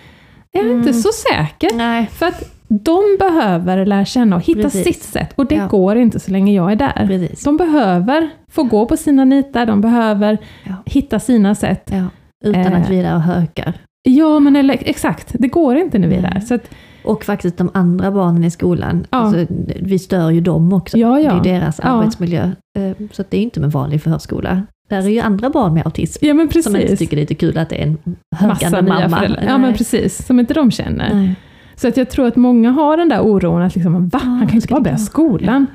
Speaker 2: Jag är inte
Speaker 3: Mm.
Speaker 2: så säker.
Speaker 3: Nej.
Speaker 2: För att de behöver lära känna och hitta
Speaker 3: Precis.
Speaker 2: sitt sätt. Och det
Speaker 3: Ja.
Speaker 2: går inte så länge jag är där.
Speaker 3: Precis.
Speaker 2: De behöver få gå på sina nitar, de behöver
Speaker 3: Ja.
Speaker 2: hitta sina sätt.
Speaker 3: Ja. Utan
Speaker 2: Eh.
Speaker 3: att vi är där och hökar.
Speaker 2: Ja, men eller, exakt. Det går inte när vi är
Speaker 3: Nej.
Speaker 2: där. Så att,
Speaker 3: Och faktiskt de andra barnen i skolan,
Speaker 2: Ja.
Speaker 3: alltså, vi stör ju dem också.
Speaker 2: ja,
Speaker 3: Det
Speaker 2: ja.
Speaker 3: är ju deras
Speaker 2: Ja.
Speaker 3: arbetsmiljö. Eh, Så att det är ju inte med vanlig förskola. Där är ju andra barn med autism
Speaker 2: Ja, men
Speaker 3: som inte
Speaker 2: precis.
Speaker 3: tycker det är lite kul att det är en
Speaker 2: Massa
Speaker 3: hökande
Speaker 2: nya
Speaker 3: mamma. Mm.
Speaker 2: föräldrar. Ja, men precis. Som inte de känner.
Speaker 3: Nej.
Speaker 2: Så att jag tror att många har den där oron att liksom, va? Han kan ju inte
Speaker 3: ska
Speaker 2: bara
Speaker 3: det
Speaker 2: börja
Speaker 3: gå?
Speaker 2: skolan.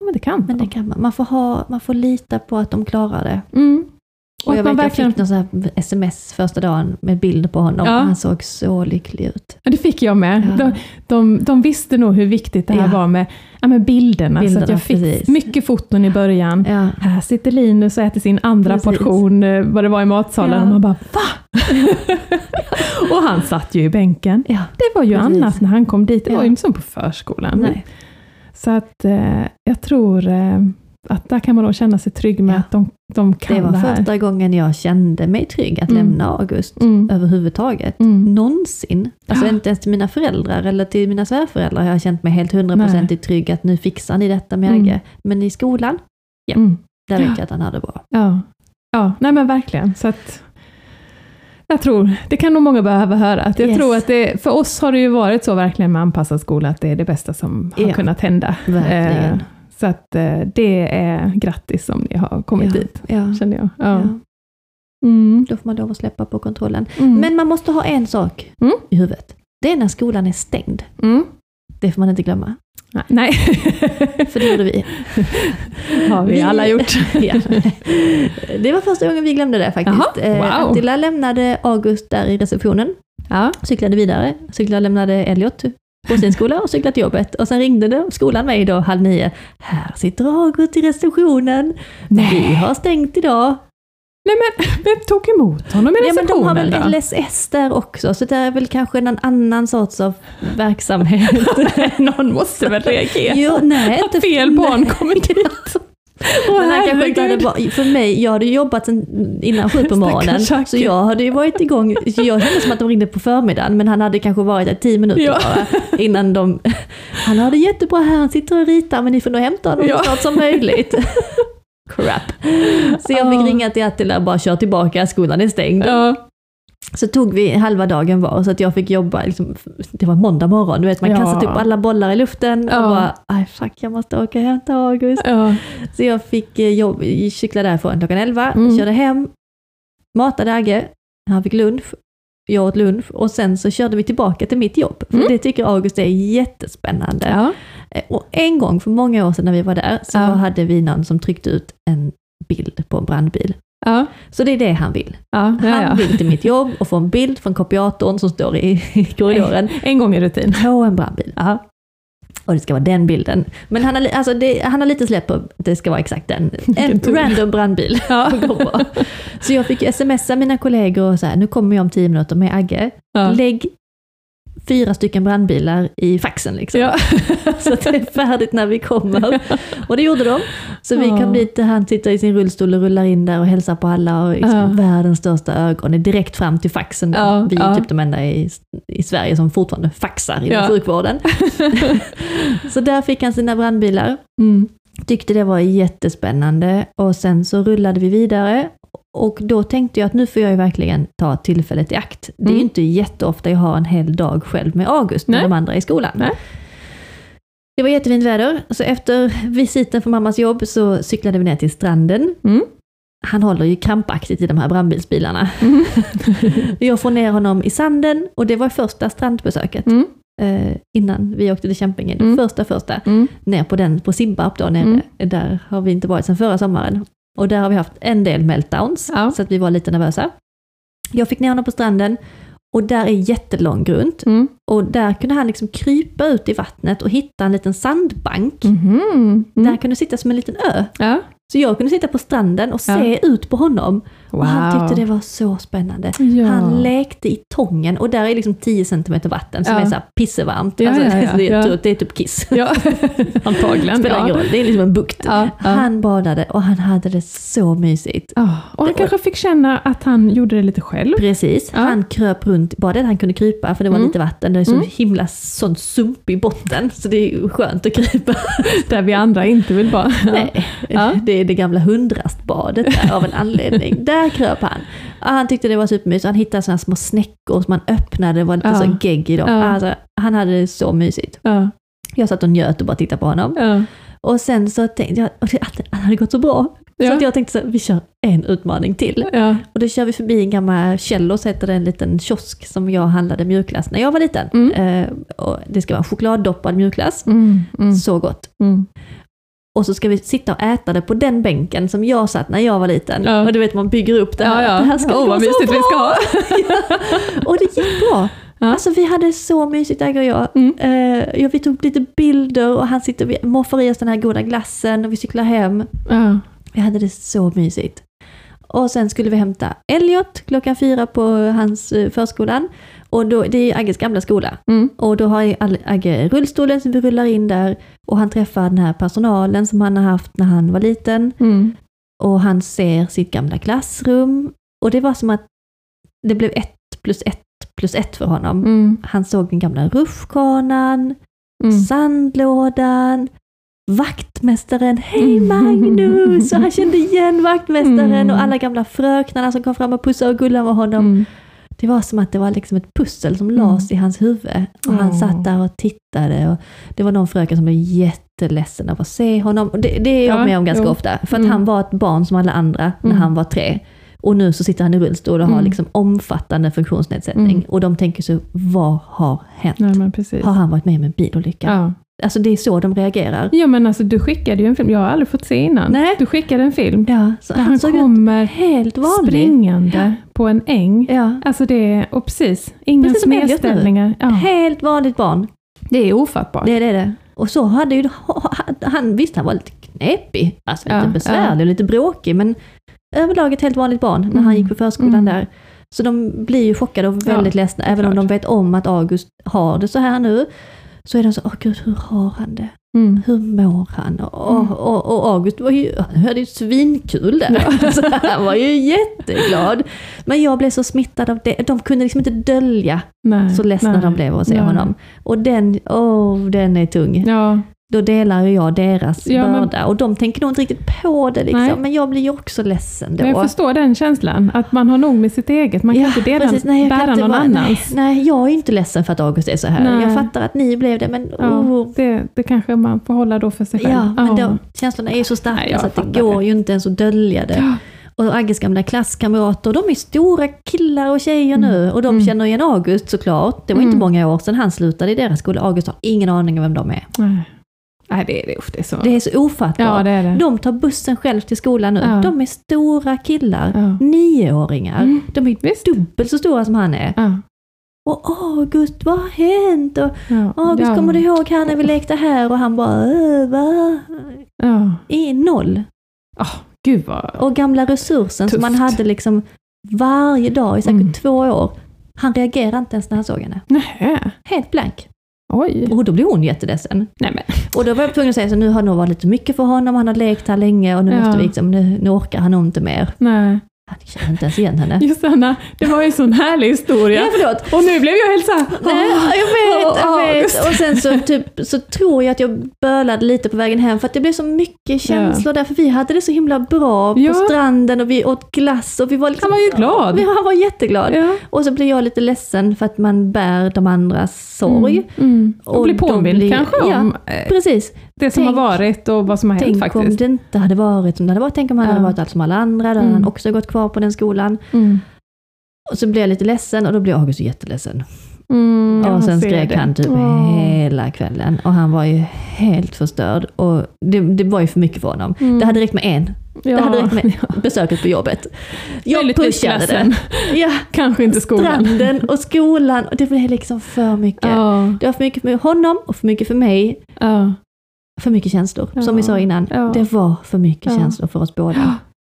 Speaker 2: Ja, men det kan
Speaker 3: Men det
Speaker 2: han.
Speaker 3: kan man. Man får, ha, man får lita på att de klarar det.
Speaker 2: Mm.
Speaker 3: Och
Speaker 2: Och
Speaker 3: jag,
Speaker 2: att
Speaker 3: vet,
Speaker 2: man
Speaker 3: jag
Speaker 2: verkligen...
Speaker 3: fick någon sån här sms första dagen med bild på honom
Speaker 2: Ja.
Speaker 3: och han såg så lycklig ut.
Speaker 2: Ja, det fick jag med.
Speaker 3: Ja.
Speaker 2: De, de, de visste nog hur viktigt det här
Speaker 3: Ja.
Speaker 2: var med, ja, med bilderna. så att
Speaker 3: Bilderna,
Speaker 2: jag fick
Speaker 3: precis.
Speaker 2: mycket foton i början.
Speaker 3: Ja.
Speaker 2: Här sitter Linus och äter sin andra
Speaker 3: Precis.
Speaker 2: portion, eh, vad det var i matsalen,
Speaker 3: Ja.
Speaker 2: och man bara VA? och han satt ju i bänken.
Speaker 3: Ja.
Speaker 2: Det var ju
Speaker 3: Precis.
Speaker 2: annat när han kom dit, det
Speaker 3: Ja.
Speaker 2: var ju inte som på förskolan.
Speaker 3: Nej.
Speaker 2: Så att eh, jag tror eh, att där kan man nog känna sig trygg med
Speaker 3: Ja.
Speaker 2: att de, de kan
Speaker 3: Det
Speaker 2: det,
Speaker 3: var
Speaker 2: här.
Speaker 3: första gången jag kände mig trygg att
Speaker 2: Mm.
Speaker 3: lämna August
Speaker 2: Mm.
Speaker 3: överhuvudtaget.
Speaker 2: Mm.
Speaker 3: Någonsin. Alltså
Speaker 2: Ja.
Speaker 3: inte ens till mina föräldrar eller till mina svärföräldrar har jag känt mig helt hundraprocentigt trygg att nu fixar ni detta med
Speaker 2: Mm.
Speaker 3: Agge. Men i skolan, Ja.
Speaker 2: Mm.
Speaker 3: där vet
Speaker 2: Ja.
Speaker 3: jag att han hade det bra.
Speaker 2: Ja. ja, nej men verkligen. Så att, jag tror, det kan nog många behöva höra. Att jag
Speaker 3: Yes.
Speaker 2: tror att det, för oss har det ju varit så verkligen med anpassad skola, att det är det bästa som har
Speaker 3: Ja.
Speaker 2: kunnat hända.
Speaker 3: Verkligen.
Speaker 2: Eh, så att eh, det är grattis om ni har kommit
Speaker 3: ja.
Speaker 2: dit,
Speaker 3: Ja.
Speaker 2: känner jag. Ja.
Speaker 3: Ja.
Speaker 2: Mm.
Speaker 3: Då får man lov att släppa på kontrollen.
Speaker 2: Mm.
Speaker 3: Men man måste ha en sak
Speaker 2: Mm.
Speaker 3: i huvudet. Det är när skolan är stängd.
Speaker 2: Mm.
Speaker 3: Det får man inte glömma.
Speaker 2: Nej,
Speaker 3: För det gjorde vi.
Speaker 2: har vi,
Speaker 3: Vi-
Speaker 2: alla gjort.
Speaker 3: Ja. Det var första gången vi glömde det faktiskt.
Speaker 2: Jaha,
Speaker 3: Eh,
Speaker 2: wow.
Speaker 3: Attila lämnade August där i receptionen,
Speaker 2: Ja.
Speaker 3: cyklade vidare, cyklade lämnade Elliot på sin skola och cyklade till jobbet. Och sen ringde det, skolan mig då halv nio. Här sitter August i receptionen. Vi
Speaker 2: Nej.
Speaker 3: har stängt idag.
Speaker 2: Nej men, vem tog emot honom i
Speaker 3: Ja, men alltså,
Speaker 2: receptionen
Speaker 3: de har väl
Speaker 2: då?
Speaker 3: LSS där också, så det är väl kanske en annan sorts av verksamhet.
Speaker 2: Någon måste väl reagera?
Speaker 3: jo, nej, inte
Speaker 2: Fel barn kommer dit. Åh,
Speaker 3: Men han kanske inte hade,
Speaker 2: herregud.
Speaker 3: ba- för mig, jag hade jobbat sen innan sju på morgonen,
Speaker 2: Stackars
Speaker 3: så
Speaker 2: Jackie.
Speaker 3: jag hade ju varit igång, så jag kände som att de ringde på förmiddagen, men han hade kanske varit där tio minuter
Speaker 2: Ja.
Speaker 3: bara innan de... Han har det jättebra här, han sitter och ritar, men ni får nog hämta honom
Speaker 2: Ja.
Speaker 3: så snart som möjligt. Crap. Så jag fick
Speaker 2: Ah.
Speaker 3: ringa till Attila och bara kör tillbaka, skolan är stängd.
Speaker 2: Ja,
Speaker 3: Så tog vi halva dagen var, så att jag fick jobba, liksom, det var måndag morgon, du vet man
Speaker 2: Ja.
Speaker 3: kastar upp alla bollar i luften
Speaker 2: Ja. Äh.
Speaker 3: och bara, aj fuck jag måste åka och hämta August.
Speaker 2: ja.
Speaker 3: Så jag fick eh, jobb, cykla därifrån klockan 11,
Speaker 2: Mm.
Speaker 3: körde hem, matade Agge, han fick lunch, jag åt lunch och sen så körde vi tillbaka till mitt jobb. För
Speaker 2: Mm.
Speaker 3: det tycker August är jättespännande.
Speaker 2: ja.
Speaker 3: Eh, Och en gång för många år sedan när vi var där så
Speaker 2: Ja.
Speaker 3: hade vi någon som tryckte ut en bild på en brandbil.
Speaker 2: ja.
Speaker 3: Så det är det han vill.
Speaker 2: ja. ja,
Speaker 3: Han
Speaker 2: ja.
Speaker 3: vill till mitt jobb och få en bild från kopiatorn som står i i korridoren
Speaker 2: En gång i rutin.
Speaker 3: på en brandbil.
Speaker 2: Ja.
Speaker 3: Och det ska vara den bilden. Men han har, li- alltså det, han har lite släpp på att det ska vara exakt den. En
Speaker 2: Vilken tur.
Speaker 3: random brandbil.
Speaker 2: Ja.
Speaker 3: går bra. Så jag fick ju smsa mina kollegor och så här, nu kommer jag om tio minuter med Agge.
Speaker 2: Ja.
Speaker 3: Lägg fyra stycken brandbilar i faxen liksom.
Speaker 2: Ja.
Speaker 3: Så att det är färdigt när vi kommer. Och det gjorde de. Så vi
Speaker 2: Ja.
Speaker 3: kom dit, han sitter i sin rullstol och rullar in där och hälsar på alla och liksom
Speaker 2: Ja.
Speaker 3: världens största ögon är direkt fram till faxen. då.
Speaker 2: Ja,
Speaker 3: Vi är
Speaker 2: ja.
Speaker 3: typ de enda i, i Sverige som fortfarande faxar inom
Speaker 2: Ja.
Speaker 3: sjukvården. så där fick han sina brandbilar.
Speaker 2: Mm.
Speaker 3: Tyckte det var jättespännande och sen så rullade vi vidare och då tänkte jag att nu får jag ju verkligen ta tillfället i akt. Det är ju
Speaker 2: Mm.
Speaker 3: inte jätteofta jag har en hel dag själv med August när
Speaker 2: Nej.
Speaker 3: de andra är i skolan.
Speaker 2: Nej.
Speaker 3: Det var jättefint väder, så efter visiten från mammas jobb så cyklade vi ner till stranden.
Speaker 2: Mm.
Speaker 3: Han håller ju krampaktigt i de här brandbilsbilarna.
Speaker 2: Mm.
Speaker 3: Jag får ner honom i sanden och det var första strandbesöket
Speaker 2: Mm.
Speaker 3: eh, innan vi åkte till Kämpingen.
Speaker 2: Mm.
Speaker 3: Första första
Speaker 2: Mm.
Speaker 3: ner på den på Simbarp då nere.
Speaker 2: Mm.
Speaker 3: Där har vi inte varit sedan förra sommaren. Och där har vi haft en del meltdowns,
Speaker 2: Ja.
Speaker 3: så att vi var lite nervösa. Jag fick ner honom på stranden och där är jättelång grunt.
Speaker 2: Mm.
Speaker 3: Och där kunde han liksom krypa ut i vattnet och hitta en liten sandbank.
Speaker 2: Mhm.
Speaker 3: Där
Speaker 2: Mm.
Speaker 3: kunde du sitta som en liten ö.
Speaker 2: Ja.
Speaker 3: Så jag kunde sitta på stranden och
Speaker 2: Ja.
Speaker 3: se ut på honom.
Speaker 2: Wow.
Speaker 3: Och han tyckte det var så spännande.
Speaker 2: Ja.
Speaker 3: Han lekte i tången och där är liksom 10 centimeter vatten som
Speaker 2: Ja.
Speaker 3: är så här pissevarmt.
Speaker 2: Ja,
Speaker 3: alltså,
Speaker 2: ja, ja,
Speaker 3: det, är,
Speaker 2: ja.
Speaker 3: typ- det är typ kiss.
Speaker 2: Ja, antagligen.
Speaker 3: Spelar ingen
Speaker 2: Ja.
Speaker 3: roll, det är liksom en bukt.
Speaker 2: Ja, ja.
Speaker 3: Han badade och han hade det så mysigt.
Speaker 2: Ja, Och han kanske fick känna att han gjorde det lite själv.
Speaker 3: Precis,
Speaker 2: Ja.
Speaker 3: han kröp runt, bara det att han kunde krypa för det var
Speaker 2: Mm.
Speaker 3: lite vatten, det är så
Speaker 2: Mm.
Speaker 3: himla sån sump i botten så det är ju skönt att krypa.
Speaker 2: Där vi andra inte vill vara.
Speaker 3: Nej,
Speaker 2: Ja.
Speaker 3: det är det gamla hundrastbadet där, av en anledning. där kröp han. Ja, han tyckte det var supermysigt, han hittade såna små snäckor som man öppnade, det var lite
Speaker 2: Ja.
Speaker 3: så gegg i dem.
Speaker 2: Ja.
Speaker 3: Alltså, han hade det så mysigt.
Speaker 2: Ja.
Speaker 3: Jag satt och njöt och bara tittade på honom.
Speaker 2: Ja.
Speaker 3: Och sen så tänkte jag, och det- han hade gått så bra, så
Speaker 2: Ja.
Speaker 3: att jag tänkte så här, vi kör en utmaning till.
Speaker 2: Ja.
Speaker 3: Och då kör vi förbi en gammal Kjellos, heter det, en liten kiosk som jag handlade mjukglass när jag var liten.
Speaker 2: Mm.
Speaker 3: Eh, och det ska vara en chokladdoppad mjukglass.
Speaker 2: Mm. Mm.
Speaker 3: Så gott.
Speaker 2: Mm.
Speaker 3: Och så ska vi sitta och äta det på den bänken som jag satt när jag var liten.
Speaker 2: Ja.
Speaker 3: Och du vet, man bygger upp det här.
Speaker 2: Ja, ja.
Speaker 3: Det här ska
Speaker 2: Åh,
Speaker 3: gå
Speaker 2: vad
Speaker 3: så
Speaker 2: mysigt
Speaker 3: bra!
Speaker 2: vi ska ha.
Speaker 3: och det gick bra.
Speaker 2: Ja.
Speaker 3: Alltså vi hade så mysigt, Agge och jag.
Speaker 2: Mm.
Speaker 3: Eh, ja, vi tog lite bilder och han sitter, vi moffar i oss den här goda glassen och vi cyklar hem.
Speaker 2: Ja.
Speaker 3: Vi hade det så mysigt. Och sen skulle vi hämta Elliot klockan fyra på hans eh, förskolan. Och då, det är Agges gamla skola.
Speaker 2: Mm.
Speaker 3: Och då har ju Al- Agge rullstolen som vi rullar in där. Och han träffar den här personalen som han har haft när han var liten.
Speaker 2: Mm.
Speaker 3: Och han ser sitt gamla klassrum. Och det var som att det blev ett plus ett plus ett för honom.
Speaker 2: Mm.
Speaker 3: Han såg den gamla rutschkanan,
Speaker 2: Mm.
Speaker 3: sandlådan, vaktmästaren, hej
Speaker 2: Mm.
Speaker 3: Magnus! Och han kände igen vaktmästaren
Speaker 2: Mm.
Speaker 3: och alla gamla fröknarna som kom fram och pussade och gullade med honom.
Speaker 2: Mm.
Speaker 3: Det var som att det var liksom ett pussel som lades i hans huvud. Och han
Speaker 2: Åh.
Speaker 3: satt där och tittade. Och det var någon fröken som blev jätteledsen av att se honom. Och det, det är jag
Speaker 2: Ja,
Speaker 3: med om ganska
Speaker 2: jo.
Speaker 3: ofta. För att
Speaker 2: Mm.
Speaker 3: han var ett barn som alla andra när
Speaker 2: Mm.
Speaker 3: han var tre. Och nu så sitter han i rullstol och har
Speaker 2: Mm.
Speaker 3: liksom omfattande funktionsnedsättning.
Speaker 2: Mm.
Speaker 3: Och de tänker så, vad har hänt?
Speaker 2: Nej, men precis.
Speaker 3: Har han varit med om en bilolycka?
Speaker 2: Ja.
Speaker 3: Alltså det är så de reagerar.
Speaker 2: ja, men alltså du skickade ju en film. Jag har aldrig fått se innan.
Speaker 3: Nej.
Speaker 2: Du skickade en film
Speaker 3: Ja, så
Speaker 2: där
Speaker 3: han
Speaker 2: han
Speaker 3: såg ut
Speaker 2: kommer
Speaker 3: helt vanlig.
Speaker 2: springande på en äng.
Speaker 3: Ja.
Speaker 2: Alltså det är, och precis, inga
Speaker 3: Precis som Elliot nu.
Speaker 2: snedställningar. Ja.
Speaker 3: Helt vanligt barn.
Speaker 2: Det är ofattbart.
Speaker 3: Det är det det. Och så hade ju han, visst han var lite knepig, alltså lite
Speaker 2: Ja,
Speaker 3: besvärlig och lite bråkig, men överlag ett helt vanligt barn när han
Speaker 2: Mm.
Speaker 3: gick på förskolan
Speaker 2: Mm.
Speaker 3: där. Så de blir ju chockade och väldigt ledsna, även om
Speaker 2: klart.
Speaker 3: de vet om att August har det så här nu. Så är de så, åh gud, hur har han det?
Speaker 2: Mm.
Speaker 3: Hur mår han? Och,
Speaker 2: Mm.
Speaker 3: och, och August var ju, han hade ju svinkul där. Så han var ju jätteglad. Men jag blev så smittad av det. De kunde liksom inte dölja
Speaker 2: Nej,
Speaker 3: så ledsna
Speaker 2: nej.
Speaker 3: de blev att se
Speaker 2: nej.
Speaker 3: honom. Och den, åh, den är tung.
Speaker 2: Ja,
Speaker 3: Då delar ju jag deras
Speaker 2: Ja, men-
Speaker 3: börda. Och de tänker nog inte riktigt på det
Speaker 2: Nej.
Speaker 3: liksom. Men jag blir ju också ledsen då.
Speaker 2: men jag förstår den känslan. Att man har nog med sitt eget. Man kan
Speaker 3: Ja,
Speaker 2: inte dela,
Speaker 3: precis. Nej, jag kan
Speaker 2: bära
Speaker 3: inte
Speaker 2: någon
Speaker 3: vara-
Speaker 2: annans.
Speaker 3: Nej, nej, jag är inte ledsen för att August är så här.
Speaker 2: Nej.
Speaker 3: Jag fattar att ni blev det, men
Speaker 2: Ja,
Speaker 3: oh.
Speaker 2: det, det kanske man får hålla då för sig själv.
Speaker 3: Ja, men då, känslorna är ju så starka
Speaker 2: Nej, jag
Speaker 3: så att det
Speaker 2: fattar
Speaker 3: går
Speaker 2: det.
Speaker 3: ju inte ens att dölja det.
Speaker 2: Ja.
Speaker 3: Och Agges gamla klasskamrater, de är stora killar och tjejer nu och de
Speaker 2: Mm.
Speaker 3: känner igen August såklart. Det var inte
Speaker 2: Mm.
Speaker 3: många år sedan han slutade i deras skola. August har ingen aning om vem de är.
Speaker 2: Nej, Nej, det är det. usch, Det är så.
Speaker 3: Det är så ofattbart.
Speaker 2: ja, det är det.
Speaker 3: De tar bussen själv till skolan nu.
Speaker 2: Ja.
Speaker 3: De är stora killar.
Speaker 2: Ja.
Speaker 3: Nioåringar.
Speaker 2: Mm.
Speaker 3: De är
Speaker 2: Visst.
Speaker 3: dubbelt så stora som han är.
Speaker 2: Ja,
Speaker 3: Och August, vad har hänt? Och
Speaker 2: ja,
Speaker 3: August,
Speaker 2: ja,
Speaker 3: kommer du ihåg här när vi lekte här? Och han bara, "Äh, va?
Speaker 2: Ja.
Speaker 3: I noll.
Speaker 2: Gud vad...
Speaker 3: Och gamla resursen som
Speaker 2: Tufft.
Speaker 3: man hade liksom varje dag i säkert
Speaker 2: Mm.
Speaker 3: två år. Han reagerade inte ens när han såg henne.
Speaker 2: Nähä.
Speaker 3: Helt blank.
Speaker 2: Oj.
Speaker 3: Och då blev hon jätteledsen.
Speaker 2: Nej men.
Speaker 3: Och då var jag tvungen att säga så nu har det nog varit lite mycket för honom, han har lekt här länge och nu,
Speaker 2: Ja.
Speaker 3: måste vi liksom, nu, nu orkar han nog inte mer.
Speaker 2: Nej.
Speaker 3: Han känner inte ens igen henne.
Speaker 2: Josanna, det var ju en sån härlig historia.
Speaker 3: Ja, förlåt.
Speaker 2: Och nu blev jag helt såhär...
Speaker 3: Nej,
Speaker 2: åh.
Speaker 3: jag vet,
Speaker 2: åh,
Speaker 3: jag vet.
Speaker 2: August.
Speaker 3: Och sen så, typ, så tror jag att jag bölade lite på vägen hem för att det blev så mycket känslor där, för vi hade det så himla bra på
Speaker 2: Ja.
Speaker 3: stranden och vi åt glass och vi var liksom...
Speaker 2: Han var ju glad.
Speaker 3: Ja, han var jätteglad.
Speaker 2: Ja.
Speaker 3: Och så blir jag lite ledsen för att man bär de andras sorg.
Speaker 2: Mm. Mm. Och,
Speaker 3: Och
Speaker 2: bli
Speaker 3: då
Speaker 2: påmind
Speaker 3: blir-
Speaker 2: kanske
Speaker 3: ja.
Speaker 2: om eh,
Speaker 3: Precis.
Speaker 2: det som
Speaker 3: Tänk-
Speaker 2: har varit och vad som har hänt
Speaker 3: Tänk om
Speaker 2: faktiskt.
Speaker 3: det inte hade varit som det hade varit. Tänk om han
Speaker 2: Ja.
Speaker 3: hade varit allt som alla andra. Då hade
Speaker 2: Mm.
Speaker 3: han också gått kvar på den skolan.
Speaker 2: Mm.
Speaker 3: Och så blev jag lite ledsen och då blev August jätteledsen.
Speaker 2: Mm, jag
Speaker 3: och sen
Speaker 2: ser
Speaker 3: skrek
Speaker 2: det.
Speaker 3: han typ
Speaker 2: Åh.
Speaker 3: hela kvällen. Och han var ju helt förstörd. Och det, det var ju för mycket för honom.
Speaker 2: Mm.
Speaker 3: Det hade räckt med en.
Speaker 2: ja.
Speaker 3: Det hade räckt med besöket på jobbet. Jag
Speaker 2: Möjligtvis
Speaker 3: pushade
Speaker 2: klassen.
Speaker 3: det. Ja,
Speaker 2: Kanske inte skolan.
Speaker 3: stranden och skolan. Och det blev liksom för mycket.
Speaker 2: Ja,
Speaker 3: Det var för mycket för honom och för mycket för mig.
Speaker 2: ja.
Speaker 3: För mycket känslor,
Speaker 2: Ja.
Speaker 3: som vi sa innan.
Speaker 2: Ja.
Speaker 3: Det var för mycket
Speaker 2: Ja.
Speaker 3: känslor för oss båda.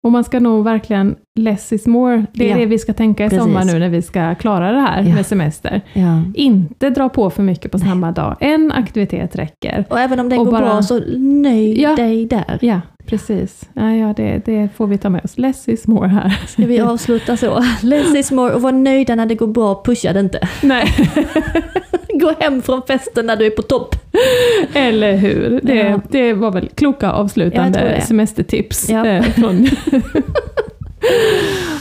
Speaker 2: Och man ska nog verkligen less is more. Det är
Speaker 3: Ja,
Speaker 2: det vi ska tänka i
Speaker 3: precis.
Speaker 2: sommar nu när vi ska klara det här
Speaker 3: Ja.
Speaker 2: med semester.
Speaker 3: Ja.
Speaker 2: Inte dra på för mycket på samma dag. En aktivitet räcker.
Speaker 3: Och även om det
Speaker 2: Och
Speaker 3: går
Speaker 2: bara-
Speaker 3: bra, så nöj
Speaker 2: Ja.
Speaker 3: dig där.
Speaker 2: Ja, precis. Ja, ja, det, det får vi ta med oss. Less is more här.
Speaker 3: Ska vi avsluta så? Less is more och var nöjda när det går bra, pusha det inte.
Speaker 2: Nej,
Speaker 3: Gå hem från festen när du är på topp.
Speaker 2: eller hur? Det,
Speaker 3: Ja.
Speaker 2: det var väl kloka
Speaker 3: Ja, jag tror
Speaker 2: avslutande
Speaker 3: det.
Speaker 2: semestertips.
Speaker 3: Ja.
Speaker 2: eh, Från... Ja,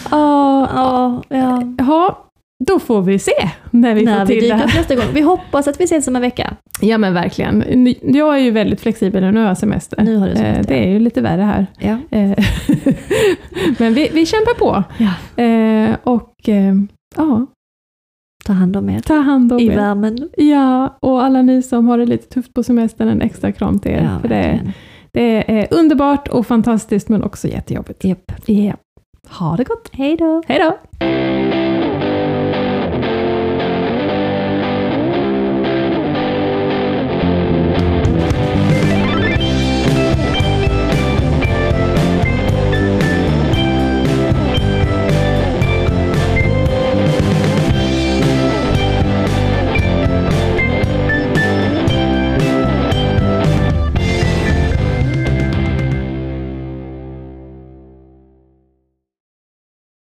Speaker 3: Ja, ja.
Speaker 2: ja, då får vi se när vi får
Speaker 3: när vi
Speaker 2: till det
Speaker 3: dyker
Speaker 2: här.
Speaker 3: upp nästa gång. Vi hoppas att vi ses om en vecka.
Speaker 2: Ja men verkligen. Ni- Jag är ju väldigt flexibel nu, nu har jag semester.
Speaker 3: Nu har du semester.
Speaker 2: Eh, Det är ju lite värre här.
Speaker 3: Ja.
Speaker 2: Eh, men vi, vi kämpar på. Eh, Och eh, ja,
Speaker 3: Ta hand om er.
Speaker 2: ta hand om
Speaker 3: I
Speaker 2: er.
Speaker 3: värmen.
Speaker 2: Ja, och alla ni som har det lite tufft på semestern, en extra kram till er.
Speaker 3: Ja,
Speaker 2: för det,
Speaker 3: verkligen.
Speaker 2: det är underbart och fantastiskt men också jättejobbigt.
Speaker 3: Japp.
Speaker 2: Ja. Ha det gott!
Speaker 3: Hej då.
Speaker 2: Hej då!